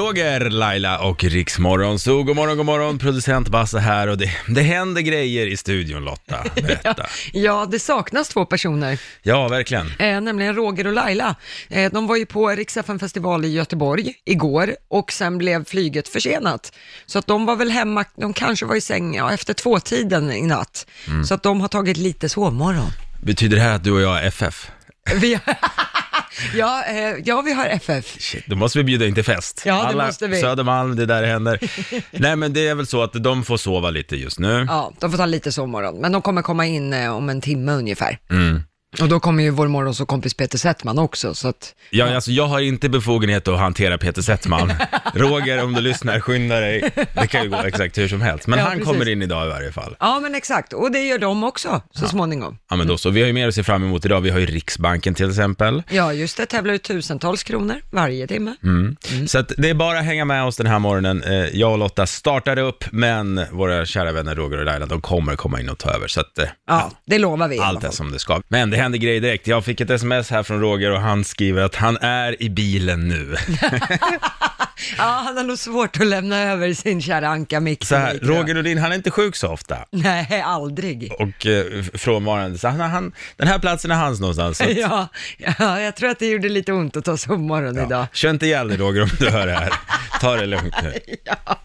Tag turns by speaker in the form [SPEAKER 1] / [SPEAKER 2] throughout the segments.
[SPEAKER 1] Roger, Laila och Riksmorgon. Så god morgon, god morgon. Producent Basse här och det, det händer grejer i studion Lotta. Berätta.
[SPEAKER 2] Ja, det saknas två personer,
[SPEAKER 1] Ja, verkligen.
[SPEAKER 2] eh, nämligen Roger och Laila. Eh, de var ju på Riksaffen festival i Göteborg igår och sen blev flyget försenat. Så att de var väl hemma, de kanske var i säng ja, efter tvåtiden i natt. Så att de har tagit lite sovmorgon.
[SPEAKER 1] Betyder det här att du och jag är FF?
[SPEAKER 2] Vi, ja, eh, ja, vi har FF.
[SPEAKER 1] Shit, då måste vi bjuda in till fest.
[SPEAKER 2] Ja, det
[SPEAKER 1] Alla
[SPEAKER 2] måste vi.
[SPEAKER 1] Södermalm, det där händer. Nej, men det är väl så att de får sova lite just nu.
[SPEAKER 2] Ja, de får ta lite sovmorgon, men de kommer komma in eh, om en timme ungefär.
[SPEAKER 1] Mm.
[SPEAKER 2] Och då kommer ju vår morgonsåkompis Peter Settman också, så att
[SPEAKER 1] Jag, alltså, jag har inte befogenhet att hantera Peter Settman. Roger, om du lyssnar, skynda dig. Det kan ju gå exakt hur som helst. Men
[SPEAKER 2] Ja,
[SPEAKER 1] han
[SPEAKER 2] precis.
[SPEAKER 1] kommer in idag i varje fall.
[SPEAKER 2] Ja, men exakt. Och det gör de också så småningom.
[SPEAKER 1] Ja, men då så. Vi har ju mer att se fram emot idag. Vi har ju Riksbanken till exempel.
[SPEAKER 2] Ja, just det. Tävlar ut tusentals kronor varje timme.
[SPEAKER 1] Mm.
[SPEAKER 2] Mm.
[SPEAKER 1] Så att det är bara att hänga med oss den här morgonen. Eh, Jag och Lotta startar upp, men våra kära vänner Roger och Laila, de kommer komma in och ta över. Så att eh,
[SPEAKER 2] Ja, det lovar vi. i alla
[SPEAKER 1] allt är
[SPEAKER 2] fall.
[SPEAKER 1] som det ska. Men det händer grejer direkt. Jag fick ett sms här från Roger och han skriver att han är i bilen nu.
[SPEAKER 2] Ja, han har nog svårt att lämna över sin kära Anka-mix.
[SPEAKER 1] Så här, Roger Nordin, han är inte sjuk så ofta.
[SPEAKER 2] Nej, aldrig.
[SPEAKER 1] Och eh, f- frånvarande, så han, han, den här platsen är hans någonstans. Så att,
[SPEAKER 2] Ja, ja, jag tror att det gjorde lite ont att ta sovmorgon idag.
[SPEAKER 1] Kör inte ihjäl dig Roger om du hör det här. Ta det lugnt nu.
[SPEAKER 2] Ja.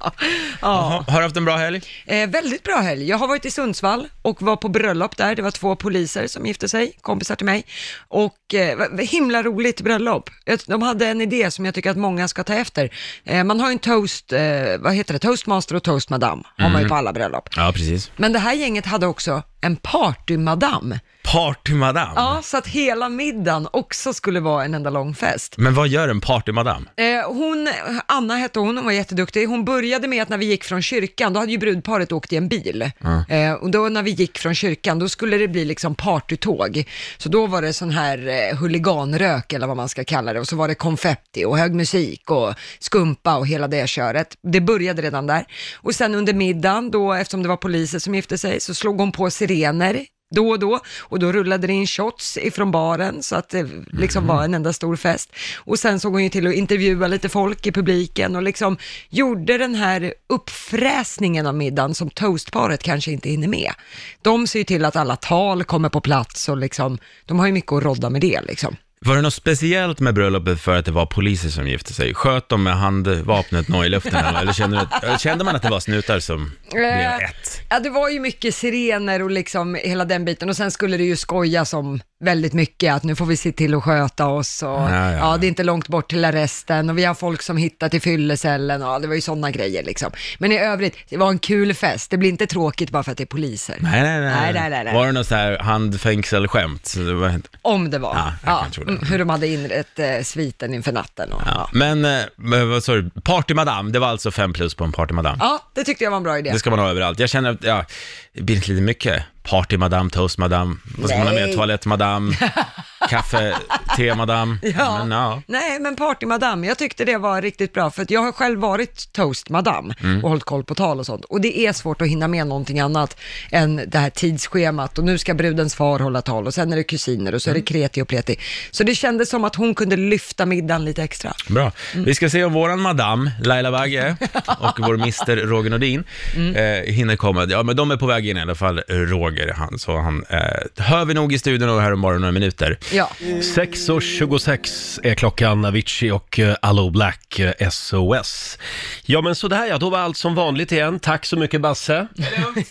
[SPEAKER 1] Jaha, har du haft en bra helg?
[SPEAKER 2] Eh, väldigt bra helg. Jag har varit i Sundsvall och var på bröllop där. Det var två poliser som gifte sig, kompisar till mig. Och eh, vad- vad himla roligt bröllop. Ett- De hade en idé som jag tycker att många ska ta efter. Eh, man har ju en toast, eh, vad heter det, toastmaster och toastmadam har
[SPEAKER 1] Mm.
[SPEAKER 2] man ju på alla bröllop.
[SPEAKER 1] Ja, precis.
[SPEAKER 2] Men det här gänget hade också en partymadam.
[SPEAKER 1] Partymadam.
[SPEAKER 2] Ja, så att hela middagen också skulle vara en enda lång fest.
[SPEAKER 1] Men vad gör en partymadam?
[SPEAKER 2] Eh, hon, Anna hette hon, hon var jätteduktig. Hon började med att när vi gick från kyrkan, då hade ju brudparet åkt i en bil. Eh, och då när vi gick från kyrkan, då skulle det bli liksom partytåg. Så då var det sån här eh, huliganrök eller vad man ska kalla det. Och så var det konfetti och hög musik och skumpa och hela det köret. Det började redan där. Och sen under middagen, då, eftersom det var poliser som gifte sig, så slog hon på sirener då och då och då rullade det in shots ifrån baren så att det liksom var en enda stor fest. Och sen såg hon ju till att intervjua lite folk i publiken och liksom gjorde den här uppfräsningen av middagen som toastparet kanske inte hinner med. De ser ju till att alla tal kommer på plats och liksom, de har ju mycket att rodda med det liksom.
[SPEAKER 1] Var det något speciellt med bröllopet för att det var poliser som gifte sig? Sköt de med handvapnet nå i luften eller, eller kände, du att, eller kände man att det var snutar som blev
[SPEAKER 2] Eh,
[SPEAKER 1] ett?
[SPEAKER 2] Ja, det var ju mycket sirener och liksom hela den biten och sen skulle det ju skojas om väldigt mycket att nu får vi se till att sköta oss och
[SPEAKER 1] ja,
[SPEAKER 2] ja,
[SPEAKER 1] ja.
[SPEAKER 2] det är inte långt bort till arresten och vi har folk som hittat i fyllecellen och ja, det var ju sådana grejer liksom. Men i övrigt, det var en kul fest. Det blir inte tråkigt bara för att det är poliser.
[SPEAKER 1] Nej, nej, nej.
[SPEAKER 2] Nej, nej, nej, nej.
[SPEAKER 1] Var det något så här handfängselskämt? Så det var-
[SPEAKER 2] Om det var.
[SPEAKER 1] Ja, jag kan tro det.
[SPEAKER 2] mm, Hur de hade inrett eh, sviten inför natten och ja.
[SPEAKER 1] Ja. Men, eh, men vad sa du, partymadam, det var alltså fem plus på en partymadam?
[SPEAKER 2] ja, det tyckte jag var en bra idé.
[SPEAKER 1] Det ska man ha överallt. Jag känner att, ja, det blir inte lite mycket. Partymadam, toastmadam, vad ska man ha med?
[SPEAKER 2] Nej.
[SPEAKER 1] Toalettmadam, kaffe, temadam.
[SPEAKER 2] Ja.
[SPEAKER 1] Men, ja.
[SPEAKER 2] Nej, men partymadam, jag tyckte det var riktigt bra för att jag har själv varit toastmadam
[SPEAKER 3] Mm.
[SPEAKER 2] och hållit koll på tal och sånt. Och det är svårt att hinna med någonting annat än det här tidsschemat och nu ska brudens far hålla tal och sen är det kusiner och så
[SPEAKER 3] Mm.
[SPEAKER 2] är det kreti och pleti. Så det kändes som att hon kunde lyfta middagen lite extra.
[SPEAKER 1] Bra. Vi ska se om våran madam, Laila Bagge, och vår mister Roger Nordin eh, hinner komma. Ja, men de är på väg in i alla fall, Roger, han. Så han eh, hör vi nog i studion och här om bara några minuter.
[SPEAKER 2] Ja,
[SPEAKER 3] 6.26 är klockan, Avicii och eh, Allo Black, eh, SOS. Ja men sådär ja, då var allt som vanligt igen. Tack så mycket Basse,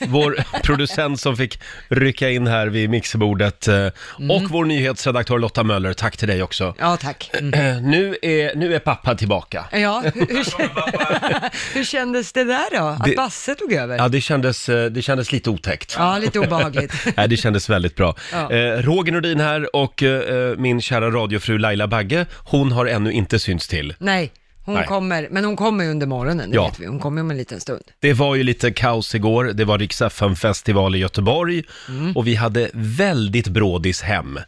[SPEAKER 3] vår producent som fick rycka in här vid mixerbordet. eh, Och vår nyhetsredaktör Lotta Möller, tack till dig också.
[SPEAKER 2] Mm. ja tack. Mm.
[SPEAKER 3] Eh, Nu är, nu är pappa tillbaka.
[SPEAKER 2] Ja, hur, hur, kän- hur kändes det där då? Att
[SPEAKER 3] Det-
[SPEAKER 2] Basse tog över?
[SPEAKER 3] Ja, det kändes, eh, det kändes lite otäckt.
[SPEAKER 2] Ja, lite obehagligt.
[SPEAKER 3] Nej, det kändes väldigt bra.
[SPEAKER 2] Ja.
[SPEAKER 3] Eh, Roger Nordin här och eh, min kära radiofru Laila Bagge, hon har ännu inte synts till.
[SPEAKER 2] Nej, hon
[SPEAKER 3] Nej.
[SPEAKER 2] kommer, men hon kommer ju under morgonen, det
[SPEAKER 3] Ja.
[SPEAKER 2] vet vi. Hon kommer om en liten stund.
[SPEAKER 3] Det var ju lite kaos igår. Det var riks festival i Göteborg
[SPEAKER 2] Mm.
[SPEAKER 3] och vi hade väldigt brådis hem.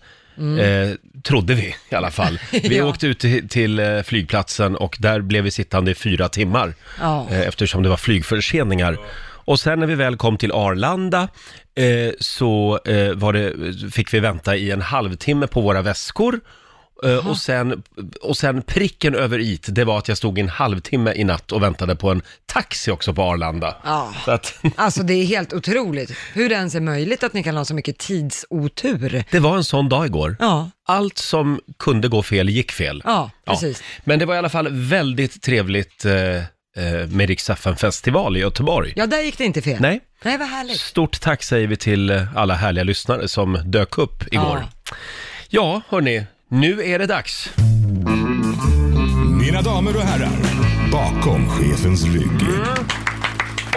[SPEAKER 3] Eh, trodde vi i alla fall. Vi
[SPEAKER 2] Ja.
[SPEAKER 3] åkte ut till, till eh, flygplatsen och där blev vi sittande i fyra timmar
[SPEAKER 2] Ja.
[SPEAKER 3] eh, eftersom det var flygförseningar. Och sen när vi väl kom till Arlanda eh, så eh, var det, fick vi vänta i en halvtimme på våra väskor Eh, Och sen, och sen pricken över it, det var att jag stod i en halvtimme i natt och väntade på en taxi också på Arlanda.
[SPEAKER 2] Ja.
[SPEAKER 3] Så att,
[SPEAKER 2] Alltså det är helt otroligt hur det ens är möjligt att ni kan ha så mycket tidsotur.
[SPEAKER 3] det var en sån dag igår.
[SPEAKER 2] Ja,
[SPEAKER 3] Allt som kunde gå fel gick fel.
[SPEAKER 2] ja, precis.
[SPEAKER 3] Men det var i alla fall väldigt trevligt eh, eh, med Rix festival i Göteborg.
[SPEAKER 2] Ja, där gick det inte fel.
[SPEAKER 3] Nej,
[SPEAKER 2] Nej, vad härligt.
[SPEAKER 3] stort tack säger vi till eh, alla härliga lyssnare som dök upp igår. Ja, hörni, nu är det dags.
[SPEAKER 4] Mina damer och herrar, bakom chefens rygg.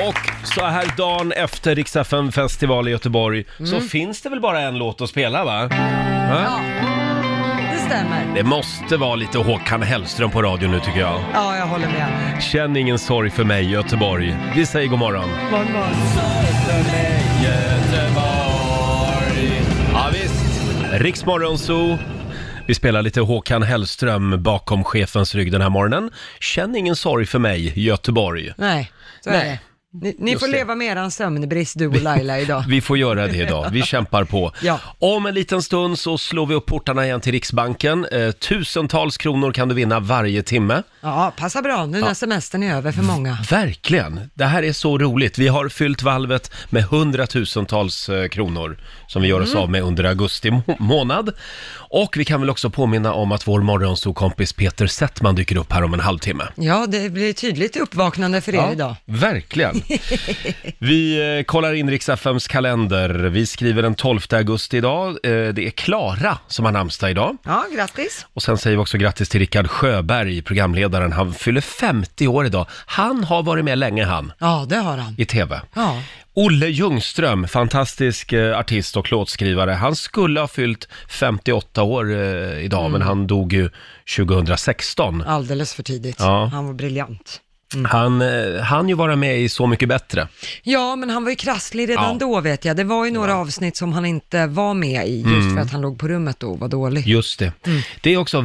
[SPEAKER 3] Och så här dagen efter Rix festival i Göteborg så finns det väl bara en låt att spela va?
[SPEAKER 2] Ja, det stämmer.
[SPEAKER 3] Det måste vara lite Håkan Hellström på radio nu tycker jag.
[SPEAKER 2] Ja, jag håller med.
[SPEAKER 3] Känn ingen sorg för mig Göteborg. Vi säger god morgon. Ja, visst. Riksmorgon Zoo. Vi spelar lite Håkan Hellström bakom chefens rygg den här morgonen. Känn ingen sorg för mig, Göteborg.
[SPEAKER 2] Nej, så är det. Ni, ni
[SPEAKER 3] Just
[SPEAKER 2] får
[SPEAKER 3] det.
[SPEAKER 2] leva med eran sömnbrist du och Laila idag.
[SPEAKER 3] Vi får göra det idag, vi kämpar på.
[SPEAKER 2] Ja.
[SPEAKER 3] Om en liten stund så slår vi upp portarna igen till Riksbanken. Eh, tusentals kronor kan du vinna varje timme.
[SPEAKER 2] Ja, passa bra nu när semestern är över för många.
[SPEAKER 3] Verkligen! Det här är så roligt. Vi har fyllt valvet med hundratusentals eh, kronor som vi gör oss av med under augusti må- månad. Och vi kan väl också påminna om att vår morgonsokompis Peter Settman dyker upp här om en halvtimme.
[SPEAKER 2] Ja, det blir tydligt uppvaknande för er idag.
[SPEAKER 3] verkligen. Vi eh, kollar in riks FMs kalender. Vi skriver den 12 augusti idag. Eh, det är Klara som har namnsdag idag.
[SPEAKER 2] Ja, grattis.
[SPEAKER 3] Och sen säger vi också grattis till Rickard Sjöberg, programledaren. Han fyller 50 år idag. Han har varit med länge han,
[SPEAKER 2] Ja, det har han.
[SPEAKER 3] i TV.
[SPEAKER 2] Ja,
[SPEAKER 3] Olle Ljungström, fantastisk eh, artist och låtskrivare. Han skulle ha fyllt 58 år eh, idag, men han dog ju 2016.
[SPEAKER 2] alldeles för tidigt.
[SPEAKER 3] Ja.
[SPEAKER 2] Han var briljant.
[SPEAKER 3] Han eh, hann ju vara med i Så mycket bättre.
[SPEAKER 2] Ja, men han var ju krasslig redan
[SPEAKER 3] Ja.
[SPEAKER 2] då vet jag. Det var ju några avsnitt som han inte var med i, just för att han låg på rummet då och var dålig.
[SPEAKER 3] Mm. Just det.
[SPEAKER 2] Mm.
[SPEAKER 3] Det är också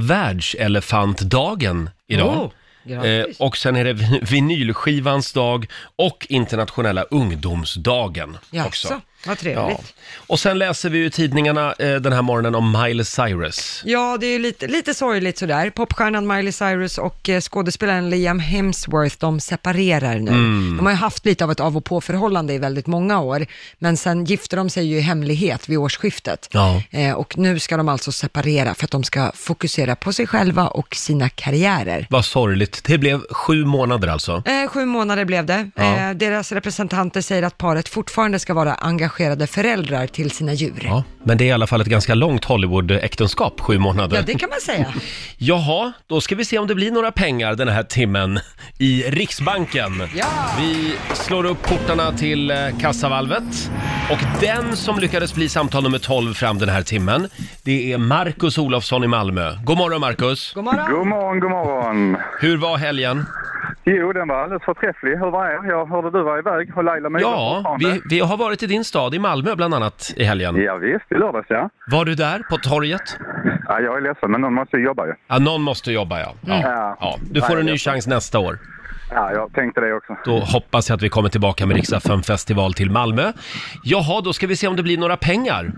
[SPEAKER 3] världselefantdagen idag.
[SPEAKER 2] Oh, grattis.
[SPEAKER 3] Eh, och sen är det vi- vinylskivans dag och internationella ungdomsdagen också.
[SPEAKER 2] Jaså, vad
[SPEAKER 3] Ja.
[SPEAKER 2] trevligt.
[SPEAKER 3] Och sen läser vi ju i tidningarna eh, den här morgonen om Miley Cyrus.
[SPEAKER 2] Ja, det är ju lite, lite sorgligt sådär. Popstjärnan Miley Cyrus och eh, skådespelaren Liam Hemsworth, de separerar nu.
[SPEAKER 3] Mm.
[SPEAKER 2] De har ju haft lite av ett av och på-förhållande i väldigt många år, men sen gifte de sig ju i hemlighet vid årsskiftet.
[SPEAKER 3] Ja.
[SPEAKER 2] Eh, och nu ska de alltså separera för att de ska fokusera på sig själva och sina karriärer.
[SPEAKER 3] Vad sorgligt. Det blev sju månader alltså.
[SPEAKER 2] Eh, sju månader blev det.
[SPEAKER 3] Ja.
[SPEAKER 2] Eh, deras representanter säger att paret fortfarande ska vara engagerade föräldrar till sina djur. Ja,
[SPEAKER 3] Ja, men det är i alla fall ett ganska långt Hollywood-äktenskap, sju månader.
[SPEAKER 2] det kan man säga.
[SPEAKER 3] Jaha, då ska vi se om det blir några pengar den här timmen i Riksbanken.
[SPEAKER 2] Ja.
[SPEAKER 3] Vi slår upp portarna till eh, kassavalvet. Och den som lyckades bli samtal nummer 12 fram den här timmen, det är Marcus Olofsson i Malmö. God morgon Marcus!
[SPEAKER 2] God morgon.
[SPEAKER 5] God morgon, god morgon.
[SPEAKER 3] Hur var helgen?
[SPEAKER 5] Jo, den var alldeles förträfflig. Hur var er? Jag hörde du var iväg och Laila Myhre
[SPEAKER 3] Ja,
[SPEAKER 5] fortfarande.
[SPEAKER 3] vi, vi har varit i din stad, i Malmö bland annat, i helgen.
[SPEAKER 5] Ja, visst, i lördags ja.
[SPEAKER 3] Var du där, på torget?
[SPEAKER 5] ja. Jag är ledsen, men någon måste ju jobba ju.
[SPEAKER 3] Ja, någon måste jobba ja. ja.
[SPEAKER 5] Ja.
[SPEAKER 3] ja. Du får en ny chans nästa år.
[SPEAKER 5] Ja, jag tänkte det också.
[SPEAKER 3] Då hoppas jag att vi kommer tillbaka med Riksaffären festival till Malmö. Jaha, då ska vi se om det blir några pengar.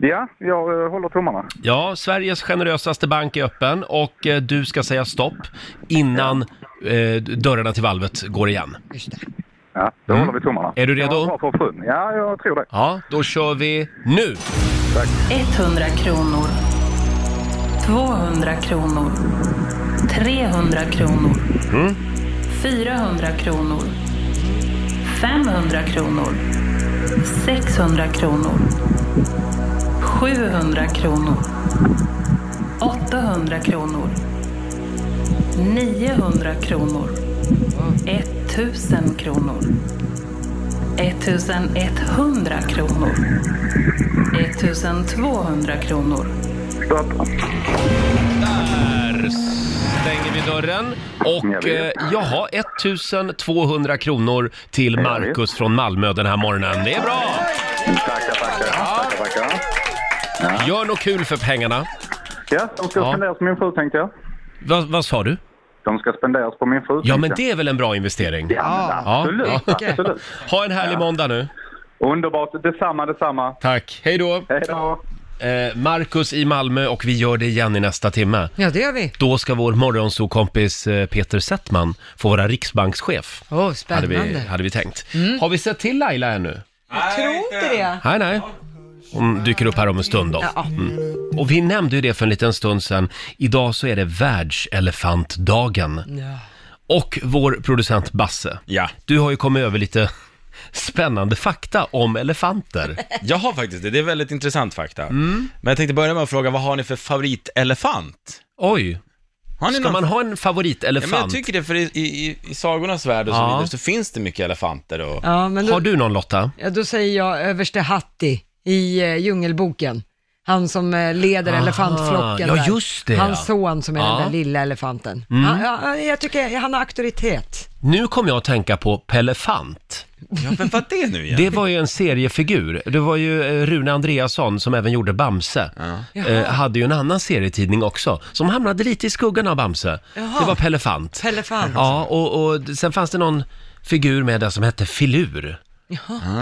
[SPEAKER 5] Ja, jag eh, håller tummarna.
[SPEAKER 3] Ja, Sveriges generösaste bank är öppen och eh, du ska säga stopp innan eh, dörrarna till valvet går igen. Mm.
[SPEAKER 2] Just det.
[SPEAKER 5] Ja, då håller vi tummarna.
[SPEAKER 3] Är du
[SPEAKER 5] Jag
[SPEAKER 3] redo?
[SPEAKER 5] har bra för frun. Ja, jag tror det.
[SPEAKER 3] Ja, då kör vi nu!
[SPEAKER 6] 100 kronor. 200 kronor. 300 kronor. 400 kronor. 500 kronor. 600 kronor. 700 kronor. 800 kronor. 900 kronor. 1000 kronor. 1100 kronor. 1200 kronor.
[SPEAKER 5] Stopp.
[SPEAKER 3] Där stänger vi dörren och eh, jaha, 1200 kronor till Marcus från Malmö den här morgonen. Det är bra!
[SPEAKER 5] Tackar, tackar. Tackar, tackar.
[SPEAKER 3] Gör något kul för pengarna.
[SPEAKER 5] Ja, de ska
[SPEAKER 3] Ja.
[SPEAKER 5] spenderas på min fru tänkte jag.
[SPEAKER 3] Va, vad sa du?
[SPEAKER 5] De ska spenderas på min fru
[SPEAKER 3] Ja, men
[SPEAKER 5] tänkte
[SPEAKER 3] det är väl en bra investering?
[SPEAKER 5] jag. Ja,
[SPEAKER 3] Ja.
[SPEAKER 5] men absolut.
[SPEAKER 2] Ja.
[SPEAKER 5] absolut.
[SPEAKER 3] Ha en härlig måndag nu.
[SPEAKER 5] Underbart. Detsamma, detsamma.
[SPEAKER 3] Tack. Hej då.
[SPEAKER 5] Hej då.
[SPEAKER 3] eh, Marcus i Malmö och vi gör det igen i nästa timme.
[SPEAKER 2] Ja, det gör vi.
[SPEAKER 3] Då ska vår morgonsokompis eh, Peter Settman få vara riksbankschef.
[SPEAKER 2] Åh, oh,
[SPEAKER 3] Hade
[SPEAKER 2] spännande.
[SPEAKER 3] vi, hade vi tänkt. Har vi sett till Laila ännu?
[SPEAKER 2] Jag tror inte det.
[SPEAKER 3] Mm. Nej, nej. Hon dyker upp här om en stund då. Mm.
[SPEAKER 2] Ja.
[SPEAKER 3] Och vi nämnde ju det för en liten stund sedan. Idag så är det världselefantdagen.
[SPEAKER 2] Ja.
[SPEAKER 3] Och vår producent Basse.
[SPEAKER 1] Ja.
[SPEAKER 3] Du har ju kommit över lite spännande fakta om elefanter.
[SPEAKER 1] Jag har faktiskt det, det är väldigt intressant fakta.
[SPEAKER 3] Mm.
[SPEAKER 1] Men jag tänkte börja med att fråga, vad har ni för favoritelefant?
[SPEAKER 3] Oj,
[SPEAKER 1] Har ni
[SPEAKER 3] ska man ha en
[SPEAKER 1] Ja, men jag
[SPEAKER 3] favoritelefant?
[SPEAKER 1] tycker det, för i, i, i sagornas värld och så
[SPEAKER 3] Ja.
[SPEAKER 1] vidare så finns det mycket elefanter och...
[SPEAKER 2] ja, men
[SPEAKER 3] Har
[SPEAKER 2] då,
[SPEAKER 3] du någon Lotta?
[SPEAKER 2] ja, då säger jag överste Hatti i eh, Djungelboken. Han som eh, leder
[SPEAKER 3] Aha,
[SPEAKER 2] elefantflocken
[SPEAKER 3] ja,
[SPEAKER 2] där.
[SPEAKER 3] just det,
[SPEAKER 2] Hans
[SPEAKER 3] ja.
[SPEAKER 2] son som är
[SPEAKER 3] Ja. Mm.
[SPEAKER 2] den där lilla elefanten. Han, ja, jag tycker han har auktoritet.
[SPEAKER 3] Nu kom jag att tänka på Pelefant.
[SPEAKER 1] Ja, men vad det nu igen?
[SPEAKER 3] Det var ju en seriefigur. Det var ju eh, Rune Andreasson som även gjorde Bamse. Eh, hade ju en annan serietidning också, som hamnade lite i skuggan av Bamse.
[SPEAKER 2] Jaha.
[SPEAKER 3] Det var Pelefant.
[SPEAKER 2] Elefant.
[SPEAKER 3] Ja, och, och d- sen fanns det någon figur med där som hette Filur.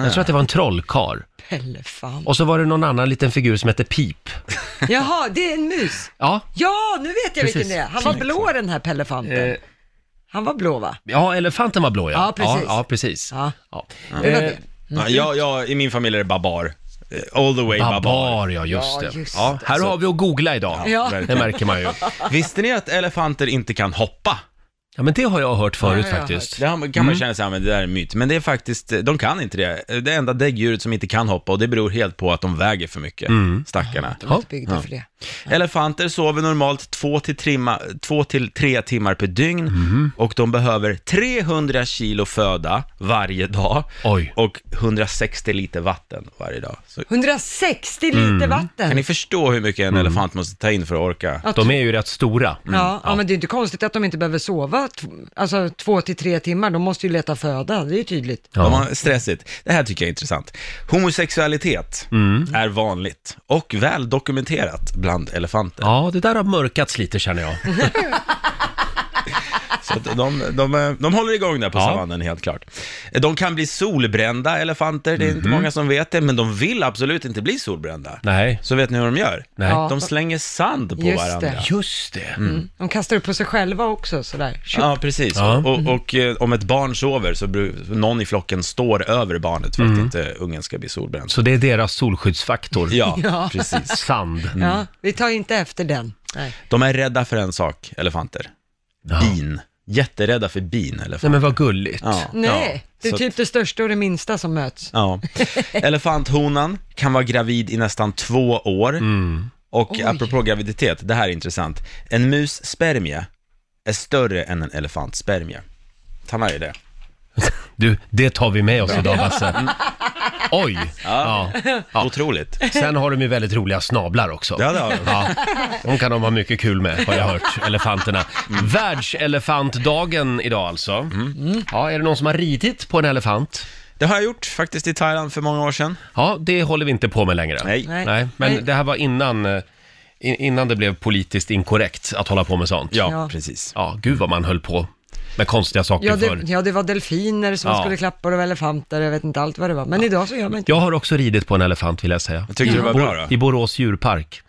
[SPEAKER 3] Jag tror att det var en trollkar.
[SPEAKER 2] Elefant.
[SPEAKER 3] Och så var det någon annan liten figur som hette Pip.
[SPEAKER 2] Jaha, det är en mus.
[SPEAKER 3] Ja,
[SPEAKER 2] Ja, nu vet jag
[SPEAKER 3] Precis. Eh.
[SPEAKER 2] vilken det är. Han var blå den här Pellefanten. Han var blå va?
[SPEAKER 3] ja elefanten var blå ja.
[SPEAKER 2] Ja, precis.
[SPEAKER 3] Ja, ja, precis.
[SPEAKER 2] Ja.
[SPEAKER 3] Ja.
[SPEAKER 2] Det var det.
[SPEAKER 1] Eh,
[SPEAKER 2] Mm.
[SPEAKER 1] Ja, jag, jag, I min familj är det babar. Eh, All the way babar.
[SPEAKER 3] Babar, ja just
[SPEAKER 2] Ja,
[SPEAKER 3] det.
[SPEAKER 2] just
[SPEAKER 3] Ja, här har vi att googla idag.
[SPEAKER 2] Ja.
[SPEAKER 3] Det
[SPEAKER 1] verkligen.
[SPEAKER 3] märker man ju.
[SPEAKER 1] Visste ni att elefanter inte kan hoppa?
[SPEAKER 3] Ja, men det har jag hört förut
[SPEAKER 2] Ja, jag har
[SPEAKER 3] faktiskt. Mm.
[SPEAKER 1] Det har- kan man känna sig, "Ja, men det där är en myt. Men det är faktiskt, eh, de kan inte det. Det enda däggdjuret som inte kan hoppa och det beror helt på att de väger för mycket,
[SPEAKER 3] Mm.
[SPEAKER 1] stackarna.
[SPEAKER 2] De är inte byggda för det.
[SPEAKER 1] Elefanter sover normalt 2-3 timmar per dygn
[SPEAKER 3] Mhm.
[SPEAKER 1] och de behöver 300 kilo föda varje dag
[SPEAKER 3] Oj.
[SPEAKER 1] och 160 liter vatten varje dag. Så
[SPEAKER 2] 160 liter
[SPEAKER 3] Mm.
[SPEAKER 1] kan
[SPEAKER 2] vatten.
[SPEAKER 1] ni förstå hur mycket en elefant måste ta in för att orka?
[SPEAKER 2] Ja,
[SPEAKER 3] De är ju rätt stora.
[SPEAKER 2] Ja, ja, men det är inte konstigt att de inte behöver sova t- alltså, två till tre timmar. De måste ju leta föda, det är ju tydligt.
[SPEAKER 1] Ja.
[SPEAKER 3] Ja.
[SPEAKER 1] stressigt. Det här tycker jag är intressant. Homosexualitet
[SPEAKER 3] Mm.
[SPEAKER 1] är vanligt och väl dokumenterat bland elefanter.
[SPEAKER 3] Ja, det där har mörkats lite känner jag.
[SPEAKER 1] Så att de, de, eh, de håller igång där på
[SPEAKER 3] Ja.
[SPEAKER 1] savannen helt klart. De kan bli solbrända elefanter, det är
[SPEAKER 3] Mhm.
[SPEAKER 1] inte många som vet det, men de vill absolut inte bli solbrända.
[SPEAKER 3] Nej.
[SPEAKER 1] Så vet ni hur de gör?
[SPEAKER 3] Nej.
[SPEAKER 2] Ja.
[SPEAKER 1] De slänger sand på
[SPEAKER 2] Just
[SPEAKER 1] varandra.
[SPEAKER 2] det.
[SPEAKER 3] Just det.
[SPEAKER 2] De kastar upp på sig själva också sådär. Tjup. Mm-hmm.
[SPEAKER 1] Ja, precis.
[SPEAKER 3] Ja.
[SPEAKER 1] Och, och eh, om ett barn sover så bru- någon i flocken står över barnet för att inte ungen ska bli solbränd.
[SPEAKER 3] Mm. Så det är deras solskyddsfaktor.
[SPEAKER 1] Ja, precis. Mm.
[SPEAKER 3] Sand.
[SPEAKER 2] Ja, vi tar inte efter den. Nej.
[SPEAKER 1] De är rädda för en sak, elefanter. Bin. Jätterädda för bin,
[SPEAKER 3] Nej
[SPEAKER 1] elefanter.
[SPEAKER 3] men vad gulligt.
[SPEAKER 1] Ja.
[SPEAKER 2] Nej,
[SPEAKER 1] Ja.
[SPEAKER 2] det är
[SPEAKER 1] Så-
[SPEAKER 2] typ det största och det minsta som möts.
[SPEAKER 1] Ja. Elefanthonan kan vara gravid i nästan två år.
[SPEAKER 3] Mm.
[SPEAKER 1] Och apropå graviditet, det här är intressant. En mus spermie är större än en elefants spermie. Ta med dig det. Mm.
[SPEAKER 3] Du, det tar vi med oss idag Basse. Oj! Ja.
[SPEAKER 1] Otroligt.
[SPEAKER 3] Sen har de ju väldigt roliga snablar också.
[SPEAKER 1] Ja, det har de.
[SPEAKER 3] Ja. De kan de ha mycket kul med, har jag hört, elefanterna.
[SPEAKER 1] Mm.
[SPEAKER 3] Världselefantdagen idag alltså. Ja, är det någon som har ridit på en elefant?
[SPEAKER 1] Det har jag gjort faktiskt i Thailand för många år sedan.
[SPEAKER 3] Ja, det håller vi inte på med längre.
[SPEAKER 1] Nej.
[SPEAKER 2] Nej.
[SPEAKER 3] Nej, men
[SPEAKER 2] Nej.
[SPEAKER 3] det här var innan, eh, in- innan det blev politiskt inkorrekt att hålla på med sånt.
[SPEAKER 1] Ja,
[SPEAKER 2] Ja.
[SPEAKER 1] precis.
[SPEAKER 3] Ja, gud vad man höll på med konstiga saker
[SPEAKER 2] Ja det,
[SPEAKER 3] förr.
[SPEAKER 2] ja, det var delfiner som
[SPEAKER 3] Ja.
[SPEAKER 2] skulle klappa och det var elefanter, jag vet inte allt vad det var. Men idag så gör man inte
[SPEAKER 3] Jag har också ridit på en elefant vill jag säga.
[SPEAKER 1] Tyckte du det var bra
[SPEAKER 3] I
[SPEAKER 1] då?
[SPEAKER 3] Borås djurpark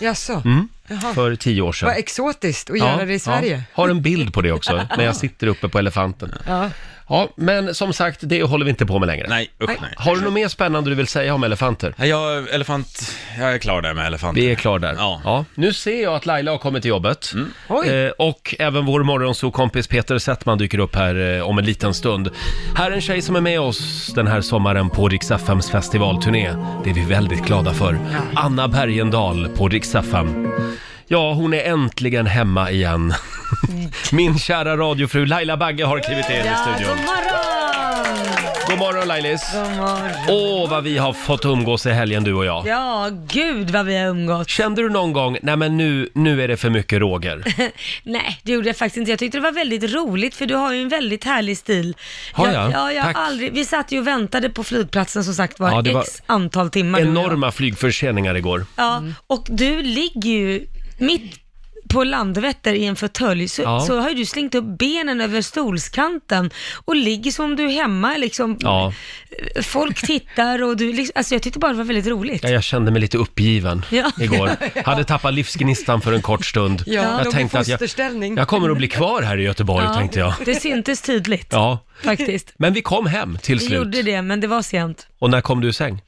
[SPEAKER 2] Jaså? Jaha.
[SPEAKER 3] Mm. för tio år sedan.
[SPEAKER 2] Vad exotiskt att göra det i Sverige.
[SPEAKER 3] Ja. Har en bild på det också, när jag sitter uppe på elefanten.
[SPEAKER 2] Ja.
[SPEAKER 3] Ja, men som sagt, det håller vi inte på med längre.
[SPEAKER 1] Nej, usch nej.
[SPEAKER 3] Har du något mer spännande du vill säga om elefanter?
[SPEAKER 1] Nej, Jag, elefant, jag är klar där med elefanter.
[SPEAKER 3] Vi är klar där.
[SPEAKER 1] Ja. Mm.
[SPEAKER 3] Nu ser jag att Laila har kommit till jobbet.
[SPEAKER 2] Oj.
[SPEAKER 3] Eh, och även vår morgonsokompis Peter Settman dyker upp här eh, om en liten stund. Här är en tjej som är med oss den här sommaren på Rix FMs festivalturné. Det är vi väldigt glada för. Anna Bergendahl på Rix FM. Ja, hon är äntligen hemma igen. Min kära radiofru Laila Bagge har klivit in i studion. God morgon Lailis! Åh, vad vi har fått umgås i helgen du och jag.
[SPEAKER 7] Ja, gud vad vi har umgått.
[SPEAKER 3] Kände du någon gång, nej men nu, nu är det för mycket Roger?
[SPEAKER 7] Nej, det gjorde jag faktiskt inte. Jag tyckte det var väldigt roligt för du har ju en väldigt härlig stil.
[SPEAKER 3] Har jag?
[SPEAKER 7] jag? Ja, jag
[SPEAKER 3] Tack.
[SPEAKER 7] har aldrig, vi satt ju och väntade på flygplatsen som sagt var,
[SPEAKER 3] Ja, det var
[SPEAKER 7] x antal timmar. du och jag.
[SPEAKER 3] Mm. Enorma flygförseningar igår.
[SPEAKER 7] Ja, och du ligger ju mitt på Landvetter i en fåtölj så,
[SPEAKER 3] Ja.
[SPEAKER 7] så har ju du slängt upp benen över stolskanten och ligger som om du är hemma liksom.
[SPEAKER 3] Ja.
[SPEAKER 7] Folk tittar och du liksom, alltså jag tyckte bara det var väldigt roligt.
[SPEAKER 3] Ja, jag kände mig lite uppgiven
[SPEAKER 7] Ja.
[SPEAKER 3] igår. Hade tappat livsgnistan för en kort stund.
[SPEAKER 2] Ja, låg i
[SPEAKER 3] jag tänkte att jag,
[SPEAKER 2] fosterställning.
[SPEAKER 3] jag kommer att bli kvar här i Göteborg,
[SPEAKER 7] Ja,
[SPEAKER 3] tänkte jag.
[SPEAKER 7] Det syntes tydligt
[SPEAKER 3] Ja.
[SPEAKER 7] faktiskt.
[SPEAKER 3] Men vi kom hem till
[SPEAKER 7] Vi
[SPEAKER 3] slut.
[SPEAKER 7] gjorde det, men det var sent.
[SPEAKER 3] Och när kom du i säng?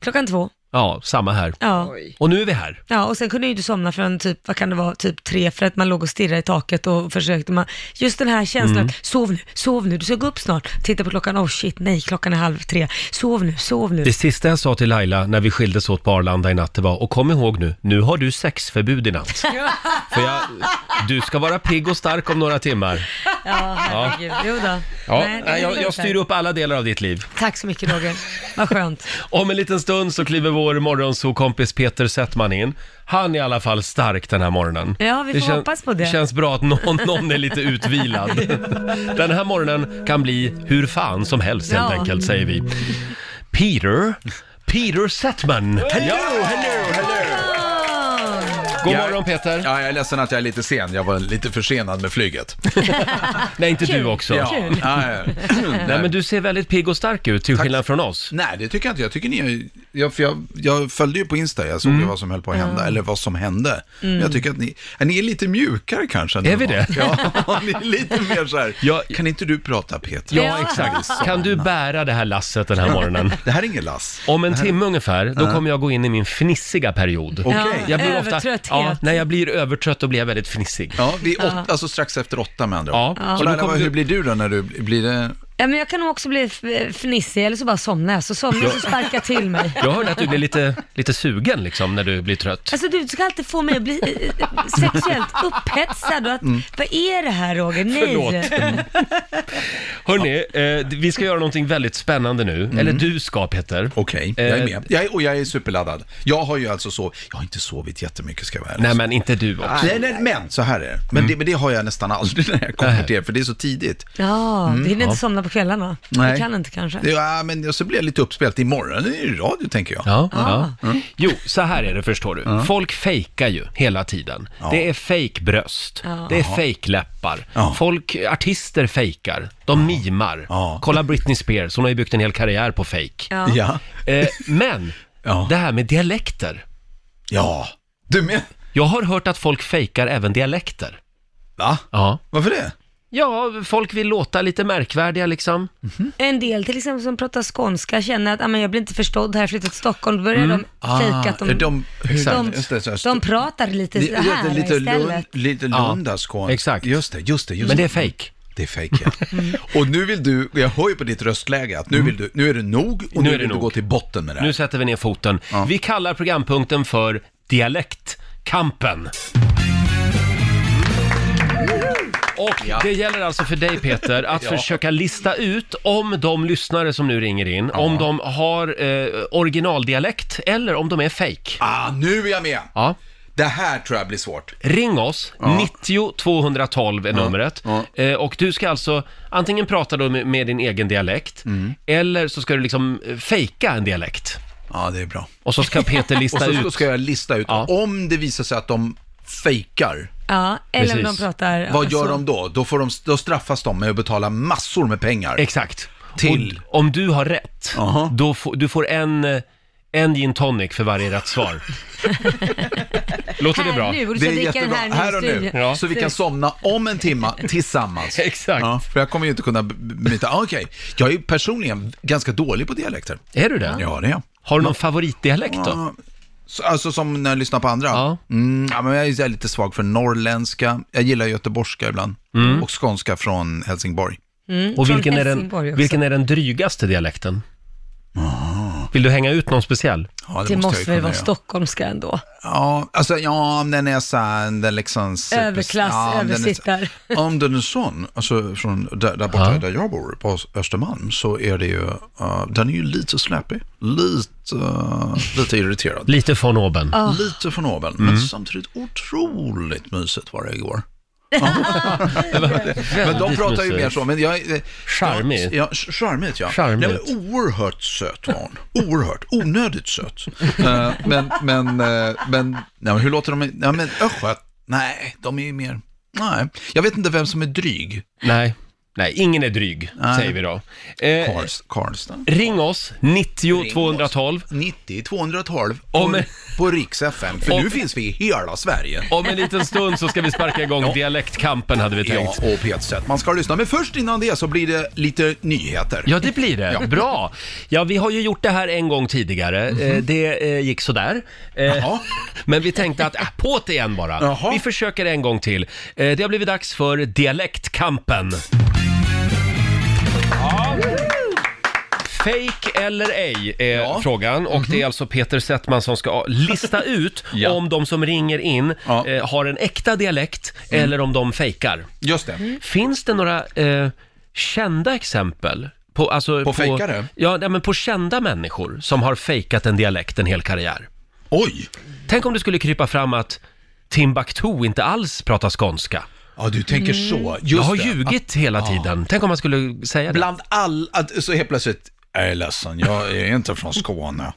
[SPEAKER 7] Klockan två.
[SPEAKER 3] Ja, samma här.
[SPEAKER 7] Ja.
[SPEAKER 2] Oj.
[SPEAKER 3] Och nu är vi här.
[SPEAKER 7] Ja, och sen kunde jag ju inte somna förrän typ, vad kan det vara, typ tre för att man låg och stirrade i taket och försökte. Man, just den här känslan,
[SPEAKER 3] Mm.
[SPEAKER 7] att, sov nu, sov nu, du ska gå upp snart. Titta på klockan, oh shit, nej, klockan är halv tre. Sov nu, sov nu.
[SPEAKER 3] Det sista jag sa till Laila när vi skildes åt på Arlanda i natt det var, och kom ihåg nu, nu har du sexförbud i natt. För jag, du ska vara pigg och stark om några timmar.
[SPEAKER 7] Ja, herregud. Jo då.
[SPEAKER 3] Ja,
[SPEAKER 7] Nej, det är
[SPEAKER 3] jag,
[SPEAKER 7] lugnt
[SPEAKER 3] jag styr
[SPEAKER 7] där.
[SPEAKER 3] upp alla delar av ditt liv.
[SPEAKER 7] Tack så mycket Roger, vad skönt.
[SPEAKER 3] Om en liten stund så kliver vår morgonsokompis Peter Settman in. Han är i alla fall stark den här morgonen.
[SPEAKER 7] Ja, vi får
[SPEAKER 3] kän-
[SPEAKER 7] hoppas på det.
[SPEAKER 3] känns bra att någon, någon är lite utvilad. den här morgonen kan bli hur fan som helst helt
[SPEAKER 7] Ja.
[SPEAKER 3] enkelt, säger vi. Peter, Peter Settman. Ja, God morgon Peter.
[SPEAKER 8] Ja, jag är ledsen att jag är lite sen. Jag var lite försenad med flyget.
[SPEAKER 3] Nej, inte du också.
[SPEAKER 8] Ja.
[SPEAKER 7] Kul.
[SPEAKER 8] Ja, ja.
[SPEAKER 3] Nej, men du ser väldigt pigg och stark ut till skillnad från oss.
[SPEAKER 8] Nej, det tycker jag inte. Jag tycker ni är- jag, för jag, jag följde ju på Insta, jag
[SPEAKER 3] Mm.
[SPEAKER 8] såg ju vad som höll på att hända, eller vad som hände. Men jag tycker att ni, ja, ni är lite mjukare kanske. än
[SPEAKER 3] Är vi
[SPEAKER 8] normalt. Ja, ni är lite mer så här,
[SPEAKER 3] Ja.
[SPEAKER 8] kan inte du prata Peter?
[SPEAKER 3] Ja, exakt. Kan du bära det här lasset den här morgonen?
[SPEAKER 8] Det här är ingen lass.
[SPEAKER 3] Om en timme ungefär, då kommer jag gå in i min fnissiga period.
[SPEAKER 8] Okej.
[SPEAKER 3] Jag blir
[SPEAKER 7] Övertrötthet.
[SPEAKER 3] ofta, ja, när jag blir övertrött då blir jag väldigt fnissig.
[SPEAKER 8] Ja, vi är åtta, alltså strax efter åtta med andra
[SPEAKER 3] Ja.
[SPEAKER 8] ord.
[SPEAKER 3] Ja.
[SPEAKER 8] Och Laila,
[SPEAKER 3] Då kommer
[SPEAKER 8] vad-
[SPEAKER 3] du-
[SPEAKER 8] hur blir du då när du blir det?
[SPEAKER 7] Ja, men jag kan nog också bli f- fnissig eller så bara somnar jag, så somnar jag så sparkar jag till mig.
[SPEAKER 3] Jag hörde att du blir lite, lite sugen liksom när du blir trött.
[SPEAKER 7] Alltså du ska alltid få mig att bli eh, eh, sexuellt upphetsad och att,
[SPEAKER 8] Mm.
[SPEAKER 7] vad är det här Roger? Nej.
[SPEAKER 3] Förlåt. Hörni, eh, vi ska göra någonting väldigt spännande nu. Eller du ska Peter.
[SPEAKER 8] Okej, jag är
[SPEAKER 3] Eh,
[SPEAKER 8] med. Jag är, och jag är superladdad. Jag har ju alltså sovit, jag har inte sovit jättemycket ska jag vara ärlig.
[SPEAKER 3] Nej men inte du också. Mm.
[SPEAKER 8] Nej, nej, men så här är det. Men, det. men det har jag nästan aldrig när jag kommer till er, för det är så tidigt.
[SPEAKER 7] Ja, du hinner inte somna på kvällarna.
[SPEAKER 8] Mm, Nej.
[SPEAKER 7] Du kan inte kanske.
[SPEAKER 8] Det, ja, men så blir jag lite uppspelt. Imorgon är det ju radio, tänker jag. Mm.
[SPEAKER 3] Ja, ja. Jo, så här är det förstår du. Folk fejkar ju hela tiden. Det är fejkbröst, det är fejkläppar.
[SPEAKER 8] Ja.
[SPEAKER 3] Folk, artister fejkar, de mimar.
[SPEAKER 8] Ja.
[SPEAKER 3] Kolla Britney Spears, hon har ju byggt en hel karriär på fejk.
[SPEAKER 7] Ja.
[SPEAKER 8] Ja.
[SPEAKER 3] Eh, men,
[SPEAKER 8] Ja.
[SPEAKER 3] det här med dialekter.
[SPEAKER 8] Ja. Du med?
[SPEAKER 3] Jag har hört att folk fejkar även dialekter.
[SPEAKER 8] Va?
[SPEAKER 3] Ja.
[SPEAKER 8] Varför det?
[SPEAKER 3] Ja, folk vill låta lite märkvärdiga liksom.
[SPEAKER 8] Mm-hmm.
[SPEAKER 7] Mm. En del till exempel som pratar skånska känner att ah, men jag blir inte förstådd här, jag flyttat till Stockholm. Då börjar de fejka att de,
[SPEAKER 8] Mm. Ah, de- exakt, just det, så
[SPEAKER 7] de,
[SPEAKER 8] här st-
[SPEAKER 7] de pratar lite så
[SPEAKER 8] Ja,
[SPEAKER 7] här
[SPEAKER 8] det är lite, lund,
[SPEAKER 7] istället.
[SPEAKER 8] lite
[SPEAKER 3] Ja,
[SPEAKER 8] lundaskån.
[SPEAKER 3] exakt.
[SPEAKER 8] Just det, just det. Just
[SPEAKER 3] Men det är fejk.
[SPEAKER 8] Det är fejk, ja. Och nu vill du, jag hör ju på ditt röstläge att nu, vill du, nu är det nog och nu,
[SPEAKER 3] Mm. Nu är det
[SPEAKER 8] vill du
[SPEAKER 3] nog.
[SPEAKER 8] gå till botten med det här.
[SPEAKER 3] Nu sätter vi ner foten. Vi kallar programpunkten för Dialektkampen. Och det gäller alltså för dig Peter att försöka lista ut om de lyssnare som nu ringer in, om de har eh, originaldialekt eller om de är fejk.
[SPEAKER 8] Ah, nu är jag med!
[SPEAKER 3] Ja.
[SPEAKER 8] Det här tror jag blir svårt.
[SPEAKER 3] Ring oss, 90 212 är numret. Eh, och du ska alltså antingen prata då med, med din egen dialekt, eller så ska du liksom eh, fejka en dialekt.
[SPEAKER 8] Ja, det är bra.
[SPEAKER 3] Och så ska Peter
[SPEAKER 8] Och
[SPEAKER 3] lista
[SPEAKER 8] så
[SPEAKER 3] ut.
[SPEAKER 8] ska- ska jag lista ut,
[SPEAKER 3] Ja.
[SPEAKER 8] om det visar sig att de fejkar,
[SPEAKER 7] Ja, eller om de
[SPEAKER 3] Precis.
[SPEAKER 7] pratar... alltså, ja,
[SPEAKER 8] vad gör
[SPEAKER 7] så.
[SPEAKER 8] de då? Då, får de, då straffas de med att betala massor med pengar.
[SPEAKER 3] Exakt.
[SPEAKER 8] Till?
[SPEAKER 3] Och, om du har rätt,
[SPEAKER 8] Aha.
[SPEAKER 3] då får, du får en, eh, en gin tonic för varje rätt svar. Låter det
[SPEAKER 7] Här
[SPEAKER 3] bra?
[SPEAKER 7] nu, och du
[SPEAKER 8] Det
[SPEAKER 7] ska
[SPEAKER 8] är
[SPEAKER 7] dricka den
[SPEAKER 8] jättebra.
[SPEAKER 7] här,
[SPEAKER 8] Här och nu.
[SPEAKER 3] Ja.
[SPEAKER 8] Så vi kan somna om en timma tillsammans.
[SPEAKER 3] Exakt.
[SPEAKER 8] Ja, för jag kommer ju inte kunna b- b- byta. Ah, Okej, jag är ju personligen ganska dålig på dialekter.
[SPEAKER 3] Är du det?
[SPEAKER 8] Ja, det är jag.
[SPEAKER 3] Har du någon favoritdialekt då?
[SPEAKER 8] Ja, så- Alltså som när jag lyssnar på andra.
[SPEAKER 3] Ja.
[SPEAKER 8] Mm, ja, men jag är ju så här lite svag för norrländska. Jag gillar göteborgska ibland. Och skånska från Helsingborg.
[SPEAKER 3] Mm. Och
[SPEAKER 7] Mm. Från
[SPEAKER 3] vilken är,
[SPEAKER 7] Helsingborg
[SPEAKER 3] den,
[SPEAKER 7] också.
[SPEAKER 3] vilken är den drygaste dialekten? Vill du hänga ut någon speciell?
[SPEAKER 8] Ah. Ja,
[SPEAKER 7] Det
[SPEAKER 8] jag ju
[SPEAKER 7] måste väl
[SPEAKER 8] kunna
[SPEAKER 7] vara
[SPEAKER 8] göra.
[SPEAKER 7] stockholmska ändå?
[SPEAKER 8] Ja, alltså ja, om den är så här, den liksom... super-
[SPEAKER 7] Överklass,
[SPEAKER 8] ja, om den är-
[SPEAKER 7] översittare.
[SPEAKER 8] Om den är sån, alltså från där, där borta
[SPEAKER 3] Ja.
[SPEAKER 8] där jag bor, på Ös- Östermalm, så är det ju, eh, den är ju lite släpig, lite, eh, lite Mm. irriterad.
[SPEAKER 3] Lite von oben.
[SPEAKER 8] Lite från oben, men samtidigt otroligt mysigt var det igår. Men de
[SPEAKER 3] Väldigt
[SPEAKER 8] pratar ju
[SPEAKER 3] mysigt.
[SPEAKER 8] mer så, men jag... eh,
[SPEAKER 3] Charmig.
[SPEAKER 8] Ja, ch- charmigt ja.
[SPEAKER 3] Charmigt.
[SPEAKER 8] Nej, men oerhört söt var hon. Oerhört, onödigt söt. Eh, men, men, eh, men, nej, men hur låter de? Ja, men östgöt... Nej, de är ju mer... Nej, jag vet inte vem som är dryg.
[SPEAKER 3] Nej, nej, ingen är dryg,
[SPEAKER 8] Nej.
[SPEAKER 3] säger vi då. Eh,
[SPEAKER 8] Karls, Karlstad?
[SPEAKER 3] ring oss, 90
[SPEAKER 8] Ring
[SPEAKER 3] 212.
[SPEAKER 8] 90 212
[SPEAKER 3] Om-
[SPEAKER 8] på, på Riks FM, för
[SPEAKER 3] Om-
[SPEAKER 8] nu finns vi i hela Sverige.
[SPEAKER 3] Om en liten stund så ska vi sparka igång dialektkampen hade vi
[SPEAKER 8] Ja,
[SPEAKER 3] tänkt.
[SPEAKER 8] och på ett sätt. Man ska lyssna, men först innan det så blir det lite nyheter.
[SPEAKER 3] Ja, det blir det. Bra! Ja, vi har ju gjort det här en gång tidigare. Eh, Det eh, gick sådär. Eh,
[SPEAKER 8] Mhm. Jaha.
[SPEAKER 3] Men vi tänkte att, äh, på det igen bara.
[SPEAKER 8] Jaha.
[SPEAKER 3] Vi försöker en gång till. Eh, Det har blivit dags för Dialektkampen. Ja. Fake eller ej är
[SPEAKER 8] Ja. Mhm.
[SPEAKER 3] frågan och det är alltså Peter Settman som ska lista ut
[SPEAKER 8] Ja.
[SPEAKER 3] om de som ringer in
[SPEAKER 8] Ja. Mm.
[SPEAKER 3] eh, har en äkta dialekt eller om de fejkar.
[SPEAKER 8] Just det.
[SPEAKER 3] Finns det några eh, kända exempel? På, alltså,
[SPEAKER 8] fejkare?
[SPEAKER 3] Ja, nej, men på kända människor som har fejkat en dialekt en hel karriär.
[SPEAKER 8] Oj!
[SPEAKER 3] Tänk om det skulle krypa fram att Timbuktu inte alls pratar skånska. Mm.
[SPEAKER 8] Ja, du tänker så. Just
[SPEAKER 3] Jag har
[SPEAKER 8] det.
[SPEAKER 3] ljugit hela tiden. Tänk om man skulle säga det.
[SPEAKER 8] Bland all... Att, så helt plötsligt, jag är ledsen, jag är inte från Skåne.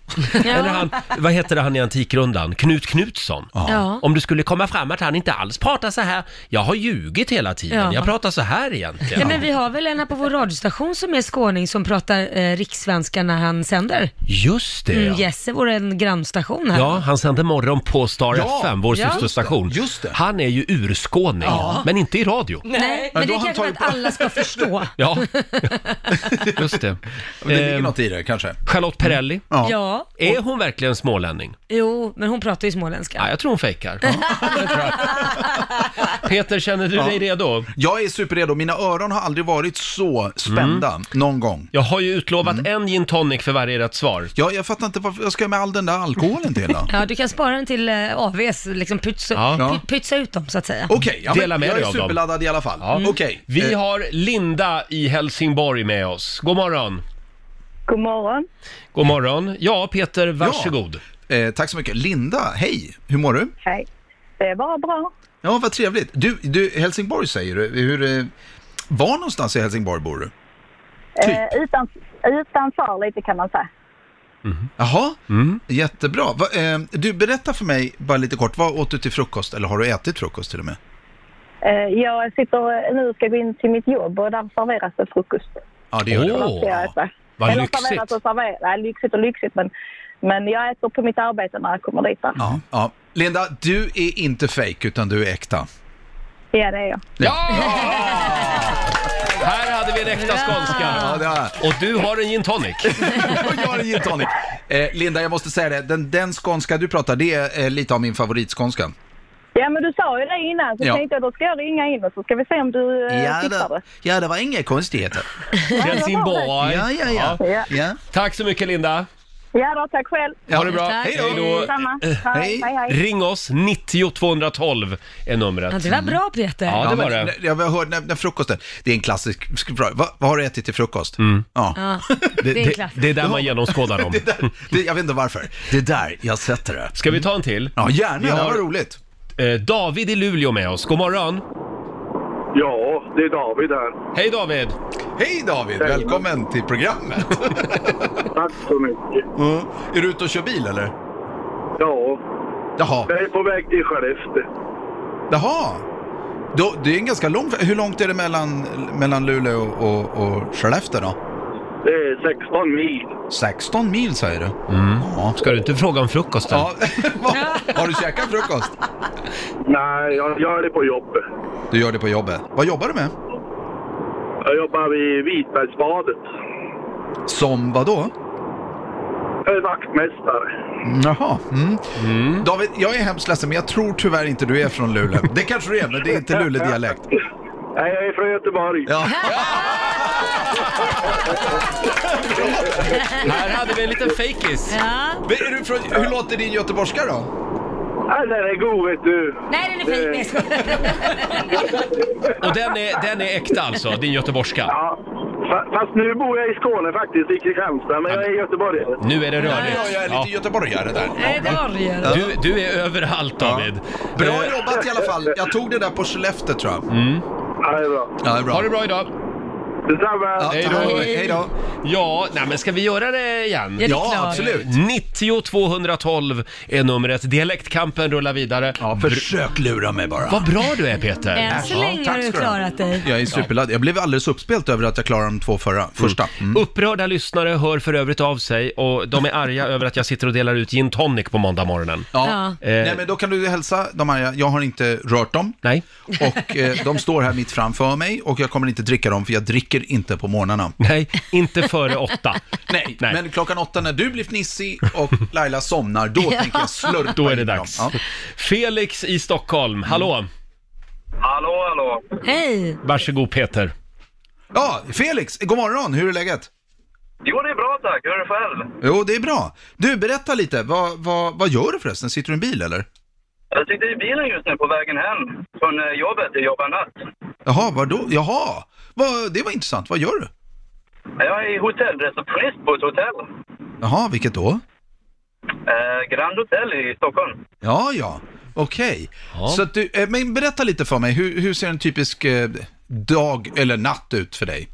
[SPEAKER 3] Eller han, vad heter det han i Antikrundan? Knut Knutsson.
[SPEAKER 7] Ja.
[SPEAKER 3] Om det skulle komma fram att han inte alls pratar så här. Jag har ljugit hela tiden.
[SPEAKER 7] Ja.
[SPEAKER 3] Jag pratar så här egentligen.
[SPEAKER 7] Nej, men vi har väl en här på vår radiostation som är skåning som pratar eh, rikssvenska när han sänder.
[SPEAKER 3] Just det.
[SPEAKER 7] Mm,
[SPEAKER 3] ja.
[SPEAKER 7] Jesse, vår en grannstation här.
[SPEAKER 3] Ja, han sände morgon på Star
[SPEAKER 8] Ja,
[SPEAKER 3] FM, vår
[SPEAKER 7] ja,
[SPEAKER 3] systerstation.
[SPEAKER 8] just det, just det.
[SPEAKER 3] Han är ju urskåning, men inte i radio.
[SPEAKER 7] Nej,
[SPEAKER 8] Men
[SPEAKER 7] men
[SPEAKER 8] då
[SPEAKER 7] det
[SPEAKER 8] har
[SPEAKER 7] är
[SPEAKER 8] han
[SPEAKER 7] kanske för att
[SPEAKER 8] tagit-
[SPEAKER 7] alla ska förstå.
[SPEAKER 3] Ja, just det.
[SPEAKER 8] Men Det ligger
[SPEAKER 3] Ehm,
[SPEAKER 8] något i det kanske.
[SPEAKER 3] Charlotte Perrelli,
[SPEAKER 8] Ja.
[SPEAKER 7] Ja,
[SPEAKER 3] är hon verkligen smålänning?
[SPEAKER 7] jo, men hon pratar ju småländska.
[SPEAKER 3] Ja, jag tror hon fejkar. Det tror jag. Peter, känner du dig redo?
[SPEAKER 8] Jag är superredo, mina öron har aldrig varit så spända någon gång. Mm.
[SPEAKER 3] Jag har ju utlovat en gin tonic för varje rätt svar.
[SPEAKER 8] Ja, jag fattar inte varför jag ska med all den där alkoholen till då.
[SPEAKER 7] Ja, du kan spara den till eh, AVs, liksom pytsa,
[SPEAKER 3] Ja.
[SPEAKER 7] py- pytsa ut dem så att säga.
[SPEAKER 8] Okej, ja, men
[SPEAKER 3] Dela med
[SPEAKER 8] jag
[SPEAKER 3] dig
[SPEAKER 8] är
[SPEAKER 3] av dem.
[SPEAKER 8] superladdad i alla fall.
[SPEAKER 3] Ja.
[SPEAKER 8] Okej.
[SPEAKER 3] Vi
[SPEAKER 8] Eh,
[SPEAKER 3] har Linda i Helsingborg med oss. God morgon.
[SPEAKER 9] God morgon.
[SPEAKER 3] God morgon. Ja, Peter, varsågod.
[SPEAKER 8] eh, tack så mycket. Linda, hej, hur mår du?
[SPEAKER 9] Hej. Det är bara bra.
[SPEAKER 8] Ja, vad trevligt. Du, du Helsingborg säger du. Hur, eh, var någonstans i Helsingborg bor du?
[SPEAKER 3] Typ.
[SPEAKER 9] Eh, utan, utanför lite kan man säga.
[SPEAKER 3] Mm.
[SPEAKER 8] Jaha, jättebra. Va, eh, du, berätta för mig bara lite kort, vad åt du till frukost? Eller har du ätit frukost till och med?
[SPEAKER 9] Eh, jag sitter nu och ska gå in till mitt jobb och där serveras det frukost.
[SPEAKER 8] Ja, det gör du.
[SPEAKER 3] Åh.
[SPEAKER 9] Där ska jag äta.
[SPEAKER 3] vad
[SPEAKER 9] Eller
[SPEAKER 3] lyxigt.
[SPEAKER 9] serveras och serveras. Nej, lyxigt och lyxigt men, men jag äter på mitt arbete när jag kommer dit. Där.
[SPEAKER 8] Ja, ja. Linda, du är inte fake utan du är äkta.
[SPEAKER 9] Ja, det är jag.
[SPEAKER 3] Ja! Här hade vi en äkta skånska.
[SPEAKER 8] Ja, det är.
[SPEAKER 3] Och du har en gin tonic.
[SPEAKER 8] Och jag har en gin tonic. Eh, Linda, jag måste säga det, den, den skånska du pratar, det är eh, lite av min favoritskånska.
[SPEAKER 9] Ja, men du sa ju det innan så
[SPEAKER 8] Ja.
[SPEAKER 9] tänkte jag då ska jag ringa in och så ska vi se om du eh, fixar det.
[SPEAKER 8] ja, det var inga konstigheter.
[SPEAKER 3] Helsingborg.
[SPEAKER 8] Ja, ja, ja.
[SPEAKER 9] Ja.
[SPEAKER 8] ja.
[SPEAKER 3] Tack så mycket Linda.
[SPEAKER 9] Ja, då, tack själv.
[SPEAKER 8] ja.
[SPEAKER 3] Ha det bra.
[SPEAKER 7] Tack.
[SPEAKER 8] Hej
[SPEAKER 3] Hej då. Eh,
[SPEAKER 8] då.
[SPEAKER 9] Detsamma.
[SPEAKER 8] hej.
[SPEAKER 9] hej, hej. hej.
[SPEAKER 3] Ring oss, 90 212 är
[SPEAKER 7] Ja,
[SPEAKER 3] numret.
[SPEAKER 7] det var bra Peter.
[SPEAKER 3] Ja, det var
[SPEAKER 8] men,
[SPEAKER 3] det.
[SPEAKER 8] Jag hörde när, när frukosten, det är en klassisk fråga. Vad, vad har du ätit till frukost? Ja.
[SPEAKER 7] Ja, det är klart.
[SPEAKER 3] Mm. det är där man genomskådar dem.
[SPEAKER 8] Det där, det, jag vet inte varför. Det är där jag sätter det.
[SPEAKER 3] Ska vi ta en till?
[SPEAKER 8] Ja, gärna.
[SPEAKER 3] Vi
[SPEAKER 8] Det
[SPEAKER 3] har-
[SPEAKER 8] var roligt.
[SPEAKER 3] Eh, David i Luleå med oss. God morgon.
[SPEAKER 5] Ja, det är David här.
[SPEAKER 3] Hej David!
[SPEAKER 8] Hej David, välkommen till programmet.
[SPEAKER 5] Tack så mycket.
[SPEAKER 8] Mm. Är du ute och kör bil eller?
[SPEAKER 5] Ja,
[SPEAKER 8] Jaha.
[SPEAKER 5] jag är på väg till Skellefteå.
[SPEAKER 8] Jaha. Då, det är en ganska lång... Hur långt är det mellan, mellan Luleå och, och Skellefteå då?
[SPEAKER 5] Det är 16 mil.
[SPEAKER 8] 16 mil säger du? Ja.
[SPEAKER 3] Mm. Ska du inte fråga om frukosten?
[SPEAKER 8] ja. har du käkat frukost?
[SPEAKER 5] Nej, jag gör det på jobbet.
[SPEAKER 8] Du gör det på jobbet. Vad jobbar du med?
[SPEAKER 5] Jag jobbar vid Vitbergsbadet.
[SPEAKER 8] Som vad då?
[SPEAKER 5] Jag är vaktmästare.
[SPEAKER 8] Jaha. Mm. David, jag är hemskt ledsen, men jag tror tyvärr inte du är från Luleå. Det kanske du är, men det är inte Luleå-dialekt.
[SPEAKER 5] Nej, jag är från Göteborg.
[SPEAKER 8] Ja.
[SPEAKER 3] Här hade vi en liten fejkis.
[SPEAKER 7] Ja.
[SPEAKER 8] Men Är du från, hur låter din göteborgska då?
[SPEAKER 5] Nej, den är god vet du.
[SPEAKER 7] Nej, den är fin. Nej, jag skojar.
[SPEAKER 3] Och den är, den är äkta alltså, din göteborgska.
[SPEAKER 5] Ja, fa- fast nu bor jag i Skåne faktiskt, i Kristianstad, men jag är göteborgare.
[SPEAKER 3] Nu är det rörigt.
[SPEAKER 8] Ja, jag är lite göteborgare där.
[SPEAKER 7] Nej, det var det ju.
[SPEAKER 3] Du, du är överallt David.
[SPEAKER 8] Bra
[SPEAKER 3] Eh, Mm.
[SPEAKER 8] jobbat i alla fall. Jag tog det där på Skellefteå tror jag.
[SPEAKER 5] Ja, det är bra.
[SPEAKER 8] Ja, det är
[SPEAKER 3] Ha
[SPEAKER 8] bra.
[SPEAKER 3] det bra idag.
[SPEAKER 5] Detsamma!
[SPEAKER 8] Hej då. Hej då.
[SPEAKER 3] Ja, nej men ska vi göra det igen?
[SPEAKER 7] Ja, det är
[SPEAKER 8] Ja,
[SPEAKER 7] klart.
[SPEAKER 8] absolut.
[SPEAKER 3] 90 212 är numret. Dialektkampen rullar vidare.
[SPEAKER 8] Ja, försök lura mig bara.
[SPEAKER 3] Vad bra du är Peter!
[SPEAKER 7] Än så
[SPEAKER 8] Ja,
[SPEAKER 7] länge
[SPEAKER 8] tack
[SPEAKER 7] har du
[SPEAKER 8] ska du ha.
[SPEAKER 7] klarat dig.
[SPEAKER 8] Jag är superladdad. Jag blev alldeles uppspelt över att jag klarade de två förra. Första. Mm.
[SPEAKER 3] Upprörda lyssnare hör för övrigt av sig och de är arga över att jag sitter och delar ut gin tonic på måndag morgonen. Eh,
[SPEAKER 8] Ja.
[SPEAKER 7] Ja.
[SPEAKER 8] Nej, men då kan du hälsa de här, jag har inte rört dem.
[SPEAKER 3] Nej.
[SPEAKER 8] Och eh, de står här mitt framför mig och jag kommer inte dricka dem för jag dricker inte på morgnarna.
[SPEAKER 3] Nej, inte före åtta.
[SPEAKER 8] Nej,
[SPEAKER 3] Nej.
[SPEAKER 8] men klockan åtta när du blir fnissig och Laila somnar, då tänker jag slurpa
[SPEAKER 3] Då är det
[SPEAKER 8] in dem.
[SPEAKER 3] dags.
[SPEAKER 8] Ja.
[SPEAKER 3] Felix i Stockholm, hallå!
[SPEAKER 5] Mm. Hallå, hallå!
[SPEAKER 7] Hej!
[SPEAKER 3] Varsågod Peter.
[SPEAKER 8] ja, Felix, god morgon, hur är läget?
[SPEAKER 5] Jo, det är bra tack. Hur är det själv?
[SPEAKER 8] Jo, det är bra. Du, berätta lite, vad, vad, vad gör du förresten? Sitter du i en bil eller?
[SPEAKER 5] Jag sitter i bilen just nu på vägen hem från eh, jobbet. Jag jobbar natt.
[SPEAKER 8] Jaha, vadå? Jaha, vad, det var intressant. Vad gör du?
[SPEAKER 5] Jag är hotellreceptionist på ett hotell.
[SPEAKER 8] Jaha, vilket då?
[SPEAKER 5] Eh, Grand Hotel i Stockholm.
[SPEAKER 8] Ja, ja, okej.
[SPEAKER 3] Ja.
[SPEAKER 8] Så att du, eh, men berätta lite för mig, hur, hur ser en typisk eh, dag eller natt ut för dig?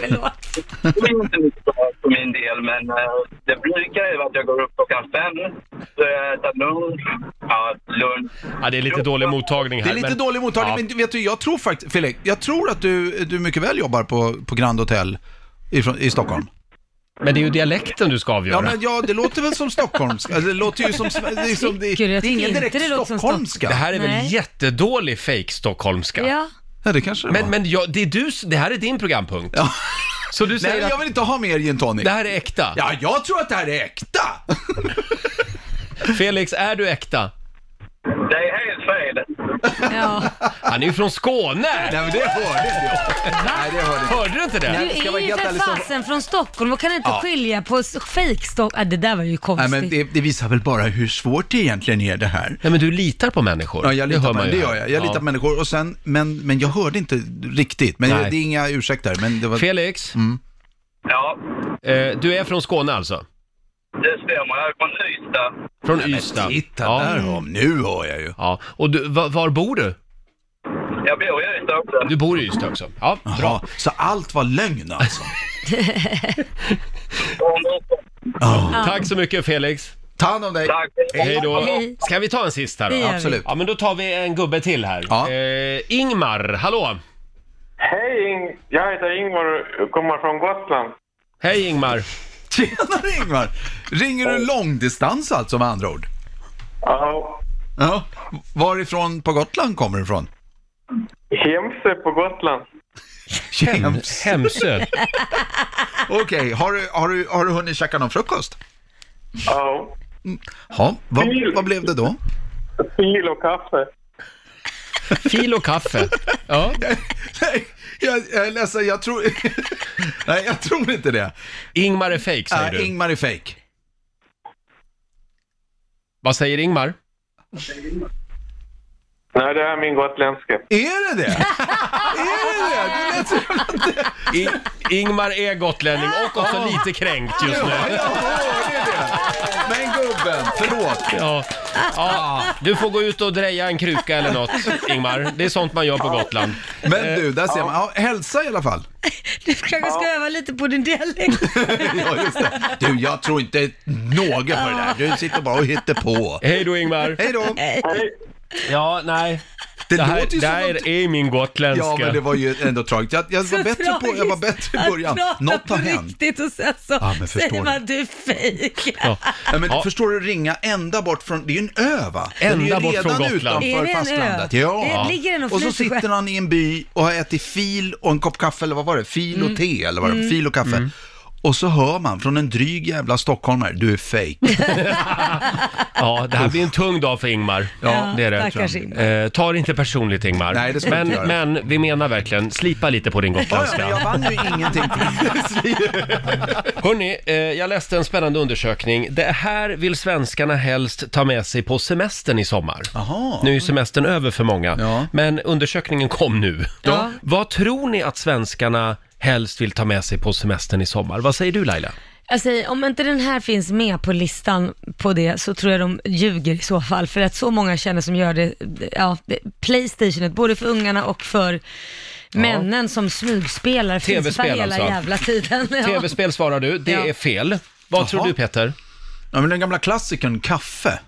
[SPEAKER 7] Förlåt.
[SPEAKER 5] Det blir inte mycket bra för min del, men eh, det brukar ju vara att jag går upp klockan fem. Så jag äter lunch. Ja, lunch.
[SPEAKER 3] Ja, det är lite dålig mottagning
[SPEAKER 8] Det
[SPEAKER 3] här.
[SPEAKER 8] är lite
[SPEAKER 3] men-
[SPEAKER 8] dålig mottagning,
[SPEAKER 3] Ja.
[SPEAKER 8] men vet du, jag tror faktiskt, Felix, jag tror att du, du mycket väl jobbar på, på Grand Hotel ifrån, i Stockholm.
[SPEAKER 3] Men det är ju dialekten du ska
[SPEAKER 8] Ja,
[SPEAKER 3] avgöra.
[SPEAKER 8] men ja, det låter väl som stockholmska, Alltså, det låter ju som, det är, som, det, det
[SPEAKER 7] Tycker du? Jag
[SPEAKER 8] är
[SPEAKER 7] tycker
[SPEAKER 8] ingen
[SPEAKER 7] inte
[SPEAKER 8] direkt
[SPEAKER 7] det låter som
[SPEAKER 8] stockholmska.
[SPEAKER 3] Det här är väl
[SPEAKER 7] Nej.
[SPEAKER 3] jättedålig fake stockholmska
[SPEAKER 7] Ja.
[SPEAKER 8] Ja, det kanske det
[SPEAKER 3] Men,
[SPEAKER 8] var.
[SPEAKER 3] men jag, det, är du, det här är din programpunkt.
[SPEAKER 8] Ja.
[SPEAKER 3] Så du säger
[SPEAKER 8] Nej, jag
[SPEAKER 3] att
[SPEAKER 8] vill inte ha mer gin tonic.
[SPEAKER 3] det här är äkta.
[SPEAKER 8] Ja, jag tror att det här är äkta!
[SPEAKER 3] Felix, är du äkta?
[SPEAKER 5] Det är helt fel.
[SPEAKER 7] ja.
[SPEAKER 3] Han är ju från Skåne!
[SPEAKER 8] Nej, men det hörde inte jag. Nej, det hörde inte
[SPEAKER 3] Hörde du inte
[SPEAKER 7] Du
[SPEAKER 3] det?
[SPEAKER 8] ska
[SPEAKER 7] är
[SPEAKER 8] vara
[SPEAKER 7] ju
[SPEAKER 8] helt
[SPEAKER 7] för
[SPEAKER 8] ärlig så-
[SPEAKER 7] fasen från Stockholm och kan inte skilja på s- fejkstock... Ah, det där var ju
[SPEAKER 8] Nej,
[SPEAKER 7] konstigt.
[SPEAKER 8] men det, det visar väl bara hur svårt det egentligen är det här.
[SPEAKER 3] Nej men du litar på människor.
[SPEAKER 8] Ja, jag litar
[SPEAKER 3] hör
[SPEAKER 8] på,
[SPEAKER 3] man ju
[SPEAKER 8] det
[SPEAKER 3] här.
[SPEAKER 8] gör jag. Jag litar
[SPEAKER 3] Ja.
[SPEAKER 8] på människor och sen, men, men jag hörde inte riktigt. Men
[SPEAKER 3] Nej.
[SPEAKER 8] det är inga ursäkter. Men det var...
[SPEAKER 3] Felix,
[SPEAKER 8] Mm.
[SPEAKER 5] Ja,
[SPEAKER 3] eh, du är från Skåne alltså?
[SPEAKER 5] det stämmer. Jag är från Ystad.
[SPEAKER 3] Från
[SPEAKER 8] Men
[SPEAKER 3] Ystad?
[SPEAKER 8] Titta
[SPEAKER 3] ja.
[SPEAKER 8] där om, nu hör jag ju.
[SPEAKER 3] Ja, och du, var, var bor du?
[SPEAKER 5] Jag bor i Ystad också.
[SPEAKER 3] Du bor i Ystad också? Ja, bra.
[SPEAKER 8] Bra. Så allt var lögn alltså.
[SPEAKER 3] Tack så mycket Felix.
[SPEAKER 8] Ta hand om dig.
[SPEAKER 5] Tack.
[SPEAKER 3] Hej då.
[SPEAKER 7] Hej.
[SPEAKER 3] Ska vi ta en sist här
[SPEAKER 7] Det
[SPEAKER 3] då?
[SPEAKER 7] gör vi.
[SPEAKER 8] Absolut.
[SPEAKER 3] Ja, men då tar vi en gubbe till här.
[SPEAKER 8] Ja.
[SPEAKER 3] Eh, Ingmar, hallå!
[SPEAKER 5] Hej, Ing- jag heter Ingvar och kommer från Gotland.
[SPEAKER 3] Hej Ingmar!
[SPEAKER 8] Tjenare Ingvar! Ringer du långdistans alltså med andra ord?
[SPEAKER 5] Ja,
[SPEAKER 8] Ja. Varifrån på Gotland kommer du ifrån?
[SPEAKER 5] Hemsö på Gotland.
[SPEAKER 8] James.
[SPEAKER 3] Hemsö.
[SPEAKER 8] Okej, har, du, har, du, har du hunnit käka någon frukost?
[SPEAKER 5] Ja,
[SPEAKER 8] Ja, vad, vad blev det då?
[SPEAKER 5] fil och kaffe.
[SPEAKER 3] Fil och kaffe. Ja.
[SPEAKER 8] Nej, jag, jag är ledsen, jag tror... Nej, jag tror inte det.
[SPEAKER 3] Ingmar är fake säger
[SPEAKER 8] Äh,
[SPEAKER 3] du.
[SPEAKER 8] Ingmar är fake.
[SPEAKER 3] Vad säger Ingmar?
[SPEAKER 5] Nej, det är min gotländska.
[SPEAKER 8] Är det det? är det det? Du lät så...
[SPEAKER 3] I- Ingmar är gotlänning och också lite kränkt just nu.
[SPEAKER 8] Ja, jag hörde det. Men gubben, förlåt.
[SPEAKER 3] Ja. Ja. Du får gå ut och dreja en kruka eller något, Ingmar. Det är sånt man gör på Gotland. Eh,
[SPEAKER 8] Men du, där ser man. Ja, hälsa i alla fall.
[SPEAKER 7] Du kanske ska öva lite på din dialekt.
[SPEAKER 8] Ja, just det. Du, jag tror inte något på det där. Du sitter bara och hittar på.
[SPEAKER 3] Hej då Ingmar!
[SPEAKER 8] Hej då.
[SPEAKER 3] Ja, nej.
[SPEAKER 8] Det,
[SPEAKER 3] Det här,
[SPEAKER 8] låter ju
[SPEAKER 3] det
[SPEAKER 8] som
[SPEAKER 3] här
[SPEAKER 8] något...
[SPEAKER 3] är min gotländska.
[SPEAKER 8] Ja, men det var ju ändå tragiskt. Jag, jag, var,
[SPEAKER 7] Så
[SPEAKER 8] bättre på, jag var bättre i
[SPEAKER 7] tragiskt
[SPEAKER 8] början.
[SPEAKER 7] att prata
[SPEAKER 8] Något har
[SPEAKER 7] på
[SPEAKER 8] hänt.
[SPEAKER 7] riktigt och sen så
[SPEAKER 8] Ja, men förstår
[SPEAKER 7] säger
[SPEAKER 8] du.
[SPEAKER 7] man att du är fejk.
[SPEAKER 3] Ja.
[SPEAKER 8] Ja, men
[SPEAKER 3] Ja.
[SPEAKER 8] förstår du, ringa ända bort från, det är ju en ö va? Den
[SPEAKER 3] Ända
[SPEAKER 8] är ju
[SPEAKER 3] bort från
[SPEAKER 8] redan
[SPEAKER 3] Gotland.
[SPEAKER 7] Är
[SPEAKER 8] utanför
[SPEAKER 7] det en ö?
[SPEAKER 8] fastlandet. Ja.
[SPEAKER 7] Det ligger den och
[SPEAKER 8] och så
[SPEAKER 7] flyter själv.
[SPEAKER 8] sitter han i en by och har ätit fil och en kopp kaffe, eller vad var det? Fil
[SPEAKER 3] Mm.
[SPEAKER 8] och te, eller vad det var? Fil och kaffe. Och så hör man från en dryg jävla stockholmare, du är fake.
[SPEAKER 3] Ja, det här blir en tung dag för Ingmar.
[SPEAKER 7] Ja,
[SPEAKER 3] det är det.
[SPEAKER 7] stackars Ingmar.
[SPEAKER 3] Eh, ta det inte personligt Ingmar.
[SPEAKER 8] Nej, det ska jag
[SPEAKER 3] men,
[SPEAKER 8] inte göra.
[SPEAKER 3] men vi menar verkligen, slipa lite på din
[SPEAKER 8] Ja, ja, men
[SPEAKER 3] gotländska.
[SPEAKER 8] jag vann ju ingenting.
[SPEAKER 3] Hörni, eh, jag läste en spännande undersökning. Det här vill svenskarna helst ta med sig på semestern i sommar.
[SPEAKER 8] Jaha.
[SPEAKER 3] Nu är ju semestern över för många,
[SPEAKER 8] Ja.
[SPEAKER 3] men undersökningen kom nu.
[SPEAKER 7] Ja.
[SPEAKER 3] Vad tror ni att svenskarna helst vill ta med sig på semestern i sommar? Vad säger du Laila?
[SPEAKER 7] Jag säger, Alltså, om inte den här finns med på listan på det så tror jag de ljuger i så fall. För att så många känner som gör det, ja, det- Playstationet, både för ungarna och för männen som smygspelar. finns där
[SPEAKER 3] TV-spel
[SPEAKER 7] hela
[SPEAKER 3] alltså.
[SPEAKER 7] jävla tiden. Ja.
[SPEAKER 3] Tv-spel svarar du, det
[SPEAKER 7] Ja.
[SPEAKER 3] är fel. Vad tror du Peter?
[SPEAKER 8] Ja, men den gamla klassikern kaffe.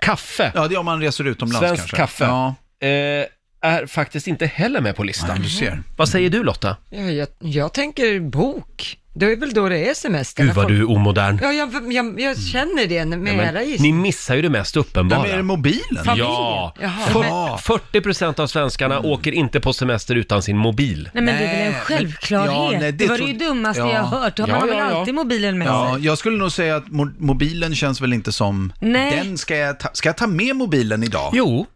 [SPEAKER 3] Kaffe,
[SPEAKER 8] Ja, det är om man reser utomlands
[SPEAKER 3] svenskt
[SPEAKER 8] kanske.
[SPEAKER 3] kaffe,
[SPEAKER 8] Ja,
[SPEAKER 3] eh, är faktiskt inte heller med på listan.
[SPEAKER 8] men du ser.
[SPEAKER 3] Mm. Vad säger du Lotta?
[SPEAKER 2] Ja, jag, jag tänker bok. Det är väl då det är semester.
[SPEAKER 3] Gud vad du är omodern.
[SPEAKER 2] Ja, jag, jag, jag känner det med
[SPEAKER 3] Mm. Men
[SPEAKER 2] era
[SPEAKER 3] ni
[SPEAKER 2] gissningar.
[SPEAKER 3] missar ju det mest
[SPEAKER 8] Ja, men är det
[SPEAKER 3] uppenbara.
[SPEAKER 8] mobilen?
[SPEAKER 2] Fan.
[SPEAKER 3] Ja,
[SPEAKER 2] Jaha.
[SPEAKER 8] Ja.
[SPEAKER 3] 40 procent av svenskarna
[SPEAKER 8] Mm.
[SPEAKER 3] åker inte på semester utan sin mobil.
[SPEAKER 7] Nej men det är väl en
[SPEAKER 8] Nej,
[SPEAKER 7] självklarhet.
[SPEAKER 8] men- ja, nej,
[SPEAKER 7] det,
[SPEAKER 8] det
[SPEAKER 7] var det
[SPEAKER 8] tro-
[SPEAKER 7] ju dummaste
[SPEAKER 8] Ja.
[SPEAKER 7] jag har hört. Man
[SPEAKER 3] Ja,
[SPEAKER 7] har väl
[SPEAKER 3] ja, ja.
[SPEAKER 7] alltid mobilen med
[SPEAKER 8] Ja,
[SPEAKER 7] sig.
[SPEAKER 8] jag skulle nog säga att mo- mobilen känns väl inte som...
[SPEAKER 7] Nej.
[SPEAKER 8] Den ska jag ta, ska jag ta med mobilen idag?
[SPEAKER 3] Jo,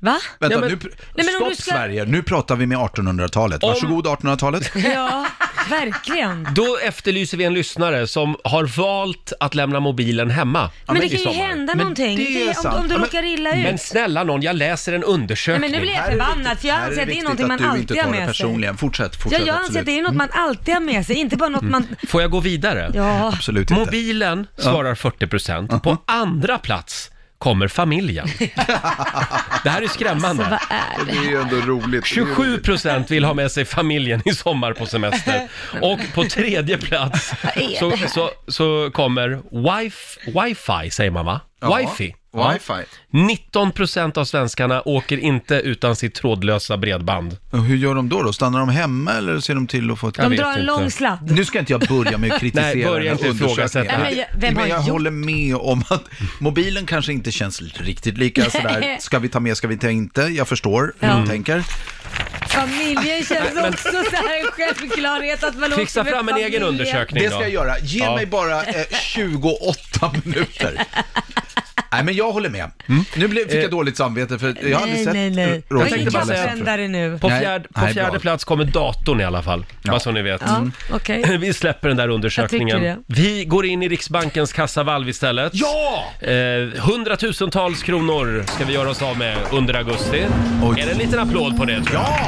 [SPEAKER 7] Va?
[SPEAKER 8] Vänta,
[SPEAKER 3] Ja, men-
[SPEAKER 8] nu, pr-
[SPEAKER 7] men om
[SPEAKER 8] stopp
[SPEAKER 7] du ska-
[SPEAKER 8] Sverige, nu pratar vi med 1800-talet. Varsågod 1800-talet.
[SPEAKER 7] Ja, verkligen.
[SPEAKER 3] då efterlyser vi en lyssnare som har valt att lämna mobilen hemma.
[SPEAKER 7] Men,
[SPEAKER 8] men
[SPEAKER 7] det
[SPEAKER 8] i
[SPEAKER 7] kan ju
[SPEAKER 8] sommar.
[SPEAKER 7] hända
[SPEAKER 8] Men
[SPEAKER 7] någonting.
[SPEAKER 8] det
[SPEAKER 7] Det
[SPEAKER 8] är
[SPEAKER 7] om,
[SPEAKER 8] sant.
[SPEAKER 7] om du
[SPEAKER 8] Ja, men-
[SPEAKER 7] råkar illa ut.
[SPEAKER 3] Men snälla någon, jag läser en
[SPEAKER 7] Nej,
[SPEAKER 3] undersökning.
[SPEAKER 7] men nu blir jag
[SPEAKER 8] Här är det
[SPEAKER 7] förbannad, för jag
[SPEAKER 8] Här
[SPEAKER 7] anser att det är någonting
[SPEAKER 8] viktigt
[SPEAKER 7] man
[SPEAKER 8] att du
[SPEAKER 7] alltid
[SPEAKER 8] inte
[SPEAKER 7] har
[SPEAKER 8] tar det
[SPEAKER 7] med sig.
[SPEAKER 8] personligen. Fortsätt,
[SPEAKER 7] Ja,
[SPEAKER 8] fortsätt
[SPEAKER 7] jag anser
[SPEAKER 8] absolut.
[SPEAKER 7] att det är något man alltid har med sig, inte bara något man...
[SPEAKER 3] Får jag gå vidare?
[SPEAKER 7] Ja,
[SPEAKER 8] Absolut inte.
[SPEAKER 3] Mobilen svarar 40 procent. På andra plats kommer familjen. Det här är
[SPEAKER 7] alltså,
[SPEAKER 3] skrämmande.
[SPEAKER 7] vad är det?
[SPEAKER 8] Det är ju ändå roligt.
[SPEAKER 3] 27 procent vill ha med sig familjen i sommar på semester. Och på tredje plats
[SPEAKER 7] är
[SPEAKER 3] så,
[SPEAKER 7] det här?
[SPEAKER 3] så, så kommer wifi, wifi säger man va? Wifi.
[SPEAKER 8] Ja, wifi.
[SPEAKER 3] 19 procent av svenskarna åker inte utan sitt trådlösa bredband.
[SPEAKER 8] Och Hur gör de då, då? Stannar de hemma eller ser de till att få ett...
[SPEAKER 3] Jag
[SPEAKER 7] De
[SPEAKER 3] vet
[SPEAKER 7] drar en
[SPEAKER 3] inte.
[SPEAKER 7] lång sladd.
[SPEAKER 8] Nu ska inte jag börja med att kritisera
[SPEAKER 3] Nej, börja
[SPEAKER 8] den här
[SPEAKER 3] inte ifrågasätta.
[SPEAKER 8] undersökningen.
[SPEAKER 7] Nej, men jag- vem har
[SPEAKER 8] men jag
[SPEAKER 7] gjort-
[SPEAKER 8] håller med om att mobilen kanske inte känns riktigt lika sådär, ska vi ta med, ska vi ta inte? Jag förstår hur de tänker.
[SPEAKER 7] Familjen känns också så här en självklarhet att man
[SPEAKER 3] Fixa
[SPEAKER 7] åker med
[SPEAKER 3] fram en egen
[SPEAKER 7] familjen.
[SPEAKER 3] undersökning
[SPEAKER 8] Det ska jag
[SPEAKER 3] då.
[SPEAKER 8] göra. Ge
[SPEAKER 3] Ja.
[SPEAKER 8] mig bara eh, 28 minuter. Nej, men jag håller med.
[SPEAKER 3] Mm.
[SPEAKER 8] Nu blev,
[SPEAKER 3] Eh,
[SPEAKER 8] fick jag dåligt samvete för jag har aldrig
[SPEAKER 7] Nej,
[SPEAKER 8] sett
[SPEAKER 7] nej, nej.
[SPEAKER 8] Roger
[SPEAKER 7] Jag tänkte bara
[SPEAKER 8] Lindberg.
[SPEAKER 3] säga-
[SPEAKER 7] säga... nu.
[SPEAKER 3] På
[SPEAKER 8] Nej.
[SPEAKER 3] fjärde, på
[SPEAKER 8] Nej,
[SPEAKER 3] fjärde
[SPEAKER 8] bra.
[SPEAKER 3] plats kommer datorn i alla fall, bara så ni vet.
[SPEAKER 7] Ja,
[SPEAKER 8] Mm.
[SPEAKER 7] okej.
[SPEAKER 3] Vi släpper den där
[SPEAKER 7] Jag
[SPEAKER 3] undersökningen.
[SPEAKER 7] tycker
[SPEAKER 3] Vi går in i Riksbankens kassavalv istället.
[SPEAKER 8] Ja!
[SPEAKER 3] Eh, hundratusentals kronor ska vi göra oss av med under augusti.
[SPEAKER 8] Oj.
[SPEAKER 3] Är det en liten applåd på det? tror jag?
[SPEAKER 8] Ja!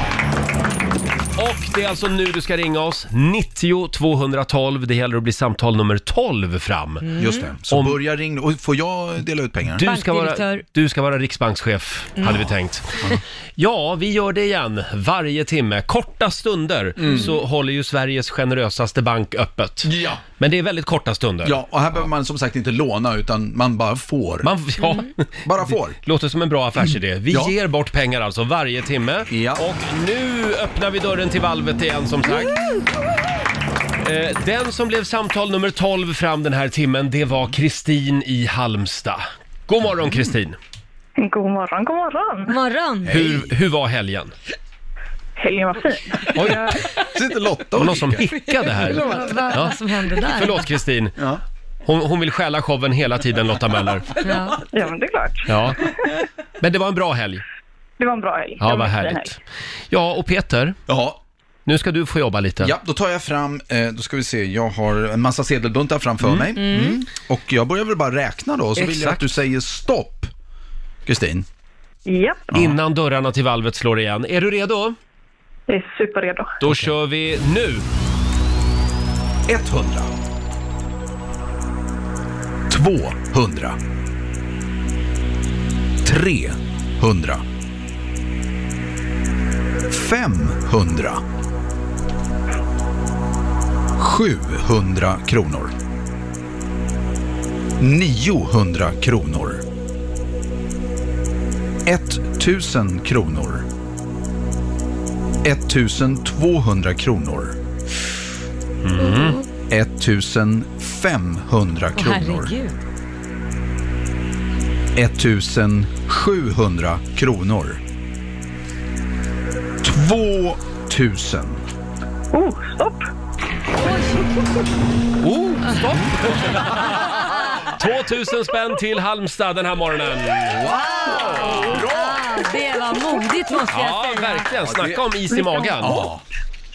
[SPEAKER 3] Och det är alltså nu du ska ringa oss. 90 212. Det gäller att bli samtal nummer 12 fram.
[SPEAKER 8] Mm. Just det. Så
[SPEAKER 3] Om-
[SPEAKER 8] börja ringa. Och får jag dela ut pengar?
[SPEAKER 3] Du ska, vara,
[SPEAKER 7] Bankdirektör.
[SPEAKER 3] du ska vara riksbankschef, hade vi tänkt. Ja, vi gör det igen varje timme. Korta stunder så håller ju Sveriges generösaste bank öppet.
[SPEAKER 8] Mm. Ja.
[SPEAKER 3] Men det är väldigt korta stunder.
[SPEAKER 8] Ja, och här behöver man som sagt inte låna, utan man bara får. Mm.
[SPEAKER 3] Man, ja,
[SPEAKER 8] Bara får.
[SPEAKER 3] Låter som en bra affärsidé. Vi
[SPEAKER 8] Ja.
[SPEAKER 3] ger bort pengar alltså varje timme.
[SPEAKER 8] Ja.
[SPEAKER 3] Och nu öppnar vi dörren till valvet igen som sagt. Eh, Den som blev samtal nummer 12 fram den här timmen, det var Kristin i Halmstad. God morgon
[SPEAKER 8] Mm.
[SPEAKER 3] Kristin!
[SPEAKER 9] God morgon, god morgon.
[SPEAKER 7] Morgon.
[SPEAKER 3] Hur, hur var helgen?
[SPEAKER 9] Helgen var fin.
[SPEAKER 3] Oj,
[SPEAKER 8] Sitter Lotta
[SPEAKER 3] det var
[SPEAKER 8] och
[SPEAKER 3] någon som hickade här.
[SPEAKER 7] Vad, vad
[SPEAKER 3] Ja.
[SPEAKER 7] som hände där?
[SPEAKER 3] Förlåt Kristin. Hon, hon vill stjäla showen hela tiden Lotta Möller.
[SPEAKER 7] Ja.
[SPEAKER 9] Ja, men det är klart.
[SPEAKER 3] Ja. Men det var en bra helg.
[SPEAKER 9] Det var en bra helg. Det
[SPEAKER 3] Ja,
[SPEAKER 9] var
[SPEAKER 3] vad
[SPEAKER 9] en fin
[SPEAKER 3] härligt. Ja, och Peter,
[SPEAKER 8] Ja,
[SPEAKER 3] nu ska du få jobba lite.
[SPEAKER 8] ja, då tar jag fram, eh, då ska vi se, jag har en massa sedelbuntar framför mig. Mm. Och jag börjar väl bara räkna då, och så vill jag
[SPEAKER 3] Exakt.
[SPEAKER 8] att du säger stopp. Kristin.
[SPEAKER 9] helg. Japp,
[SPEAKER 3] Innan dörrarna till valvet slår igen. Är du redo?
[SPEAKER 9] jag är superredo.
[SPEAKER 3] Då kör vi nu!
[SPEAKER 8] 100. 200. 300. 500. 700 kronor. 900 kronor. 1000 kronor. 1200 kronor. 1500
[SPEAKER 7] Mm. Åh,
[SPEAKER 8] kronor.
[SPEAKER 7] herregud.
[SPEAKER 8] 1700 kronor. 2000.
[SPEAKER 9] Oh, stopp.
[SPEAKER 3] Oh, stopp! 2000 spänn till Halmstad den här morgonen.
[SPEAKER 7] Ah, det var modigt måste jag
[SPEAKER 3] Ja,
[SPEAKER 7] säga.
[SPEAKER 3] verkligen. Snacka om is i magen.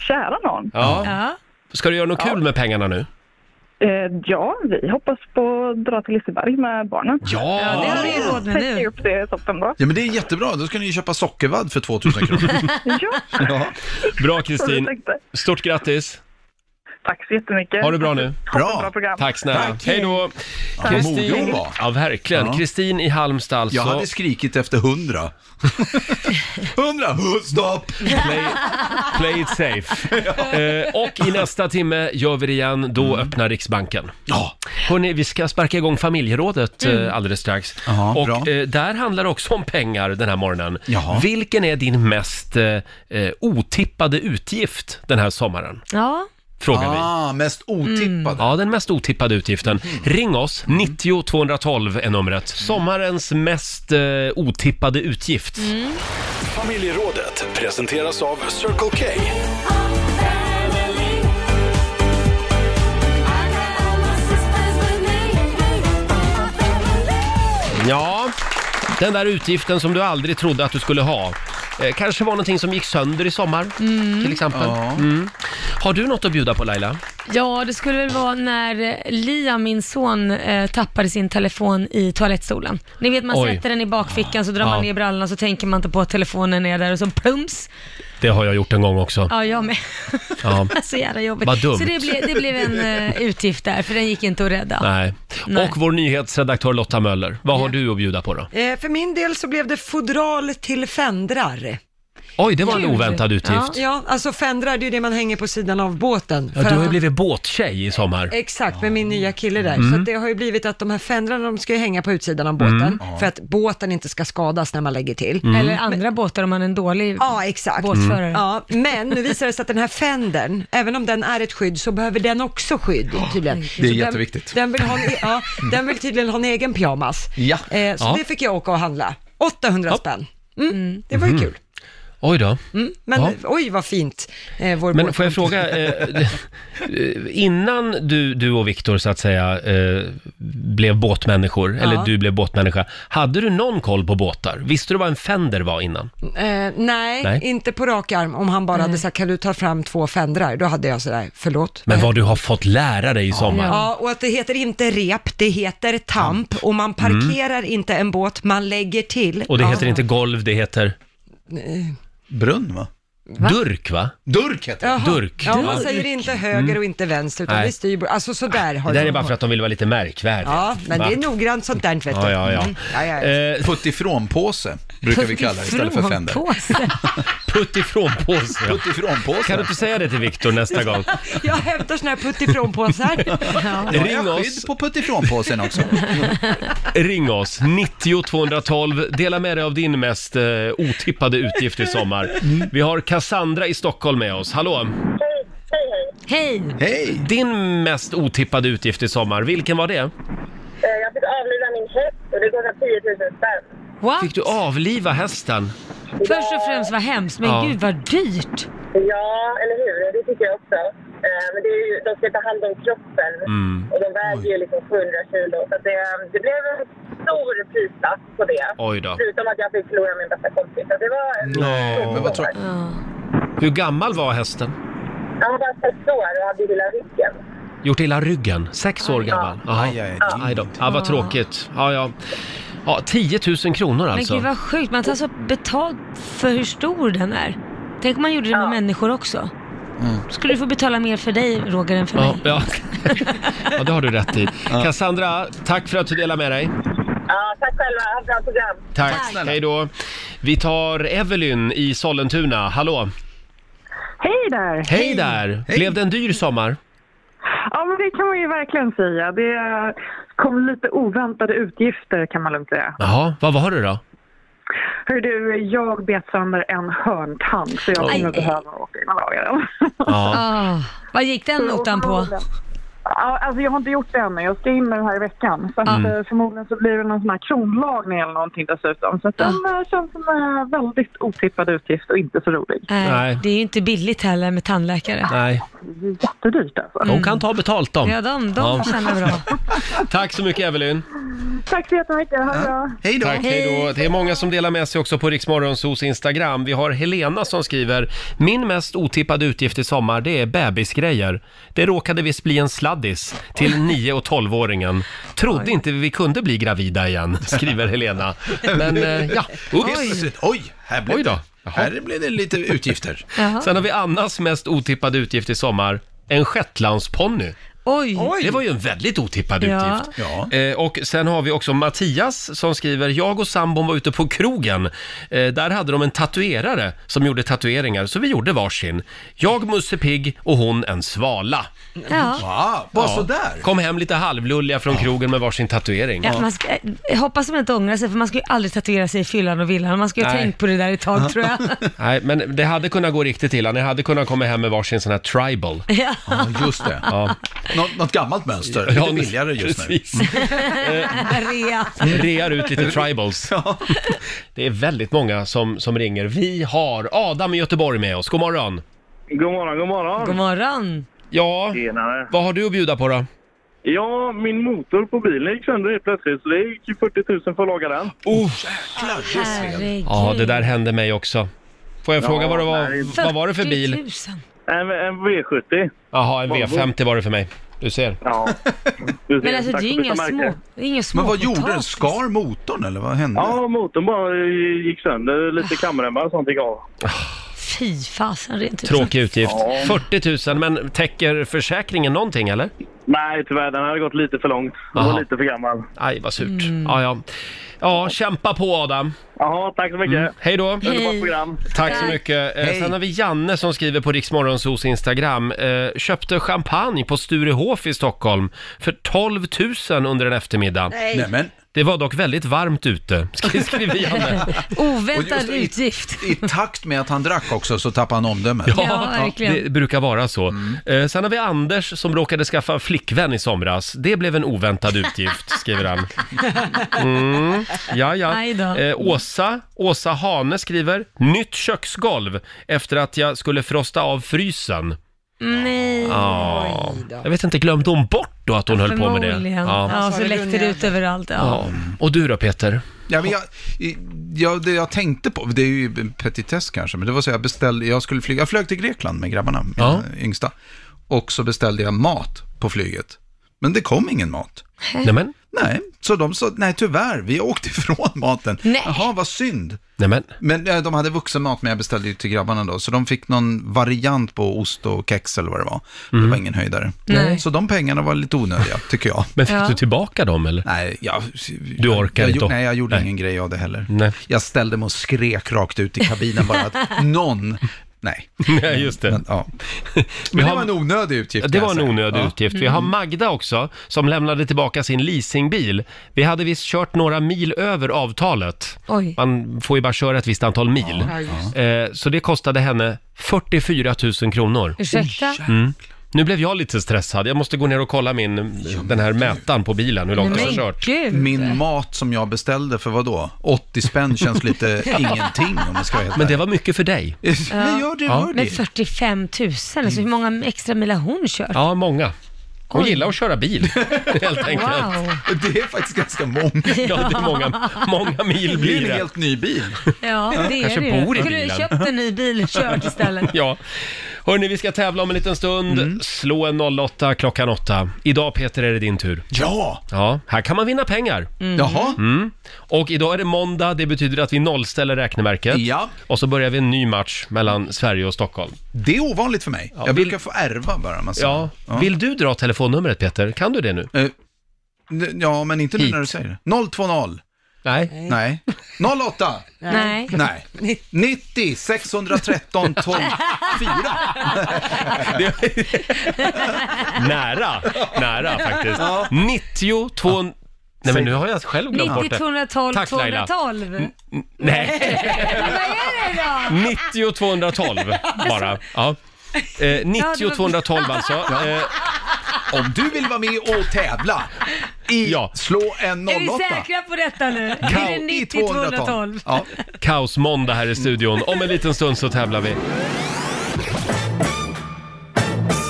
[SPEAKER 9] Kära någon.
[SPEAKER 3] Ja.
[SPEAKER 7] Ja.
[SPEAKER 3] Ska du göra något kul med pengarna nu?
[SPEAKER 9] Eh, ja, vi hoppas på att dra till Liseberg med barnen.
[SPEAKER 7] ja, det har du ju råd med
[SPEAKER 9] Täcker
[SPEAKER 7] nu.
[SPEAKER 9] upp det toppenbra.
[SPEAKER 8] Ja, men det är jättebra. Då ska ni ju köpa sockervadd för 2000 kronor.
[SPEAKER 9] Ja,
[SPEAKER 8] ja.
[SPEAKER 3] Bra
[SPEAKER 9] så vi
[SPEAKER 3] Kristin.
[SPEAKER 9] tänkte.
[SPEAKER 3] Stort grattis!
[SPEAKER 5] Tack så jättemycket.
[SPEAKER 3] Ha det bra nu.
[SPEAKER 8] Bra.
[SPEAKER 3] Tack snälla.
[SPEAKER 8] Tack.
[SPEAKER 3] Hej då.
[SPEAKER 8] vad modig hon var.
[SPEAKER 3] Ja, verkligen.
[SPEAKER 8] Ja.
[SPEAKER 3] Kristin i Halmstad alltså.
[SPEAKER 8] Jag hade skrikit efter hundra. Hundra! Stopp!
[SPEAKER 3] Play, play it safe. Eh, och i nästa timme gör vi det igen. Då öppnar Riksbanken.
[SPEAKER 8] Mm. Ja, Mm.
[SPEAKER 3] Hörrni, vi ska sparka igång familjerådet eh, alldeles strax.
[SPEAKER 8] Jaha, bra.
[SPEAKER 3] och eh, där handlar det också om pengar den här morgonen.
[SPEAKER 8] Jaha.
[SPEAKER 3] Vilken är din mest eh, eh, otippade utgift den här sommaren?
[SPEAKER 7] Ja.
[SPEAKER 3] Frågar vi. Mm.
[SPEAKER 8] ah, mest otippade. Mm.
[SPEAKER 3] Ja, den mest otippade utgiften. Ring oss, 90 212 är numret. Sommarens mest eh, otippade
[SPEAKER 8] Mm.
[SPEAKER 3] utgift.
[SPEAKER 4] Familjerådet presenteras av Circle K.
[SPEAKER 3] Ja, den där utgiften som du aldrig trodde att du skulle ha. Eh, kanske var någonting som gick sönder i sommar, till exempel. Mm. Har du något att bjuda på Laila?
[SPEAKER 7] ja, det skulle väl vara när eh, Liam, min son, eh, tappade sin telefon i toalettstolen. Ni vet, man
[SPEAKER 3] Oj.
[SPEAKER 7] sätter den i bakfickan, så drar
[SPEAKER 3] Ja.
[SPEAKER 7] man ner brallorna, så tänker man inte på att telefonen är där och så plums.
[SPEAKER 3] Det har jag gjort en gång också.
[SPEAKER 7] Ja, jag med.
[SPEAKER 3] Ja.
[SPEAKER 7] så jävla jobbigt.
[SPEAKER 3] Vad dumt.
[SPEAKER 7] Så det blev, det blev en eh, utgift där, för den gick inte att rädda.
[SPEAKER 3] Nej.
[SPEAKER 7] Nej.
[SPEAKER 3] Och vår nyhetsredaktör Lotta Möller, vad har du att bjuda på då?
[SPEAKER 2] Eh, för min del så blev det fodral till fendrar.
[SPEAKER 3] Oj, det var en
[SPEAKER 7] Kul.
[SPEAKER 3] oväntad utgift. Ja.
[SPEAKER 2] Ja, alltså fendrar det är ju det man hänger på sidan av båten. För
[SPEAKER 3] du har ju
[SPEAKER 2] att-
[SPEAKER 3] blivit båttjej i sommar.
[SPEAKER 2] Exakt, med min nya kille där.
[SPEAKER 3] Mm.
[SPEAKER 2] Så att det har ju blivit att de här fendrarna, de ska ju hänga på utsidan av båten, för att båten inte ska skadas när man lägger till.
[SPEAKER 3] Mm.
[SPEAKER 7] Eller andra båtar om man är en dålig
[SPEAKER 2] Ja, exakt. Mm.
[SPEAKER 7] båtförare.
[SPEAKER 2] Ja, men nu visar det sig att den här fendern, även om den är ett skydd, så behöver den också skydd tydligen.
[SPEAKER 8] det är
[SPEAKER 2] Så den-
[SPEAKER 8] jätteviktigt.
[SPEAKER 2] Den vill, ha en, e- ja, den vill tydligen ha en egen pyjamas.
[SPEAKER 8] Ja.
[SPEAKER 2] Eh, så
[SPEAKER 3] Ja.
[SPEAKER 2] det fick jag åka och handla. 800
[SPEAKER 3] Ja.
[SPEAKER 2] spänn. Mm, det var ju kul.
[SPEAKER 3] Mhm. Oj då.
[SPEAKER 2] Mm, men
[SPEAKER 3] Ja.
[SPEAKER 2] oj vad fint. Eh, vår
[SPEAKER 3] Men
[SPEAKER 2] båt-
[SPEAKER 3] får jag fråga, eh, eh, innan du, du och Viktor så att säga eh, blev båtmänniskor, eller du blev båtmänniska, hade du någon koll på båtar? Visste du vad en fender var innan?
[SPEAKER 2] Eh, nej,
[SPEAKER 3] Nej.
[SPEAKER 2] inte på rak arm. Om han bara hade sagt, kan du ta fram två fendrar? Då hade jag sådär, förlåt.
[SPEAKER 3] Men vad du har fått lära dig i sommar.
[SPEAKER 2] Ja, och att det heter inte rep, det heter tamp. Och man parkerar inte en båt, man lägger till.
[SPEAKER 3] Mm. Och det heter inte golv, det heter
[SPEAKER 8] Brunn va?
[SPEAKER 3] durk va?
[SPEAKER 8] Durk heter det.
[SPEAKER 2] Jaha.
[SPEAKER 3] Durk.
[SPEAKER 2] Ja, man
[SPEAKER 3] Ja. Mm.
[SPEAKER 2] säger inte höger och inte vänster, utan
[SPEAKER 3] Nej.
[SPEAKER 2] det är styrbord. Alltså sådär har
[SPEAKER 3] Det där
[SPEAKER 2] de-
[SPEAKER 3] är bara för att de vill vara lite märkvärdiga.
[SPEAKER 2] Ja, men
[SPEAKER 3] Va?
[SPEAKER 2] det är noggrant sånt där, vet du.
[SPEAKER 3] Ja, ja, ja.
[SPEAKER 2] Mm. ja, ja, ja.
[SPEAKER 3] Eh,
[SPEAKER 8] Puttifrånpåse brukar vi kalla det istället för fender.
[SPEAKER 7] Frånpåse.
[SPEAKER 3] putt ifrån påse. ja. Kan du
[SPEAKER 8] Puttifrånpåse.
[SPEAKER 3] inte säga det till Viktor nästa gång?
[SPEAKER 2] Jag hämtar såna här puttifrånpåsar.
[SPEAKER 8] Ja,
[SPEAKER 3] Ring
[SPEAKER 8] jag har
[SPEAKER 3] oss.
[SPEAKER 8] skydd på puttifrånpåsen också.
[SPEAKER 3] Ring oss, 90 212. Dela med dig av din mest eh, otippade utgift i sommar. Vi har Cassandra i Stockholm med oss. Hallå!
[SPEAKER 7] Hej!
[SPEAKER 8] Hej!
[SPEAKER 3] Din mest otippade utgift i sommar, vilken var det?
[SPEAKER 9] Eh, Jag fick avliva min häst och det kostade 10 000 spänn.
[SPEAKER 7] What?
[SPEAKER 3] Fick du avliva hästen?
[SPEAKER 7] Först och främst vad hemskt, men
[SPEAKER 3] Ja.
[SPEAKER 7] gud vad dyrt.
[SPEAKER 9] Ja, eller hur? Det tycker jag också. Eh, Men det är ju, de ska ta hand om kroppen
[SPEAKER 3] Mm.
[SPEAKER 9] och de väger ju liksom 700 kilo. Så att det, det blev en stor prislapp på det.
[SPEAKER 3] Oj då.
[SPEAKER 9] Förutom att jag fick förlora min bästa kompis. Så det var en
[SPEAKER 3] Nej,
[SPEAKER 9] stor
[SPEAKER 8] men vad
[SPEAKER 9] fråga.
[SPEAKER 3] Hur gammal var hästen?
[SPEAKER 9] Jag var bara sex år och hade hela ryggen.
[SPEAKER 3] Gjort illa ryggen, sex år gammal. Jaha.
[SPEAKER 8] Aj, aj, aj.
[SPEAKER 3] Aj då. Ja, vad tråkigt. Ja, ja. ja, 10 000 kronor
[SPEAKER 7] Men
[SPEAKER 3] alltså.
[SPEAKER 7] gud vad sjukt, man tar så betalt för hur stor den är. Tänk om man gjorde det med människor också.
[SPEAKER 8] Mm.
[SPEAKER 7] Skulle du få betala mer för dig Roger än för
[SPEAKER 3] Ja,
[SPEAKER 7] mig?
[SPEAKER 3] ja. ja, det har du rätt i. Cassandra, tack för att du delade med dig.
[SPEAKER 9] Ja, tack själva. Ha ett bra program.
[SPEAKER 3] Tack. Hej då. Vi tar Evelyn i Sollentuna. Hallå.
[SPEAKER 9] Hej där!
[SPEAKER 3] Hej där. Blev det en dyr sommar?
[SPEAKER 9] Ja, men det kan man ju verkligen säga. Det eh, kom lite oväntade utgifter kan man lugnt säga.
[SPEAKER 3] Jaha, vad var det då?
[SPEAKER 9] Hör du, jag bet sönder en hörntand så jag kommer behöva åka in och laga den.
[SPEAKER 3] Ja.
[SPEAKER 7] Ah, vad gick den notan på?
[SPEAKER 9] Ja, alltså jag har inte gjort det ännu. Jag ska in med den här i veckan. Så att,
[SPEAKER 7] Mm.
[SPEAKER 9] eh, förmodligen så blir det någon sån här kronlagning eller någonting dessutom. Så att den
[SPEAKER 7] Ah.
[SPEAKER 9] eh, känns som en väldigt otippad utgift och inte så rolig.
[SPEAKER 7] Nej.
[SPEAKER 3] Nej.
[SPEAKER 7] Eh, Det är ju inte billigt heller med tandläkare.
[SPEAKER 3] Nej,
[SPEAKER 9] Jättedyrt alltså.
[SPEAKER 3] de kan ta betalt
[SPEAKER 7] Ah.
[SPEAKER 3] de.
[SPEAKER 7] Ja, de, de
[SPEAKER 3] Ja.
[SPEAKER 7] tjänar bra.
[SPEAKER 3] Tack så mycket Evelyn.
[SPEAKER 9] Tack så jättemycket. Ha det bra.
[SPEAKER 8] Hej då!
[SPEAKER 3] Tack, hej då. Det är många som delar med sig också på Riksmorgonsos Instagram. Vi har Helena som skriver, min mest otippade utgift i sommar det är bebisgrejer. Det råkade visst bli en sladdis till 9 och 12-åringen. Trodde inte vi kunde bli gravida igen, skriver Helena. Men eh, ja,
[SPEAKER 8] Helt
[SPEAKER 3] ups.
[SPEAKER 8] plötsligt, Oj, här blev,
[SPEAKER 3] Oj då.
[SPEAKER 8] Det,
[SPEAKER 3] Jaha.
[SPEAKER 8] här blev det lite utgifter.
[SPEAKER 7] Jaha.
[SPEAKER 3] Sen har vi Annas mest otippade utgift i sommar. en shetlandsponny.
[SPEAKER 7] Oj!
[SPEAKER 3] Det var ju en väldigt otippad
[SPEAKER 7] Ja.
[SPEAKER 3] utgift.
[SPEAKER 8] Ja.
[SPEAKER 3] Eh, och sen har vi också Mattias som skriver, jag och sambon var ute på krogen. Eh, där hade de en tatuerare som gjorde tatueringar, så vi gjorde varsin. Jag Musse Pigg och hon en svala.
[SPEAKER 7] Ja.
[SPEAKER 8] Ah, bara sådär?
[SPEAKER 3] Kom hem lite halvlulliga från krogen med varsin tatuering.
[SPEAKER 7] Ja, man ska, jag hoppas man inte ångrar sig, för man ska ju aldrig tatuera sig i fyllan och villan. Man ska ju ha
[SPEAKER 3] Nej.
[SPEAKER 7] tänkt på det där ett tag, tror jag.
[SPEAKER 3] Nej, men det hade kunnat gå riktigt illa. Ni hade kunnat komma hem med varsin sån här tribal.
[SPEAKER 7] ja.
[SPEAKER 8] Ja, just det.
[SPEAKER 3] Ja.
[SPEAKER 8] Nå- något gammalt mönster, lite billigare just nu.
[SPEAKER 3] precis.
[SPEAKER 7] Rea.
[SPEAKER 3] Rear ut lite tribals. Det är väldigt många som, som ringer. Vi har Adam i Göteborg med oss. God morgon.
[SPEAKER 5] God morgon, god morgon.
[SPEAKER 7] God morgon.
[SPEAKER 3] Ja,
[SPEAKER 5] Tjenare.
[SPEAKER 3] vad har du att bjuda på då?
[SPEAKER 5] Ja, min motor på bilen gick sönder helt plötsligt så det gick 40 000 för att laga den.
[SPEAKER 3] Oh,
[SPEAKER 7] Herregud.
[SPEAKER 3] Ja, det där hände mig också. Får jag fråga vad det
[SPEAKER 5] nej.
[SPEAKER 3] var? Vad var det för bil?
[SPEAKER 7] 40 000.
[SPEAKER 5] En, en V70.
[SPEAKER 3] Jaha, en
[SPEAKER 5] Volvo.
[SPEAKER 3] V50 var det för mig. Du ser.
[SPEAKER 5] Ja. Du ser,
[SPEAKER 7] Men alltså det
[SPEAKER 5] tack
[SPEAKER 7] är ju
[SPEAKER 5] för
[SPEAKER 7] inga
[SPEAKER 5] byta
[SPEAKER 7] små,
[SPEAKER 5] märke.
[SPEAKER 7] det är inga små
[SPEAKER 8] Men vad gjorde den?
[SPEAKER 7] potatis.
[SPEAKER 8] Skar motorn eller vad hände?
[SPEAKER 5] Ja, motorn bara eh, gick sönder. Lite
[SPEAKER 7] Ah.
[SPEAKER 5] kamremmar och sånt gick av.
[SPEAKER 7] Fy fasen, rent ut sagt.
[SPEAKER 3] Tråkig utgift.
[SPEAKER 5] Ja.
[SPEAKER 3] 40 000, men täcker försäkringen någonting eller?
[SPEAKER 5] Nej, tyvärr. Den hade gått lite för långt. Den
[SPEAKER 3] Aha.
[SPEAKER 5] var lite för gammal.
[SPEAKER 3] Aj, vad surt. Ja, ja. ja, kämpa på Adam.
[SPEAKER 5] Jaha, tack så
[SPEAKER 7] Mm.
[SPEAKER 5] mycket.
[SPEAKER 3] Hej då.
[SPEAKER 5] Underbart program.
[SPEAKER 3] Tack så mycket. Eh, Sen har vi Janne som skriver på Riksmorgonsos Instagram. Eh, köpte champagne på Sturehof i Stockholm för 12 000 under en eftermiddag.
[SPEAKER 8] Nej, men
[SPEAKER 3] Det var dock väldigt varmt ute, skri- skriver Janne.
[SPEAKER 8] Och
[SPEAKER 7] Oväntad
[SPEAKER 8] just i-
[SPEAKER 7] utgift.
[SPEAKER 8] i takt med att han drack också så tappade han omdömet. Mm.
[SPEAKER 7] Ja, verkligen.
[SPEAKER 3] det brukar vara så. Eh, sen har vi Anders som råkade skaffa en flickvän i somras. Det blev en oväntad utgift, skriver han. Mm. Ja,
[SPEAKER 7] Aj då.
[SPEAKER 3] ja. Eh, Åsa, Åsa Hane skriver, nytt köksgolv efter att jag skulle frosta av frysen.
[SPEAKER 7] Nej.
[SPEAKER 3] Ja. Jag vet inte, glömde hon bort då att hon höll på med det?
[SPEAKER 7] Förmodligen. Ja,
[SPEAKER 3] Ja.
[SPEAKER 7] så läckte det ut överallt. Ja.
[SPEAKER 3] Ja. Och du då Peter?
[SPEAKER 8] Ja, men jag, jag, det jag tänkte på, det är ju en petitess kanske, men det var så jag beställde, jag skulle flyga, jag flög till Grekland med grabbarna, mina
[SPEAKER 3] Ja.
[SPEAKER 8] yngsta, och så beställde jag mat på flyget. Men det kom ingen mat.
[SPEAKER 3] Nämen,
[SPEAKER 8] Nej, så de sa, nej tyvärr, vi åkte ifrån maten.
[SPEAKER 7] Nej.
[SPEAKER 8] Jaha, vad synd.
[SPEAKER 3] nämen.
[SPEAKER 8] Men eh, de hade vuxenmat, men jag beställde ju till grabbarna då, så de fick någon variant på ost och kex eller vad det var.
[SPEAKER 3] Mm.
[SPEAKER 8] Det var ingen höjdare.
[SPEAKER 7] Nej.
[SPEAKER 8] Så de pengarna var lite onödiga, tycker jag.
[SPEAKER 3] Men fick
[SPEAKER 7] Ja.
[SPEAKER 3] du tillbaka dem eller?
[SPEAKER 8] Nej, jag,
[SPEAKER 3] Du orkar
[SPEAKER 8] jag,
[SPEAKER 3] inte
[SPEAKER 8] jag,
[SPEAKER 3] och-
[SPEAKER 8] Nej, jag gjorde
[SPEAKER 3] Nej.
[SPEAKER 8] ingen grej av det heller.
[SPEAKER 3] Nej.
[SPEAKER 8] Jag ställde mig och skrek rakt ut i kabinen bara att någon... Nej,
[SPEAKER 3] Nej, just det.
[SPEAKER 8] men ja. Men
[SPEAKER 3] har-
[SPEAKER 8] det var en onödig utgift.
[SPEAKER 3] Ja, Det
[SPEAKER 8] kan
[SPEAKER 3] var en
[SPEAKER 8] jag säga.
[SPEAKER 3] onödig
[SPEAKER 8] Ja.
[SPEAKER 3] utgift.
[SPEAKER 7] Mm.
[SPEAKER 3] Vi har Magda också, som lämnade tillbaka sin leasingbil. Vi hade visst kört några mil över avtalet.
[SPEAKER 7] Oj.
[SPEAKER 3] Man får ju bara köra ett visst antal mil. Eh, Så det kostade henne 44 000 kronor. Mm.
[SPEAKER 7] Ursäkta?
[SPEAKER 3] Nu blev jag lite stressad. Jag måste gå ner och kolla min, den här mätaren på bilen, hur långt den har
[SPEAKER 7] Men
[SPEAKER 3] kört.
[SPEAKER 7] gud.
[SPEAKER 8] Min mat som jag beställde för vad då? 80 spänn känns lite eh, ingenting om man ska vara helt
[SPEAKER 3] Men det var mycket för dig.
[SPEAKER 8] ärlig. Men gör det, gör
[SPEAKER 7] Men
[SPEAKER 8] det.
[SPEAKER 7] 45 000, alltså hur många extra mil har hon kört?
[SPEAKER 3] Ja, många. Hon
[SPEAKER 7] Oj.
[SPEAKER 3] gillar att köra bil, helt enkelt.
[SPEAKER 7] Wow.
[SPEAKER 8] Det är faktiskt ganska många.
[SPEAKER 3] Ja, det är många, många mil
[SPEAKER 8] Det är
[SPEAKER 3] blir
[SPEAKER 8] en
[SPEAKER 3] det.
[SPEAKER 8] helt ny bil.
[SPEAKER 7] Ja, det är
[SPEAKER 3] Kanske
[SPEAKER 7] det
[SPEAKER 3] bor i
[SPEAKER 7] ju. Kunde du
[SPEAKER 3] bilen.
[SPEAKER 7] köpt en ny bil och kört istället?
[SPEAKER 3] Ja. Hörni, vi ska tävla om en liten stund.
[SPEAKER 8] Mm.
[SPEAKER 3] Slå en 08 klockan 8. Idag Peter är det din tur.
[SPEAKER 8] Ja,
[SPEAKER 3] Ja, här kan man vinna pengar. Mm.
[SPEAKER 8] jaha.
[SPEAKER 3] Och idag är det måndag, det betyder att vi nollställer räkneverket.
[SPEAKER 8] Ja.
[SPEAKER 3] Och så börjar vi en ny match mellan Sverige och Stockholm.
[SPEAKER 8] Det är ovanligt för mig. jag
[SPEAKER 3] vill-
[SPEAKER 8] brukar få ärva bara. Man säger.
[SPEAKER 3] Ja. Vill du dra telefonnumret Peter? Kan du det nu?
[SPEAKER 8] Eh, n- ja, men inte nu
[SPEAKER 3] Hit.
[SPEAKER 8] när du säger det. 020.
[SPEAKER 3] Nej.
[SPEAKER 8] Nej. 08.
[SPEAKER 7] Nej.
[SPEAKER 8] Nej. 90 613 12 4.
[SPEAKER 3] Nära, nära faktiskt. 90 2... Nej men nu har jag själv glömt bort
[SPEAKER 7] 90
[SPEAKER 3] det.
[SPEAKER 7] 212
[SPEAKER 3] Tack, Laila.
[SPEAKER 7] 212.
[SPEAKER 3] Nej.
[SPEAKER 7] Men vad är det då?
[SPEAKER 3] 90 212 bara. Ja. Eh, 90 212 alltså. Eh,
[SPEAKER 8] Om du vill vara med och tävla i
[SPEAKER 3] Ja.
[SPEAKER 8] Slå en 08.
[SPEAKER 7] Är vi säkra på detta nu? Är det 90 212?
[SPEAKER 8] Ja.
[SPEAKER 3] kaosmåndag här i studion. Om en liten stund så tävlar vi.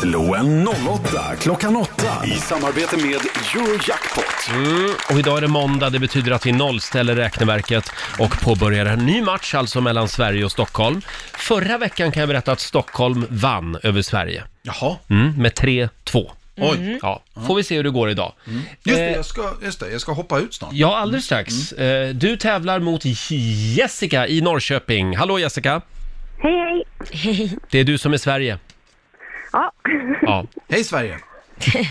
[SPEAKER 4] Slå en 08 klockan 8 i samarbete med Eurojackpot.
[SPEAKER 3] Mm. Och idag är det måndag, det betyder att vi nollställer räkneverket och påbörjar en ny match alltså mellan Sverige och Stockholm. Förra veckan kan jag berätta att Stockholm vann över Sverige
[SPEAKER 8] Jaha.
[SPEAKER 3] mm, med 3-2.
[SPEAKER 8] Oj. Mm.
[SPEAKER 3] Ja, får vi se hur det går idag.
[SPEAKER 8] Just det,
[SPEAKER 3] Eh,
[SPEAKER 8] jag ska, just det, jag ska hoppa ut snart. Mm.
[SPEAKER 3] ja, alldeles strax. Eh, du tävlar mot Jessica i Norrköping. Hallå Jessica!
[SPEAKER 9] Hej, hej.
[SPEAKER 3] Det är du som är Sverige.
[SPEAKER 9] Ja,
[SPEAKER 3] Ja.
[SPEAKER 8] Hej Sverige!
[SPEAKER 9] hej.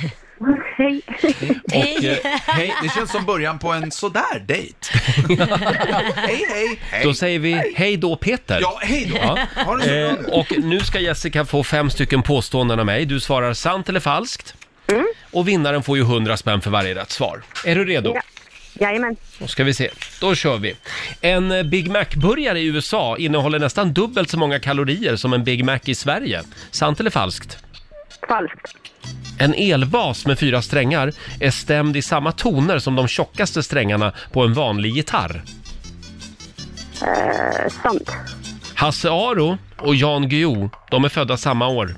[SPEAKER 3] Och, eh, hej.
[SPEAKER 8] Det känns som början på en sådär dejt. hej, hej!
[SPEAKER 3] Då
[SPEAKER 8] Hej!
[SPEAKER 3] säger vi hej då Peter.
[SPEAKER 8] Ja, hej då!
[SPEAKER 3] Ja.
[SPEAKER 8] Ha det så bra
[SPEAKER 3] Eh,
[SPEAKER 8] nu.
[SPEAKER 3] och nu ska Jessica få fem stycken påståenden av mig. Du svarar sant eller falskt.
[SPEAKER 9] Mm.
[SPEAKER 3] Och vinnaren får ju 100 spänn för varje rätt svar. Är du redo?
[SPEAKER 9] Ja. Jajamän.
[SPEAKER 3] Då ska vi se. Då kör vi. En eh, Big Mac-burgare i USA innehåller nästan dubbelt så många kalorier som en Big Mac i Sverige. Sant eller falskt?
[SPEAKER 9] Falskt.
[SPEAKER 3] En elbas med fyra strängar är stämd i samma toner som de tjockaste strängarna på en vanlig gitarr.
[SPEAKER 9] Eh, sant.
[SPEAKER 3] Hasse Aro och Jan Guillou, de är födda samma år.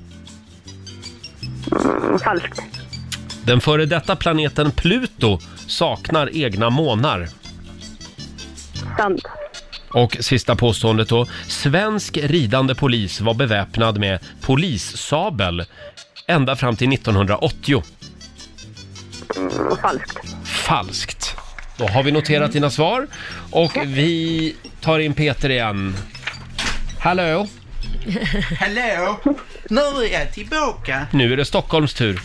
[SPEAKER 9] Mm, Falskt.
[SPEAKER 3] Den före detta planeten Pluto saknar egna månar.
[SPEAKER 9] Sant.
[SPEAKER 3] Och sista påståendet då. Svensk ridande polis var beväpnad med polissabel ända fram till 1980.
[SPEAKER 9] Mm, Falskt.
[SPEAKER 3] Falskt. Då har vi noterat dina svar och vi tar in Peter igen. Hallå,
[SPEAKER 10] Hallå! Nu är jag tillbaka.
[SPEAKER 3] nu är det Stockholms tur.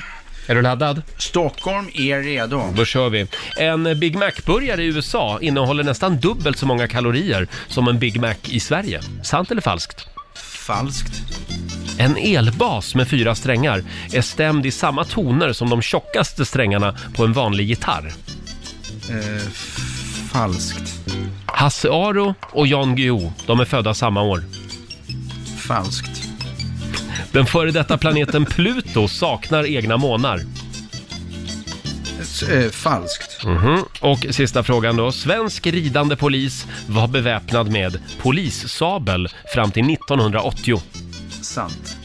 [SPEAKER 8] Ja.
[SPEAKER 3] Är du laddad?
[SPEAKER 8] Stockholm är redo.
[SPEAKER 3] Då kör vi. En Big Mac-burgare i USA innehåller nästan dubbelt så många kalorier som en Big Mac i Sverige. Sant eller falskt?
[SPEAKER 8] Falskt.
[SPEAKER 3] En elbas med fyra strängar är stämd i samma toner som de tjockaste strängarna på en vanlig gitarr.
[SPEAKER 8] Eh, falskt.
[SPEAKER 3] Hasse Aro och Jan Guillou, de är födda samma år.
[SPEAKER 8] Falskt.
[SPEAKER 3] Den före detta planeten Pluto saknar egna månar.
[SPEAKER 8] S- eh, falskt.
[SPEAKER 3] Mhm. Och sista frågan då. Svensk ridande polis var beväpnad med polissabel fram till 1980.
[SPEAKER 8] Sant.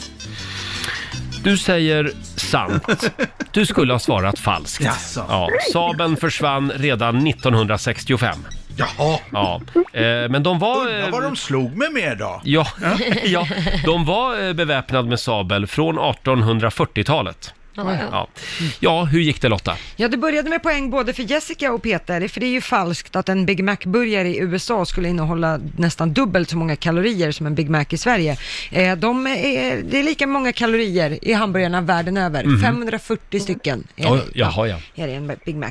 [SPEAKER 3] Du säger sant. Du skulle ha svarat falskt.
[SPEAKER 8] Jaså.
[SPEAKER 3] Ja, Saben försvann redan 1965.
[SPEAKER 8] Jaha.
[SPEAKER 3] Ja, eh, men de var...
[SPEAKER 8] Undrar
[SPEAKER 3] eh,
[SPEAKER 8] vad de slog mig med då?
[SPEAKER 3] Ja, ja, de var eh, beväpnade med sabel från 1840-talet. Ja. ja, hur gick det Lotta?
[SPEAKER 2] Ja, det började med poäng både för Jessica och Peter, för det är ju falskt att en Big Mac-burgare i USA skulle innehålla nästan dubbelt så många kalorier som en Big Mac i Sverige. Eh, de är, det är lika många kalorier i hamburgarna världen över, 540 stycken är det,
[SPEAKER 3] Oj, jaha, Mhm. ja.
[SPEAKER 2] är det en Big Mac.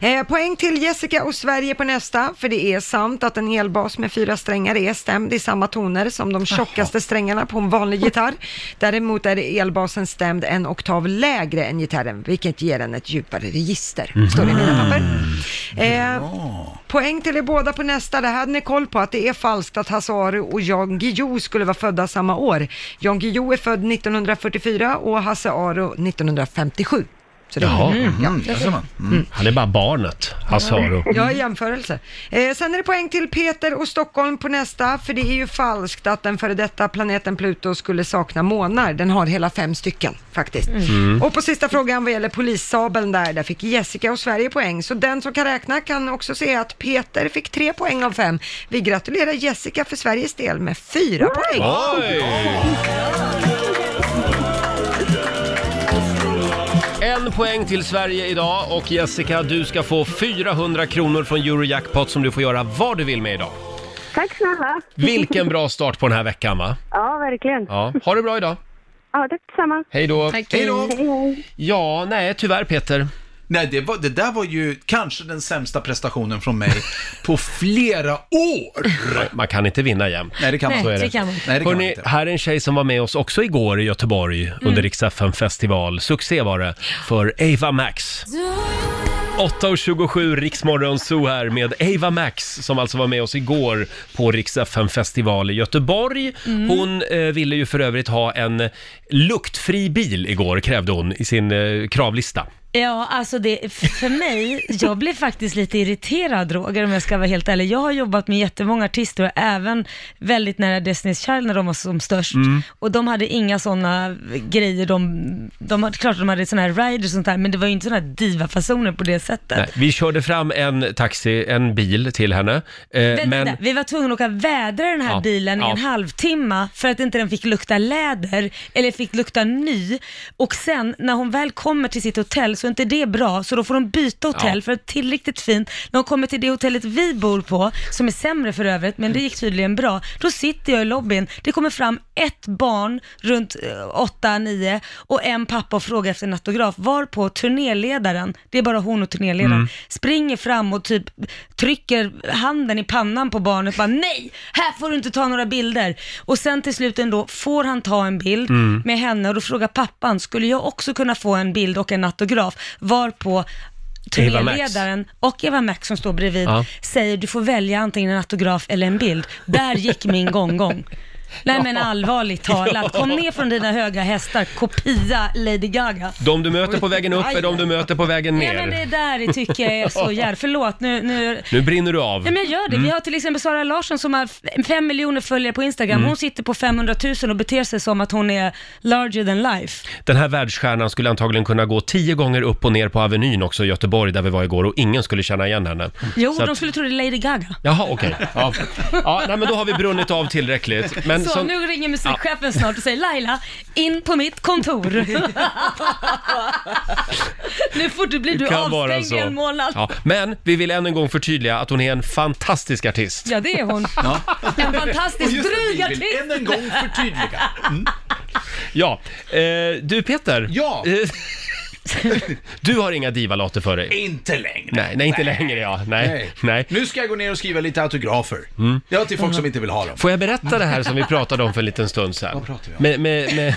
[SPEAKER 2] Eh, poäng till Jessica och Sverige på nästa, för det är sant att en elbas med fyra strängar är stämd i samma toner som de tjockaste strängarna på en vanlig gitarr. Däremot är elbasen stämd en oktav lägre än gitarren, vilket ger den ett djupare register.
[SPEAKER 11] Mm.
[SPEAKER 2] Står det i mina papper. Eh, Poäng till er båda på nästa. Det här hade ni koll på, att det är falskt att Hasse Aro och Jan Guillou skulle vara födda samma år. Jan Guillou är född 1944 och Hasse Aro 1957. Så det var
[SPEAKER 3] Jaha.
[SPEAKER 8] Mm, där ser man. Mm.
[SPEAKER 3] Han är bara barnet, Hasse Aro.
[SPEAKER 2] Ja, i jämförelse. Eh, sen är det poäng till Peter och Stockholm på nästa, för det är ju falskt att den före detta planeten Pluto skulle sakna månar. Den har hela fem stycken faktiskt. Och på sista frågan vad gäller polissabeln där, där fick Jessica och Sverige poäng. Så den som kan räkna kan också se att Peter fick tre poäng av fem. Vi gratulerar Jessica för Sveriges del med fyra poäng.
[SPEAKER 3] Oj! En poäng till Sverige idag och Jessica, du ska få 400 kronor från Eurojackpot som du får göra vad du vill med idag.
[SPEAKER 9] Tack snälla.
[SPEAKER 3] Vilken bra start på den här veckan va?
[SPEAKER 9] Ja, verkligen.
[SPEAKER 3] Ja, ha det bra idag.
[SPEAKER 9] Ja, tack detsamma.
[SPEAKER 3] Hej då.
[SPEAKER 8] Hej då!
[SPEAKER 9] Hej, hej.
[SPEAKER 3] Ja, nej tyvärr Peter.
[SPEAKER 8] Nej, det, var, det där var ju kanske den sämsta prestationen från mig på flera år.
[SPEAKER 3] Man kan inte vinna jämt.
[SPEAKER 8] Nej, det kan man
[SPEAKER 7] Nej,
[SPEAKER 8] inte.
[SPEAKER 7] det kan man inte.
[SPEAKER 8] Nej, det kan man
[SPEAKER 3] Hörrni,
[SPEAKER 8] inte.
[SPEAKER 3] här är en tjej som var med oss också igår i Göteborg
[SPEAKER 7] Mm.
[SPEAKER 3] under Rix FM festival. Succé var det för Ava Max. 8.27 Riksmorgon Zoo här med Ava Max som alltså var med oss igår på Rix FM festival i Göteborg.
[SPEAKER 7] Mm.
[SPEAKER 3] Hon eh, ville ju för övrigt ha en luktfri bil igår krävde hon i sin eh, kravlista.
[SPEAKER 7] Ja, alltså det, för mig, jag blev faktiskt lite irriterad Roger om jag ska vara helt ärlig. Jag har jobbat med jättemånga artister och även väldigt nära Destiny's Child när de var som störst.
[SPEAKER 11] Mm.
[SPEAKER 7] Och de hade inga sådana grejer, de, de, hade- klart de hade sådana här riders och sånt där, men det var ju inte sådana här divafasoner på det sättet.
[SPEAKER 3] Nej, vi körde fram en taxi, en bil till henne. eh,
[SPEAKER 7] Vänta,
[SPEAKER 3] men...
[SPEAKER 7] vi var tvungna att åka vädra den här
[SPEAKER 3] Ja,
[SPEAKER 7] bilen i
[SPEAKER 3] ja.
[SPEAKER 7] en halvtimme för att inte den fick lukta läder eller fick lukta ny. Och sen när hon väl kommer till sitt hotell så är inte det bra. Så då får de byta hotell
[SPEAKER 1] Ja.
[SPEAKER 7] för ett tillräckligt fint. När de kommer till det hotellet vi bor på, som är sämre för övrigt, men det gick tydligen bra. Då sitter jag i lobbyn, det kommer fram ett barn runt 8-9 och en pappa och frågar efter en autograf. Varpå turnéledaren, det är bara hon och turnéledaren,
[SPEAKER 12] Mm.
[SPEAKER 7] springer fram och typ trycker handen i pannan på barnet bara nej, här får du inte ta några bilder. Och sen till slut ändå får han ta en bild
[SPEAKER 12] Mm.
[SPEAKER 7] med henne och då frågar pappan, skulle jag också kunna få en bild och en autograf? Varpå
[SPEAKER 12] Eva Max.
[SPEAKER 7] turnéledaren och Eva Max som står bredvid
[SPEAKER 12] Ja.
[SPEAKER 7] säger du får välja antingen en autograf eller en bild. Där gick min gånggång. Nej men allvarligt talat, kom ner från dina höga hästar, kopia Lady Gaga.
[SPEAKER 3] De du möter på vägen upp är de du möter på vägen
[SPEAKER 7] Nej men det
[SPEAKER 3] ner.
[SPEAKER 7] där det tycker jag är så jävla... Förlåt, nu, nu
[SPEAKER 3] Nu brinner du av. Mm.
[SPEAKER 7] Nej, men jag gör det. Vi har typ- till exempel Sara Larsson som har f- fem miljoner följare på Instagram.
[SPEAKER 3] Mm.
[SPEAKER 7] Hon sitter på 500 000 och beter sig som att hon är larger than life.
[SPEAKER 3] Den här världsstjärnan skulle antagligen kunna gå tio gånger upp och ner på Avenyn också i Göteborg där vi var igår och ingen skulle känna igen henne.
[SPEAKER 7] Jo,
[SPEAKER 3] Så att-
[SPEAKER 7] de skulle tro det är Lady Gaga.
[SPEAKER 3] Jaha, okej. Ja. Ja, nej, men då har vi brunnit av tillräckligt. Men
[SPEAKER 7] så,
[SPEAKER 3] som-
[SPEAKER 7] nu ringer musikchefen snart och säger Laila, in på mitt kontor. nu får du, blir du
[SPEAKER 3] kan vara
[SPEAKER 7] avstängd i
[SPEAKER 3] så.
[SPEAKER 7] en månad.
[SPEAKER 3] Ja, men vi vill än en gång förtydliga att hon är en fantastisk artist.
[SPEAKER 7] Ja, det är hon. En fantastisk dryg artist.
[SPEAKER 8] Än en gång förtydliga.
[SPEAKER 3] Ja, eh, du Peter. Ja. du har inga divalater för dig.
[SPEAKER 13] Inte längre.
[SPEAKER 3] Nej, nej inte längre ja. Nej, nej.
[SPEAKER 13] Nej. Nu ska jag gå ner och skriva lite autografer.
[SPEAKER 3] Mm.
[SPEAKER 13] Ja, till folk som inte vill ha dem.
[SPEAKER 3] Får jag berätta det här som vi pratade om för en liten stund sedan?
[SPEAKER 13] Vad pratar vi om?
[SPEAKER 3] Med, med, med,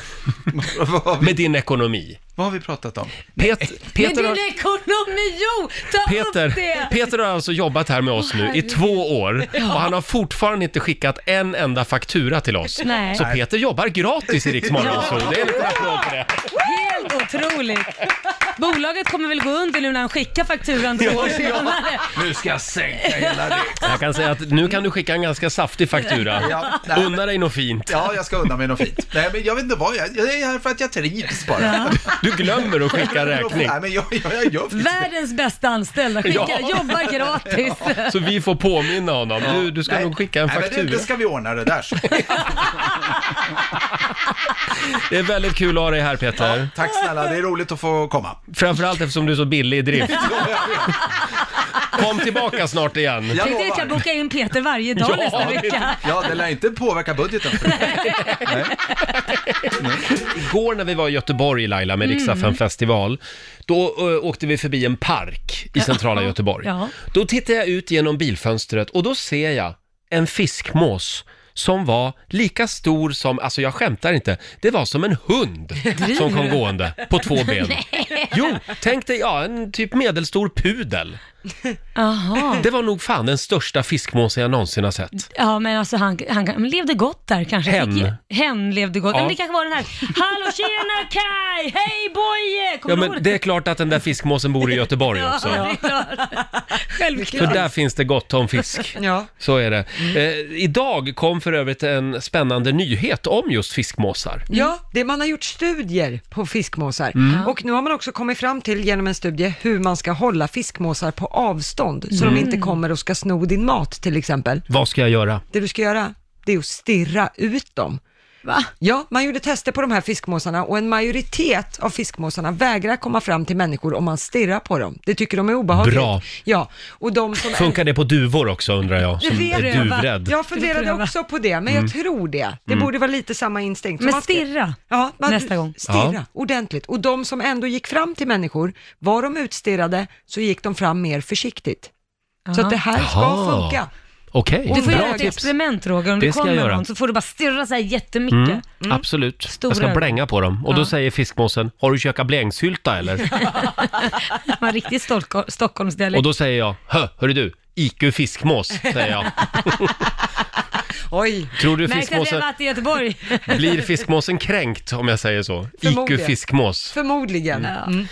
[SPEAKER 3] med din ekonomi.
[SPEAKER 8] Vad har vi pratat om?
[SPEAKER 3] Pet,
[SPEAKER 7] Med
[SPEAKER 3] Peter,
[SPEAKER 7] din
[SPEAKER 3] har,
[SPEAKER 7] ekonomi, jo! Ta upp
[SPEAKER 3] Peter,
[SPEAKER 7] det!
[SPEAKER 3] Peter har alltså jobbat här med oss nu i
[SPEAKER 7] herregud.
[SPEAKER 3] två år
[SPEAKER 7] Ja.
[SPEAKER 3] och han har fortfarande inte skickat en enda faktura till oss.
[SPEAKER 7] Nej.
[SPEAKER 3] Så Peter jobbar gratis i Rix Morgon, så det är lite applåd för det.
[SPEAKER 7] Helt otroligt! Bolaget kommer väl gå under nu när han skickar fakturan två år senare.
[SPEAKER 13] Nu ska jag sänka hela det.
[SPEAKER 3] Jag kan säga att nu kan du skicka en ganska saftig faktura.
[SPEAKER 13] Ja, nej.
[SPEAKER 3] Unna dig något fint.
[SPEAKER 8] Ja, jag ska unna mig något fint. Nej, men jag vet inte vad jag... Jag är här för att jag trivs bara.
[SPEAKER 7] Ja.
[SPEAKER 3] Du glömmer att skicka en räkning.
[SPEAKER 8] Nej, men jag, jag, jag gör
[SPEAKER 7] Världens bästa anställda, skicka,
[SPEAKER 3] Ja.
[SPEAKER 7] jobbar gratis.
[SPEAKER 3] Så vi får påminna honom. Du, du ska
[SPEAKER 8] Nej.
[SPEAKER 3] nog skicka en
[SPEAKER 8] Nej, men
[SPEAKER 3] faktura.
[SPEAKER 8] det, det ska vi ordna det där. så.
[SPEAKER 3] Det är väldigt kul att ha dig här Peter.
[SPEAKER 8] Tack snälla, det är roligt att få komma.
[SPEAKER 3] Framförallt eftersom du är så billig i drift. Kom tillbaka snart igen.
[SPEAKER 7] Jag tänkte att jag ska boka in Peter varje dag nästa vecka.
[SPEAKER 8] Ja, det lär inte påverka budgeten.
[SPEAKER 3] Igår när vi var i Göteborg Laila med
[SPEAKER 7] Mm.
[SPEAKER 3] Riksaffen festival, då ö, åkte vi förbi en park i centrala Göteborg.
[SPEAKER 7] Ja.
[SPEAKER 3] Då tittar jag ut genom bilfönstret och då ser jag en fiskmås som var lika stor som, alltså jag skämtar inte, det var som en hund som kom gående på två ben.
[SPEAKER 7] Nej.
[SPEAKER 3] Jo, tänk dig, ja, en typ medelstor pudel.
[SPEAKER 7] Jaha.
[SPEAKER 3] Det var nog fan den största fiskmåsen jag någonsin har sett.
[SPEAKER 7] Ja men alltså han, han, han levde gott där kanske.
[SPEAKER 3] Hen.
[SPEAKER 7] Fick- Hen levde gott.
[SPEAKER 3] Ja.
[SPEAKER 7] Ja. Men det kanske var den här, hallå tjena Kai, hej boje! Kommer
[SPEAKER 3] Ja,
[SPEAKER 7] du
[SPEAKER 3] men
[SPEAKER 7] ihåg
[SPEAKER 3] det är klart att den där fiskmåsen bor i Göteborg
[SPEAKER 7] Ja,
[SPEAKER 3] också.
[SPEAKER 7] det är klart.
[SPEAKER 3] För
[SPEAKER 7] Självklart.
[SPEAKER 3] där finns det gott om fisk.
[SPEAKER 2] Ja.
[SPEAKER 3] Så är det.
[SPEAKER 7] Mm.
[SPEAKER 3] Eh, idag kom för övrigt en spännande nyhet om just fiskmåsar.
[SPEAKER 2] Ja, det man har gjort studier på fiskmåsar
[SPEAKER 3] Mm.
[SPEAKER 2] och nu har man också kommit fram till genom en studie hur man ska hålla fiskmåsar på avstånd så
[SPEAKER 3] Mm.
[SPEAKER 2] de inte kommer och ska sno din mat till exempel.
[SPEAKER 3] Vad ska jag göra?
[SPEAKER 2] Det du ska göra, det är att stirra ut dem.
[SPEAKER 7] Va?
[SPEAKER 2] Ja, man gjorde tester på de här fiskmåsarna och en majoritet av fiskmåsarna vägrar komma fram till människor om man stirrar på dem. Det tycker de är obehagligt.
[SPEAKER 3] Bra.
[SPEAKER 2] Ja, och de som...
[SPEAKER 3] Funkar det på duvor också undrar jag, som
[SPEAKER 2] Jag
[SPEAKER 3] är
[SPEAKER 2] vet-
[SPEAKER 3] duvrädd?
[SPEAKER 2] Jag funderade också på det, men
[SPEAKER 3] Mm.
[SPEAKER 2] jag tror det. Det
[SPEAKER 3] Mm.
[SPEAKER 2] borde vara lite samma instinkt. Så
[SPEAKER 7] Men
[SPEAKER 2] man ska-
[SPEAKER 7] stirra
[SPEAKER 2] ja, man,
[SPEAKER 7] nästa gång.
[SPEAKER 2] Stirra,
[SPEAKER 7] Ja.
[SPEAKER 2] ordentligt. Och de som ändå gick fram till människor, var de utstirrade så gick de fram mer försiktigt. Så att det här ska
[SPEAKER 3] Jaha.
[SPEAKER 2] funka.
[SPEAKER 3] Okej,
[SPEAKER 7] Du får
[SPEAKER 3] bra
[SPEAKER 7] göra ett
[SPEAKER 3] tips.
[SPEAKER 7] experiment Roger, om
[SPEAKER 3] Det
[SPEAKER 7] det
[SPEAKER 3] ska jag
[SPEAKER 7] kommer
[SPEAKER 3] göra.
[SPEAKER 7] någon så får du bara stirra så här jättemycket.
[SPEAKER 3] Mm, Absolut, jag ska
[SPEAKER 7] Stora.
[SPEAKER 3] blänga på dem. Och då
[SPEAKER 7] Ja.
[SPEAKER 3] säger fiskmåsen, har du kökat blängsylta eller?
[SPEAKER 7] Man har riktigt stolko- Stockholmsdialekt.
[SPEAKER 3] Och då säger jag, hö, hörru du, IQ fiskmås, säger jag.
[SPEAKER 2] Oj.
[SPEAKER 3] Tror du
[SPEAKER 7] Märkte att vi har
[SPEAKER 3] fiskmåsen,
[SPEAKER 7] varit i Göteborg.
[SPEAKER 3] blir fiskmåsen kränkt om jag säger så? IQ
[SPEAKER 2] Förmodligen.
[SPEAKER 3] fiskmås.
[SPEAKER 2] Förmodligen. Mm.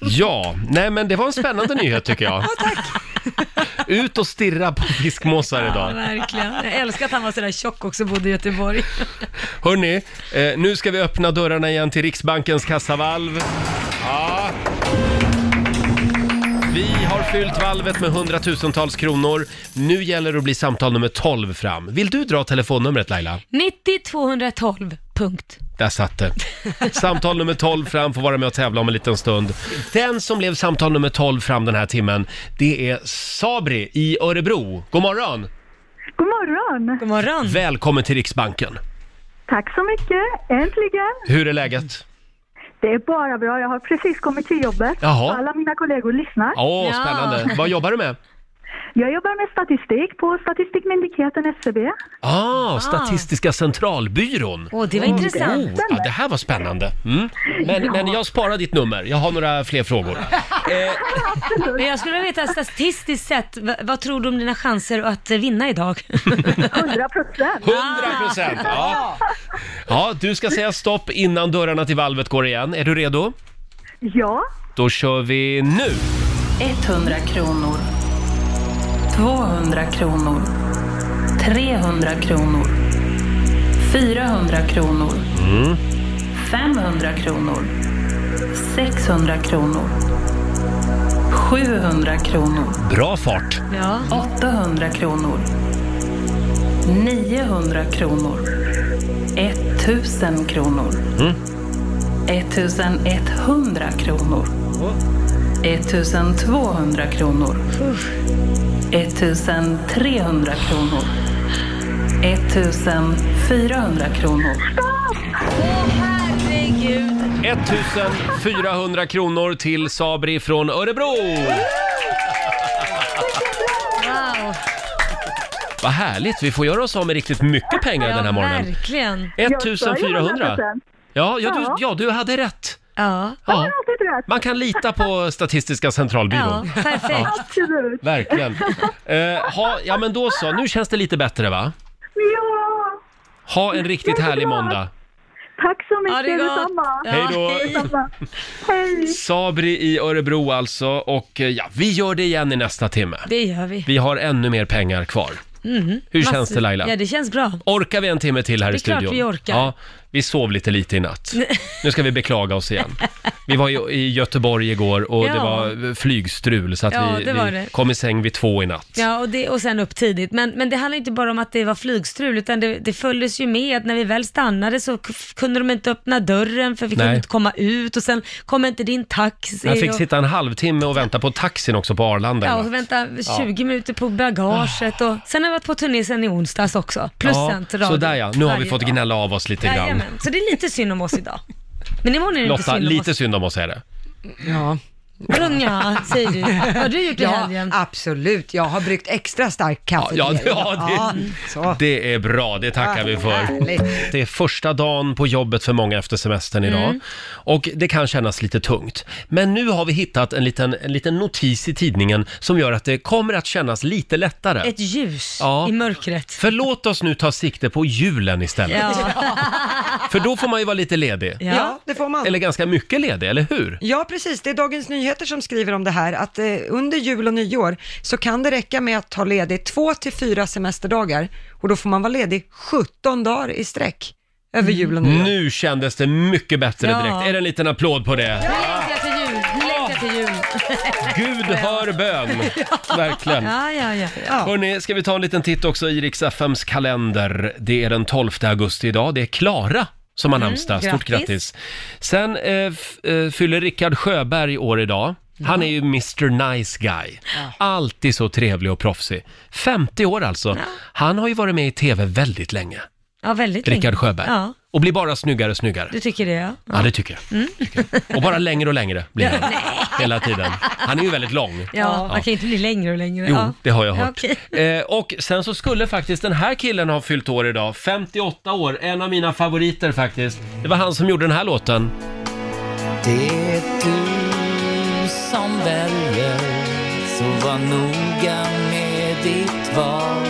[SPEAKER 3] Ja, nej men det var en spännande nyhet tycker jag. Ut och stirra på fiskmåsar
[SPEAKER 7] Ja,
[SPEAKER 3] idag.
[SPEAKER 7] verkligen. Jag älskar att han var sådär tjock också, bodde i Göteborg.
[SPEAKER 3] Hörni, eh, nu ska vi öppna dörrarna igen till Riksbankens kassavalv. Ja. Vi har fyllt valvet med hundratusentals kronor. Nu gäller det att bli samtal nummer 12 fram. Vill du dra telefonnumret Laila?
[SPEAKER 7] 90 212 Punkt.
[SPEAKER 3] Där satt det. Samtal nummer 12 fram får vara med och tävla om en liten stund. Den som blev samtal nummer 12 fram den här timmen, det är Sabri i Örebro. God morgon!
[SPEAKER 12] God morgon!
[SPEAKER 7] God morgon!
[SPEAKER 3] Välkommen till Riksbanken.
[SPEAKER 12] Tack så mycket, äntligen!
[SPEAKER 3] Hur är läget?
[SPEAKER 12] Det är bara bra, jag har precis kommit till jobbet.
[SPEAKER 3] Jaha.
[SPEAKER 12] Alla mina kollegor lyssnar.
[SPEAKER 3] Åh, spännande. Vad jobbar du med?
[SPEAKER 12] Jag jobbar med statistik på Statistikmyndigheten SCB.
[SPEAKER 3] Ah, Statistiska centralbyrån. Oh.
[SPEAKER 12] Åh, det var intressant.
[SPEAKER 3] ja, det här var spännande. Mm. Men, men jag sparar ditt nummer. Jag har några fler frågor. Eh.
[SPEAKER 7] Men jag skulle vilja veta statistiskt sett, v- vad tror du om dina chanser att eh, vinna idag?
[SPEAKER 12] 100 procent!
[SPEAKER 3] 100 procent! Ja. ja, du ska säga stopp innan dörrarna till valvet går igen. Är du redo?
[SPEAKER 12] Ja.
[SPEAKER 3] Då kör vi nu!
[SPEAKER 6] 100 kronor. 200 kronor. 300 kronor. 400 kronor.
[SPEAKER 7] Mm.
[SPEAKER 6] 500 kronor. 600 kronor. 700 kronor.
[SPEAKER 3] Bra fart!
[SPEAKER 7] Ja.
[SPEAKER 6] 800 kronor. 900 kronor. 1000 kronor.
[SPEAKER 11] Mm.
[SPEAKER 6] 1100 kronor. 1200 kronor. 1300 kronor. 1400 kronor.
[SPEAKER 3] 1400 kronor till Sabri från Örebro!
[SPEAKER 7] Wow.
[SPEAKER 3] Vad härligt, vi får göra oss av med riktigt mycket pengar den här morgonen.
[SPEAKER 7] Verkligen.
[SPEAKER 3] 1400. Ja, ja, du, ja, du hade rätt.
[SPEAKER 7] Ja.
[SPEAKER 3] Ja. Man kan lita på Statistiska
[SPEAKER 7] Ja,
[SPEAKER 3] centralbyrån.
[SPEAKER 7] perfekt.
[SPEAKER 3] Ja,
[SPEAKER 12] Absolut.
[SPEAKER 3] verkligen. Eh, ha, ja, men då så. Nu känns det lite bättre, va?
[SPEAKER 12] Ja!
[SPEAKER 3] Ha en riktigt härlig måndag.
[SPEAKER 12] Tack så
[SPEAKER 7] mycket, det gott.
[SPEAKER 12] detsamma!
[SPEAKER 3] Ja, Hej då. hej.
[SPEAKER 12] Detsamma. Hej!
[SPEAKER 3] Sabri i Örebro alltså. Och eh, ja, vi gör det igen i nästa timme.
[SPEAKER 7] Det gör vi.
[SPEAKER 3] Vi har ännu mer pengar kvar.
[SPEAKER 7] Mm.
[SPEAKER 3] Hur känns det, Laila?
[SPEAKER 7] Ja, det känns bra.
[SPEAKER 3] Orkar vi en timme till här
[SPEAKER 7] Det är
[SPEAKER 3] i studion?
[SPEAKER 7] klart vi orkar.
[SPEAKER 3] Ja, vi sov lite lite i natt. Nu ska vi beklaga oss igen. Vi var i- i Göteborg igår och det
[SPEAKER 7] Ja.
[SPEAKER 3] var eh, flygstrul så att
[SPEAKER 7] Ja,
[SPEAKER 3] vi,
[SPEAKER 7] det var
[SPEAKER 3] vi
[SPEAKER 7] det.
[SPEAKER 3] kom i säng vid två i natt.
[SPEAKER 7] Ja, och, det, och sen upp tidigt. Men, men det handlar inte bara om att det var flygstrul, utan det, det följdes ju med att när vi väl stannade så k- kunde de inte öppna dörren för vi kunde
[SPEAKER 3] Nej.
[SPEAKER 7] inte komma ut och sen kom inte din taxi.
[SPEAKER 3] Jag fick
[SPEAKER 7] och,
[SPEAKER 3] sitta en halvtimme och vänta på taxin också på Arlanda. i
[SPEAKER 7] Ja, och
[SPEAKER 3] natt.
[SPEAKER 7] vänta
[SPEAKER 3] Ja.
[SPEAKER 7] 20 minuter på bagaget och sen har jag varit på turné sen i onsdags också. Plus
[SPEAKER 3] Ja,
[SPEAKER 7] sen till radio.
[SPEAKER 3] Sådär ja, nu har vi
[SPEAKER 7] varje
[SPEAKER 3] fått
[SPEAKER 7] dag.
[SPEAKER 3] gnälla av oss lite grann.
[SPEAKER 7] Jajamän, så det är lite synd om oss idag. Men imorgon är det inte
[SPEAKER 3] Lotta,
[SPEAKER 7] synd om
[SPEAKER 3] lite
[SPEAKER 7] oss.
[SPEAKER 3] synd om oss är det.
[SPEAKER 2] Ja.
[SPEAKER 7] Brunja, säger du. Vad har du gjort i
[SPEAKER 2] ja,
[SPEAKER 7] helgen?
[SPEAKER 2] absolut. Jag har bryggt extra stark kaffe
[SPEAKER 3] Ja,
[SPEAKER 2] till er.
[SPEAKER 3] ja, det,
[SPEAKER 2] så.
[SPEAKER 3] det är bra, det tackar
[SPEAKER 2] Ja,
[SPEAKER 3] vi för.
[SPEAKER 2] härligt.
[SPEAKER 3] Det är första dagen på jobbet för många efter semestern idag.
[SPEAKER 2] Mm.
[SPEAKER 3] Och det kan kännas lite tungt. Men nu har vi hittat en liten, en liten notis i tidningen som gör att det kommer att kännas lite lättare.
[SPEAKER 7] Ett ljus
[SPEAKER 3] Ja.
[SPEAKER 7] i mörkret.
[SPEAKER 3] För låt oss nu ta sikte på julen istället. För då får man ju vara lite ledig.
[SPEAKER 2] Ja. Ja, det får man.
[SPEAKER 3] Eller ganska mycket ledig, eller hur?
[SPEAKER 2] Ja, precis. Det är Dagens Nyheter som skriver om det här, att eh, under jul och nyår så kan det räcka med att ta ledigt två till fyra semesterdagar och då får man vara ledig 17 dagar i sträck över
[SPEAKER 3] Mm.
[SPEAKER 2] jul och nyår.
[SPEAKER 3] Nu kändes det mycket bättre
[SPEAKER 2] Ja.
[SPEAKER 3] direkt. Är det en liten applåd på det?
[SPEAKER 7] Nu längtar jag till jul, nu längtar jag till jul.
[SPEAKER 3] Gud hör bön! Verkligen.
[SPEAKER 7] Ja, ja, ja.
[SPEAKER 3] Hörni, ska vi ta en liten titt också i Rix FMs kalender. Det är den 12 augusti idag. Det är Klara som har
[SPEAKER 13] Mm,
[SPEAKER 3] namnsdag. Stort
[SPEAKER 13] grattis.
[SPEAKER 3] grattis! Sen eh, f- eh, fyller Rickard Sjöberg år idag. Han är ju Mr Nice Guy. Alltid så trevlig och proffsig. 50 år alltså. Han har ju varit med i TV väldigt länge,
[SPEAKER 7] ja väldigt länge.
[SPEAKER 3] Rickard Sjöberg.
[SPEAKER 7] Ja,
[SPEAKER 3] Och blir bara snyggare och snyggare.
[SPEAKER 7] du Mm. tycker det ja.
[SPEAKER 3] Ja, det tycker jag. Och bara längre och längre blir han.
[SPEAKER 7] Nej.
[SPEAKER 3] Hela tiden. Han är ju väldigt lång.
[SPEAKER 7] Ja, man kan ju inte bli längre och längre.
[SPEAKER 3] Jo,
[SPEAKER 7] ja.
[SPEAKER 3] det har jag hört.
[SPEAKER 7] Ja, okej.
[SPEAKER 3] Eh, och sen så skulle faktiskt den här killen ha fyllt år idag. 58 år, en av mina favoriter faktiskt. Det var han som gjorde den här låten.
[SPEAKER 11] Det är du som väljer, så var noga med ditt val.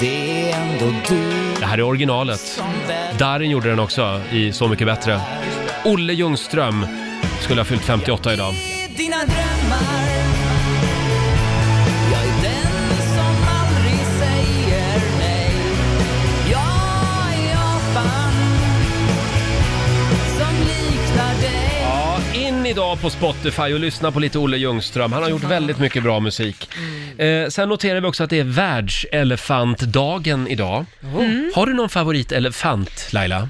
[SPEAKER 11] Det är ändå du
[SPEAKER 3] Det här är originalet. Darin gjorde den också i Så mycket bättre. Olle Ljungström skulle ha fyllt 58 idag.
[SPEAKER 11] dina drömmar. Jag är den som aldrig säger nej. Jag är apan som liknar dig.
[SPEAKER 3] Ja, in idag på Spotify och lyssna på lite Olle Ljungström. Han har gjort väldigt mycket bra musik.
[SPEAKER 11] Mm.
[SPEAKER 3] Eh, sen noterar vi också att det är världselefantdagen idag.
[SPEAKER 7] Mm.
[SPEAKER 11] Oh.
[SPEAKER 3] Har du någon favoritelefant, Laila?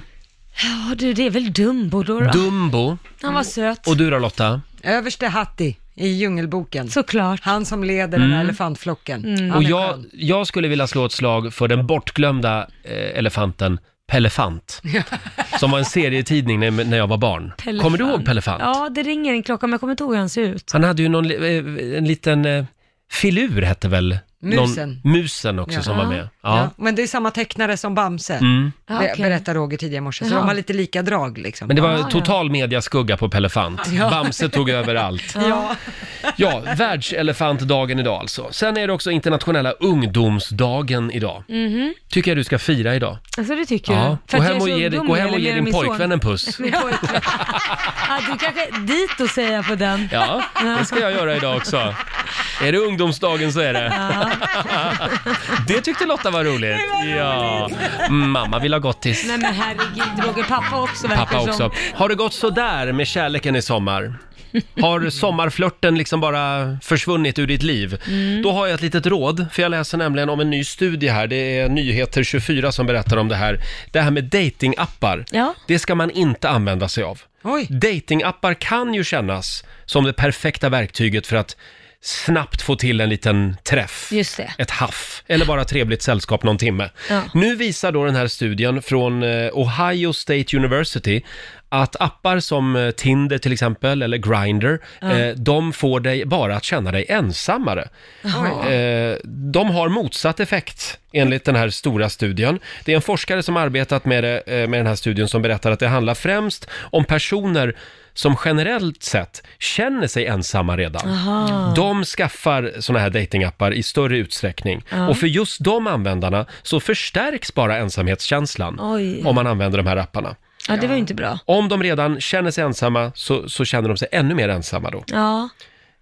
[SPEAKER 7] Ja du, det är väl Dumbo då? då?
[SPEAKER 3] Dumbo.
[SPEAKER 7] Han var söt.
[SPEAKER 3] Och du då Lotta?
[SPEAKER 2] Överste Hatti i Djungelboken.
[SPEAKER 7] Såklart. Mm.
[SPEAKER 2] Han som leder den
[SPEAKER 3] Mm.
[SPEAKER 2] där elefantflocken. Han
[SPEAKER 3] Och
[SPEAKER 2] är
[SPEAKER 3] jag, jag skulle vilja slå ett slag för den bortglömda eh, elefanten Pellefant. Som var en serietidning när, när jag var barn.
[SPEAKER 7] Pellefant.
[SPEAKER 3] Kommer du ihåg Pellefant?
[SPEAKER 7] Ja, det ringer en klocka men jag kommer inte ihåg hur han ser ut.
[SPEAKER 3] Han hade ju någon, li- eh, en liten eh, filur hette väl?
[SPEAKER 2] Musen.
[SPEAKER 3] Någon, musen också
[SPEAKER 2] Ja.
[SPEAKER 3] som var med.
[SPEAKER 2] Ja.
[SPEAKER 3] Ja.
[SPEAKER 2] Men det är samma tecknare som Bamse,
[SPEAKER 3] Mm.
[SPEAKER 2] Be-
[SPEAKER 7] Ah, okej.
[SPEAKER 2] berättar Roger tidigare i morse. Så
[SPEAKER 7] Jaha.
[SPEAKER 2] de har lite lika drag liksom.
[SPEAKER 3] Men det var total mediaskugga på Pellefant.
[SPEAKER 2] Ja.
[SPEAKER 3] Bamse tog över allt.
[SPEAKER 2] Ja.
[SPEAKER 3] Ja, världselefantdagen idag alltså. Sen är det också internationella ungdomsdagen idag.
[SPEAKER 7] Mhm.
[SPEAKER 3] Tycker jag du ska fira idag.
[SPEAKER 7] Alltså det tycker
[SPEAKER 3] Ja.
[SPEAKER 7] du? För
[SPEAKER 3] Gå
[SPEAKER 7] att jag
[SPEAKER 3] hem och
[SPEAKER 7] är så
[SPEAKER 3] ge dig- gå
[SPEAKER 7] ungdomlig,
[SPEAKER 3] hem och
[SPEAKER 7] eller
[SPEAKER 3] ge
[SPEAKER 7] är
[SPEAKER 3] din
[SPEAKER 7] det min son?
[SPEAKER 3] pojkvän en puss.
[SPEAKER 7] Min pojkvän. ja, du kanske dito säger jag på den.
[SPEAKER 3] Ja, det ska jag göra idag också. Är det ungdomsdagen så är det. Det tyckte Lotta var roligt. Ja. Mm, Mamma vill ha gottis.
[SPEAKER 7] Nej men herregud Roger, pappa också verkar
[SPEAKER 3] Pappa också.
[SPEAKER 7] som.
[SPEAKER 3] Har det gått så där med kärleken i sommar? Har sommarflörten liksom bara försvunnit ur ditt liv?
[SPEAKER 13] Mm.
[SPEAKER 3] Då har jag ett litet råd, för jag läser nämligen om en ny studie här. Det är Nyheter 24 som berättar om det här. Det här med datingappar,
[SPEAKER 7] Ja.
[SPEAKER 3] det ska man inte använda sig av. Datingappar kan ju kännas som det perfekta verktyget för att snabbt få till en liten träff
[SPEAKER 7] Just det.
[SPEAKER 3] ett haff eller bara trevligt sällskap någon timme.
[SPEAKER 7] Ja.
[SPEAKER 3] Nu visar då den här studien från eh, Ohio State University att appar som eh, Tinder till exempel eller Grindr,
[SPEAKER 13] Ja.
[SPEAKER 3] eh, de får dig bara att känna dig ensammare.
[SPEAKER 13] Jaha.
[SPEAKER 3] Eh, de har motsatt effekt enligt den här stora studien. Det är en forskare som arbetat med, det, eh, med den här studien som berättar att det handlar främst om personer som generellt sett känner sig ensamma redan.
[SPEAKER 13] Aha.
[SPEAKER 3] De skaffar såna här datingappar i större utsträckning.
[SPEAKER 13] Ja.
[SPEAKER 3] Och för just de användarna så förstärks bara ensamhetskänslan
[SPEAKER 7] Oj.
[SPEAKER 3] om man använder de här apparna.
[SPEAKER 7] Ja, det var ju inte bra.
[SPEAKER 3] Om de redan känner sig ensamma så, så känner de sig ännu mer ensamma då.
[SPEAKER 7] Ja.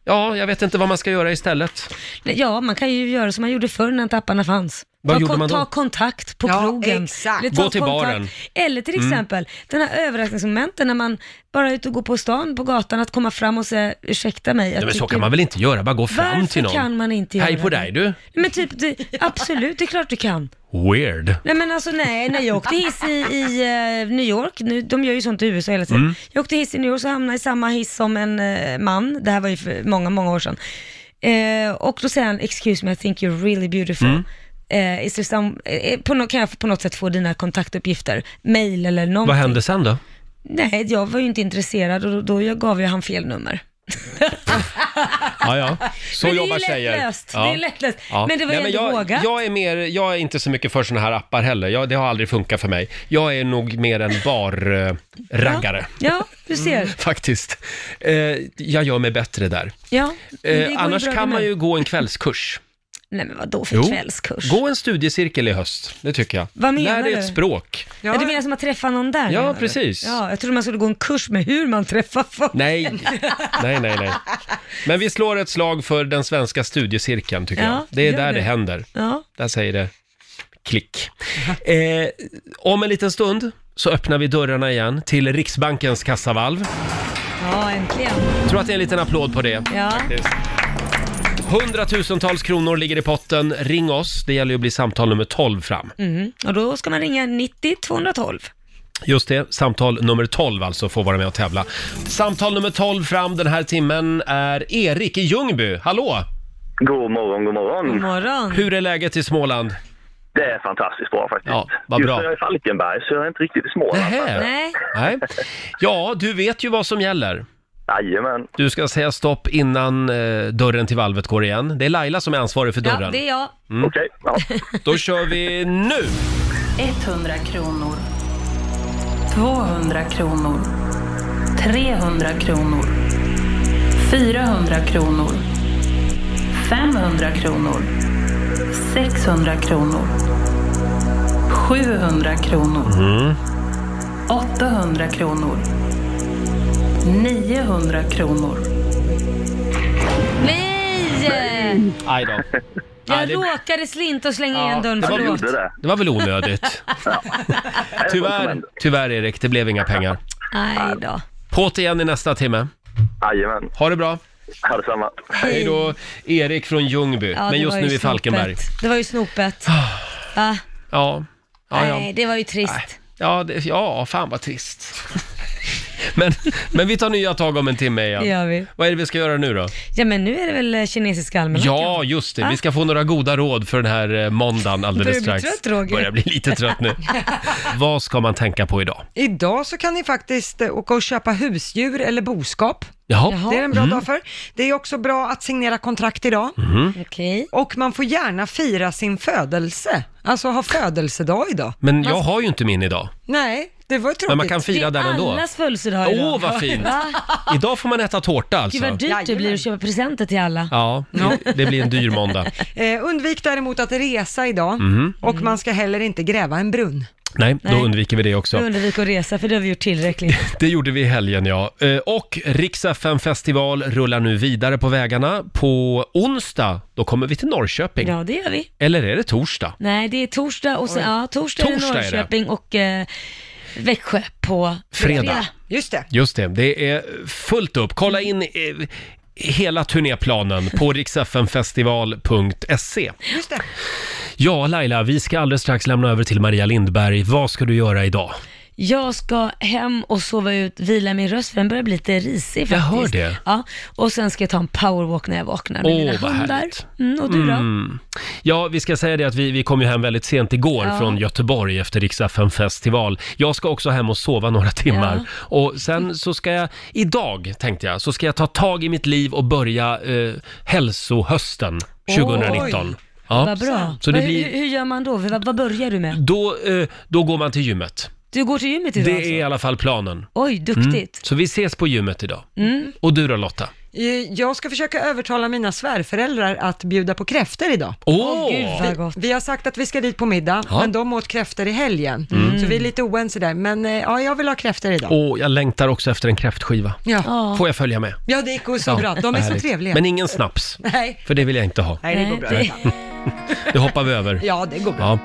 [SPEAKER 3] Ja, jag vet inte vad man ska göra istället.
[SPEAKER 7] Nej, ja, man kan ju göra som man gjorde förr när inte apparna fanns.
[SPEAKER 3] Vad
[SPEAKER 7] ta,
[SPEAKER 3] gjorde
[SPEAKER 7] kon-
[SPEAKER 3] man då?
[SPEAKER 7] ta kontakt på krogen.
[SPEAKER 3] exakt.
[SPEAKER 7] Eller ta
[SPEAKER 3] Gå till
[SPEAKER 7] kontakt-
[SPEAKER 3] baren.
[SPEAKER 7] Eller till
[SPEAKER 3] Mm.
[SPEAKER 7] exempel den här överraskningsmomenten när man bara är ute och går på stan, på gatan, att komma fram och säga ursäkta mig. jag
[SPEAKER 3] Nej, men så
[SPEAKER 7] tycker-
[SPEAKER 3] kan man väl inte göra? Bara gå fram
[SPEAKER 7] Varför
[SPEAKER 3] till någon.
[SPEAKER 7] kan man inte
[SPEAKER 3] Hej
[SPEAKER 7] göra
[SPEAKER 3] på
[SPEAKER 7] det?
[SPEAKER 3] dig du.
[SPEAKER 7] Men typ, det, absolut, det är klart du kan.
[SPEAKER 3] Weird.
[SPEAKER 7] Nej men alltså nej, när jag åkte hiss i, i eh, New York, nu, de gör ju sånt i USA hela tiden.
[SPEAKER 3] Mm.
[SPEAKER 7] Jag åkte hiss i New York och hamnade i samma hiss som en eh, man, det här var ju för många, många år sedan. Eh, och då säger han, excuse me, I think you're really beautiful.
[SPEAKER 3] Mm.
[SPEAKER 7] Eh, is there some, eh, på nå- kan jag på något sätt få dina kontaktuppgifter? Mail eller någonting?
[SPEAKER 3] Vad hände sen då?
[SPEAKER 7] Nej, jag var ju inte intresserad och då, då jag gav jag han fel nummer.
[SPEAKER 3] Ja, ja. Så
[SPEAKER 7] Men det är
[SPEAKER 3] jobbar
[SPEAKER 7] ju
[SPEAKER 3] tjejer.
[SPEAKER 7] lättlöst. Det är lättlöst. Men det var ju ändå
[SPEAKER 3] jag,
[SPEAKER 7] vågat.
[SPEAKER 3] Jag är, mer, jag är inte så mycket för såna här appar heller. Jag, det har aldrig funkat för mig. Jag är nog mer en bar-raggare. Mm,
[SPEAKER 7] Ja, du ser.
[SPEAKER 3] Faktiskt. Eh, jag gör mig bättre där.
[SPEAKER 7] Ja, men det går ju
[SPEAKER 3] Eh, annars
[SPEAKER 7] bra det
[SPEAKER 3] kan man
[SPEAKER 7] med.
[SPEAKER 3] ju gå en kvällskurs.
[SPEAKER 7] Nej men vadå för
[SPEAKER 3] Jo.
[SPEAKER 7] kvällskurs?
[SPEAKER 3] Gå en studiecirkel i höst, det tycker jag.
[SPEAKER 7] Vad menar
[SPEAKER 3] Lär dig
[SPEAKER 7] du?
[SPEAKER 3] ett språk.
[SPEAKER 7] Ja, du menar som att träffa någon där?
[SPEAKER 3] Ja,
[SPEAKER 7] menar du?
[SPEAKER 3] precis.
[SPEAKER 7] Ja, jag trodde man skulle gå en kurs med hur man träffar folk.
[SPEAKER 3] Nej. Nej, nej, nej. Men vi slår ett slag för den svenska studiecirkeln, tycker
[SPEAKER 7] Ja,
[SPEAKER 3] jag. Det är
[SPEAKER 7] gör
[SPEAKER 3] där
[SPEAKER 7] det.
[SPEAKER 3] det händer.
[SPEAKER 7] Ja.
[SPEAKER 3] Där säger det klick. Eh, om en liten stund så öppnar vi dörrarna igen till Riksbankens kassavalv.
[SPEAKER 7] Ja, äntligen.
[SPEAKER 3] Jag tror att det är en liten applåd på det.
[SPEAKER 7] Ja.
[SPEAKER 3] faktiskt. Hundratusentals kronor ligger i potten. Ring oss. Det gäller ju att bli samtal nummer 12 fram.
[SPEAKER 7] Mm. Och då ska man ringa 90 212.
[SPEAKER 3] Just det, samtal nummer 12 alltså får vara med och tävla. Samtal nummer 12 fram den här timmen är Erik i Ljungby. Hallå!
[SPEAKER 14] God morgon, god morgon.
[SPEAKER 7] God morgon.
[SPEAKER 3] Hur är läget i Småland?
[SPEAKER 14] Det är fantastiskt bra faktiskt.
[SPEAKER 3] Ja, vad bra.
[SPEAKER 14] Just nu är jag i Falkenberg så jag är inte riktigt i Småland.
[SPEAKER 3] Nähä.
[SPEAKER 7] Nej.
[SPEAKER 3] Nej. Ja, du vet ju vad som gäller.
[SPEAKER 14] Jajamän.
[SPEAKER 3] Du ska säga stopp innan eh, dörren till valvet går igen. Det är Laila som är ansvarig för dörren.
[SPEAKER 6] Ja, det är
[SPEAKER 7] jag.
[SPEAKER 3] Mm.
[SPEAKER 14] Okej.
[SPEAKER 3] Då kör vi nu!
[SPEAKER 6] 100 kronor. 200 kronor. 300 kronor. 400 kronor. 500 kronor. 600 kronor. 700 kronor.
[SPEAKER 13] Mm.
[SPEAKER 6] 800 kronor. 900 kronor.
[SPEAKER 7] Nej!
[SPEAKER 3] Aj då.
[SPEAKER 7] Jag
[SPEAKER 3] Nej, det-
[SPEAKER 7] råkade slinta och slänga igen dörren,
[SPEAKER 3] det,
[SPEAKER 7] förlåt.
[SPEAKER 3] var, det var väl onödigt. Tyvärr, tyvärr Erik, det blev inga pengar.
[SPEAKER 7] Nej då.
[SPEAKER 3] På't igen i nästa timme.
[SPEAKER 14] Jajamän.
[SPEAKER 3] Ha det bra.
[SPEAKER 14] Ha detsamma.
[SPEAKER 3] Hej då, Erik från Ljungby,
[SPEAKER 7] Ja, det
[SPEAKER 3] men just
[SPEAKER 7] var
[SPEAKER 3] nu
[SPEAKER 7] ju
[SPEAKER 3] i Falkenberg. Ah.
[SPEAKER 7] snopet. Det var ju snopet. Va?
[SPEAKER 3] Ja. Ja, ja.
[SPEAKER 7] Nej, det var ju trist.
[SPEAKER 3] Ja, det, ja fan vad trist. men, men vi tar nya tag om en timme igen.
[SPEAKER 7] Det gör vi.
[SPEAKER 3] Vad är det vi ska göra nu då?
[SPEAKER 7] Ja, men nu är det väl eh, kinesiska almanackan?
[SPEAKER 3] Ja, just det.
[SPEAKER 7] Ah.
[SPEAKER 3] Vi ska få några goda råd för den här eh, måndagen alldeles
[SPEAKER 2] Börjar bli
[SPEAKER 3] strax.
[SPEAKER 2] trött, Roger.
[SPEAKER 3] Börjar bli lite trött nu. Vad ska man tänka på idag?
[SPEAKER 2] Idag så kan ni faktiskt eh, åka och köpa husdjur eller boskap.
[SPEAKER 3] Jaha.
[SPEAKER 2] Det är en bra
[SPEAKER 3] Mm.
[SPEAKER 2] dag för. Det är också bra att signera kontrakt idag.
[SPEAKER 3] Mhm.
[SPEAKER 2] Och man får gärna fira sin födelse, alltså ha födelsedag idag.
[SPEAKER 3] Men
[SPEAKER 2] Man-
[SPEAKER 3] jag har ju inte min idag.
[SPEAKER 2] Nej, det var ju tråkigt.
[SPEAKER 3] Men man kan fira den ändå.
[SPEAKER 7] födelsedag
[SPEAKER 3] idag. Åh, vad fint. Va? Idag får man äta tårta alltså.
[SPEAKER 7] Gud vad dyrt det blir att köpa presenter till alla.
[SPEAKER 3] Ja,
[SPEAKER 7] Ja.
[SPEAKER 3] det blir en dyr måndag.
[SPEAKER 2] Eh, undvik däremot att resa idag
[SPEAKER 3] Mhm.
[SPEAKER 2] och man ska heller inte gräva en brunn.
[SPEAKER 3] Nej, då
[SPEAKER 7] Nej.
[SPEAKER 3] undviker vi det också.
[SPEAKER 7] Nu undviker att resa för det har vi gjort tillräckligt.
[SPEAKER 3] Det gjorde vi i helgen ja. Eh, Och Rix FM festival rullar nu vidare på vägarna. På onsdag, då kommer vi till Norrköping.
[SPEAKER 7] Ja, det gör vi.
[SPEAKER 3] Eller är det torsdag?
[SPEAKER 7] Nej, det är torsdag och sen, ja, torsdag,
[SPEAKER 3] Torsdag
[SPEAKER 7] är
[SPEAKER 3] är
[SPEAKER 7] det
[SPEAKER 3] det.
[SPEAKER 7] Norrköping och eh, Växjö på
[SPEAKER 3] Fredag.
[SPEAKER 2] Just det.
[SPEAKER 3] Just det, det är fullt upp. Kolla in eh, hela turnéplanen på riksfnfestival.se.
[SPEAKER 2] Just det.
[SPEAKER 3] Ja, Laila, vi ska alldeles strax lämna över till Maria Lindberg. Vad ska du göra idag?
[SPEAKER 7] Jag ska hem och sova ut, vila min röst för den börjar bli lite risig
[SPEAKER 3] Jag
[SPEAKER 7] faktiskt.
[SPEAKER 3] hör det.
[SPEAKER 7] Ja, och sen ska jag ta en powerwalk när jag vaknar med
[SPEAKER 3] Åh,
[SPEAKER 7] mina
[SPEAKER 3] vad
[SPEAKER 7] hundar.
[SPEAKER 3] härligt.
[SPEAKER 7] Mm, och du då?
[SPEAKER 3] Mm. Ja, vi ska säga det att vi, vi kom ju hem väldigt sent igår
[SPEAKER 7] Ja.
[SPEAKER 3] från Göteborg efter Riksdagen festival. Jag ska också hem och sova några timmar. Och sen så ska jag, idag tänkte jag, så ska jag ta tag i mitt liv och börja eh, hälsohösten 2019.
[SPEAKER 7] Oj. Vad bra.
[SPEAKER 3] Så det
[SPEAKER 7] Vad-
[SPEAKER 3] blir,
[SPEAKER 7] hur, hur gör man då? Vad, vad börjar du med?
[SPEAKER 3] då, eh, då går man till gymmet.
[SPEAKER 7] Du går till gymmet idag
[SPEAKER 3] Det
[SPEAKER 7] alltså?
[SPEAKER 3] är i alla fall planen.
[SPEAKER 7] Oj,
[SPEAKER 3] Mm.
[SPEAKER 7] duktigt.
[SPEAKER 3] Så vi ses på gymmet idag.
[SPEAKER 2] Mm.
[SPEAKER 3] Och du då Lotta?
[SPEAKER 2] Eh, Jag ska försöka övertala mina svärföräldrar att bjuda på kräftor idag.
[SPEAKER 3] Åh! Åh, gud, vad
[SPEAKER 2] vi, vi har sagt att vi ska dit på middag,
[SPEAKER 3] Ja.
[SPEAKER 2] men de åt kräftor i helgen.
[SPEAKER 3] Mm.
[SPEAKER 2] Så vi är lite oense där, men eh, ja, jag vill ha kräftor idag.
[SPEAKER 3] Åh, jag längtar också efter en kräftskiva.
[SPEAKER 2] Ja.
[SPEAKER 3] Får jag följa med?
[SPEAKER 2] Ja, det går så
[SPEAKER 3] Ja,
[SPEAKER 2] bra. De är
[SPEAKER 3] vad
[SPEAKER 2] så
[SPEAKER 3] härligt.
[SPEAKER 2] trevliga.
[SPEAKER 3] Men ingen snaps.
[SPEAKER 2] Nej.
[SPEAKER 3] För det vill jag inte ha.
[SPEAKER 2] Nej, det går bra.
[SPEAKER 3] Nej. Det hoppar vi över.
[SPEAKER 2] Ja, det går bra.
[SPEAKER 3] Ja.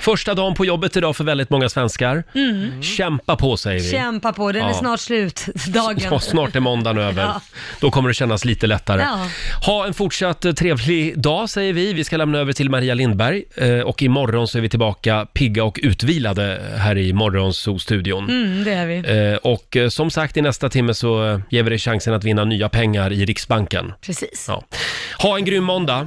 [SPEAKER 3] Första dagen på jobbet idag för väldigt många svenskar.
[SPEAKER 7] Mm.
[SPEAKER 3] Kämpa på säger vi.
[SPEAKER 7] Kämpa på, den är
[SPEAKER 3] Ja.
[SPEAKER 7] snart slut, dagen.
[SPEAKER 3] Ja, snart är måndagen över.
[SPEAKER 7] Ja.
[SPEAKER 3] Då kommer det kännas lite lättare.
[SPEAKER 7] Ja.
[SPEAKER 3] Ha en fortsatt eh, trevlig dag säger vi. Vi ska lämna över till Maria Lindberg eh, och imorgon så är vi tillbaka pigga och utvilade här i Morgonzoo-studion.
[SPEAKER 7] Mm, det är vi.
[SPEAKER 3] Eh, Och eh, som sagt, i nästa timme så eh, ger vi dig chansen att vinna nya pengar i Riksbanken.
[SPEAKER 7] Precis.
[SPEAKER 3] Ja. Ha en grym måndag!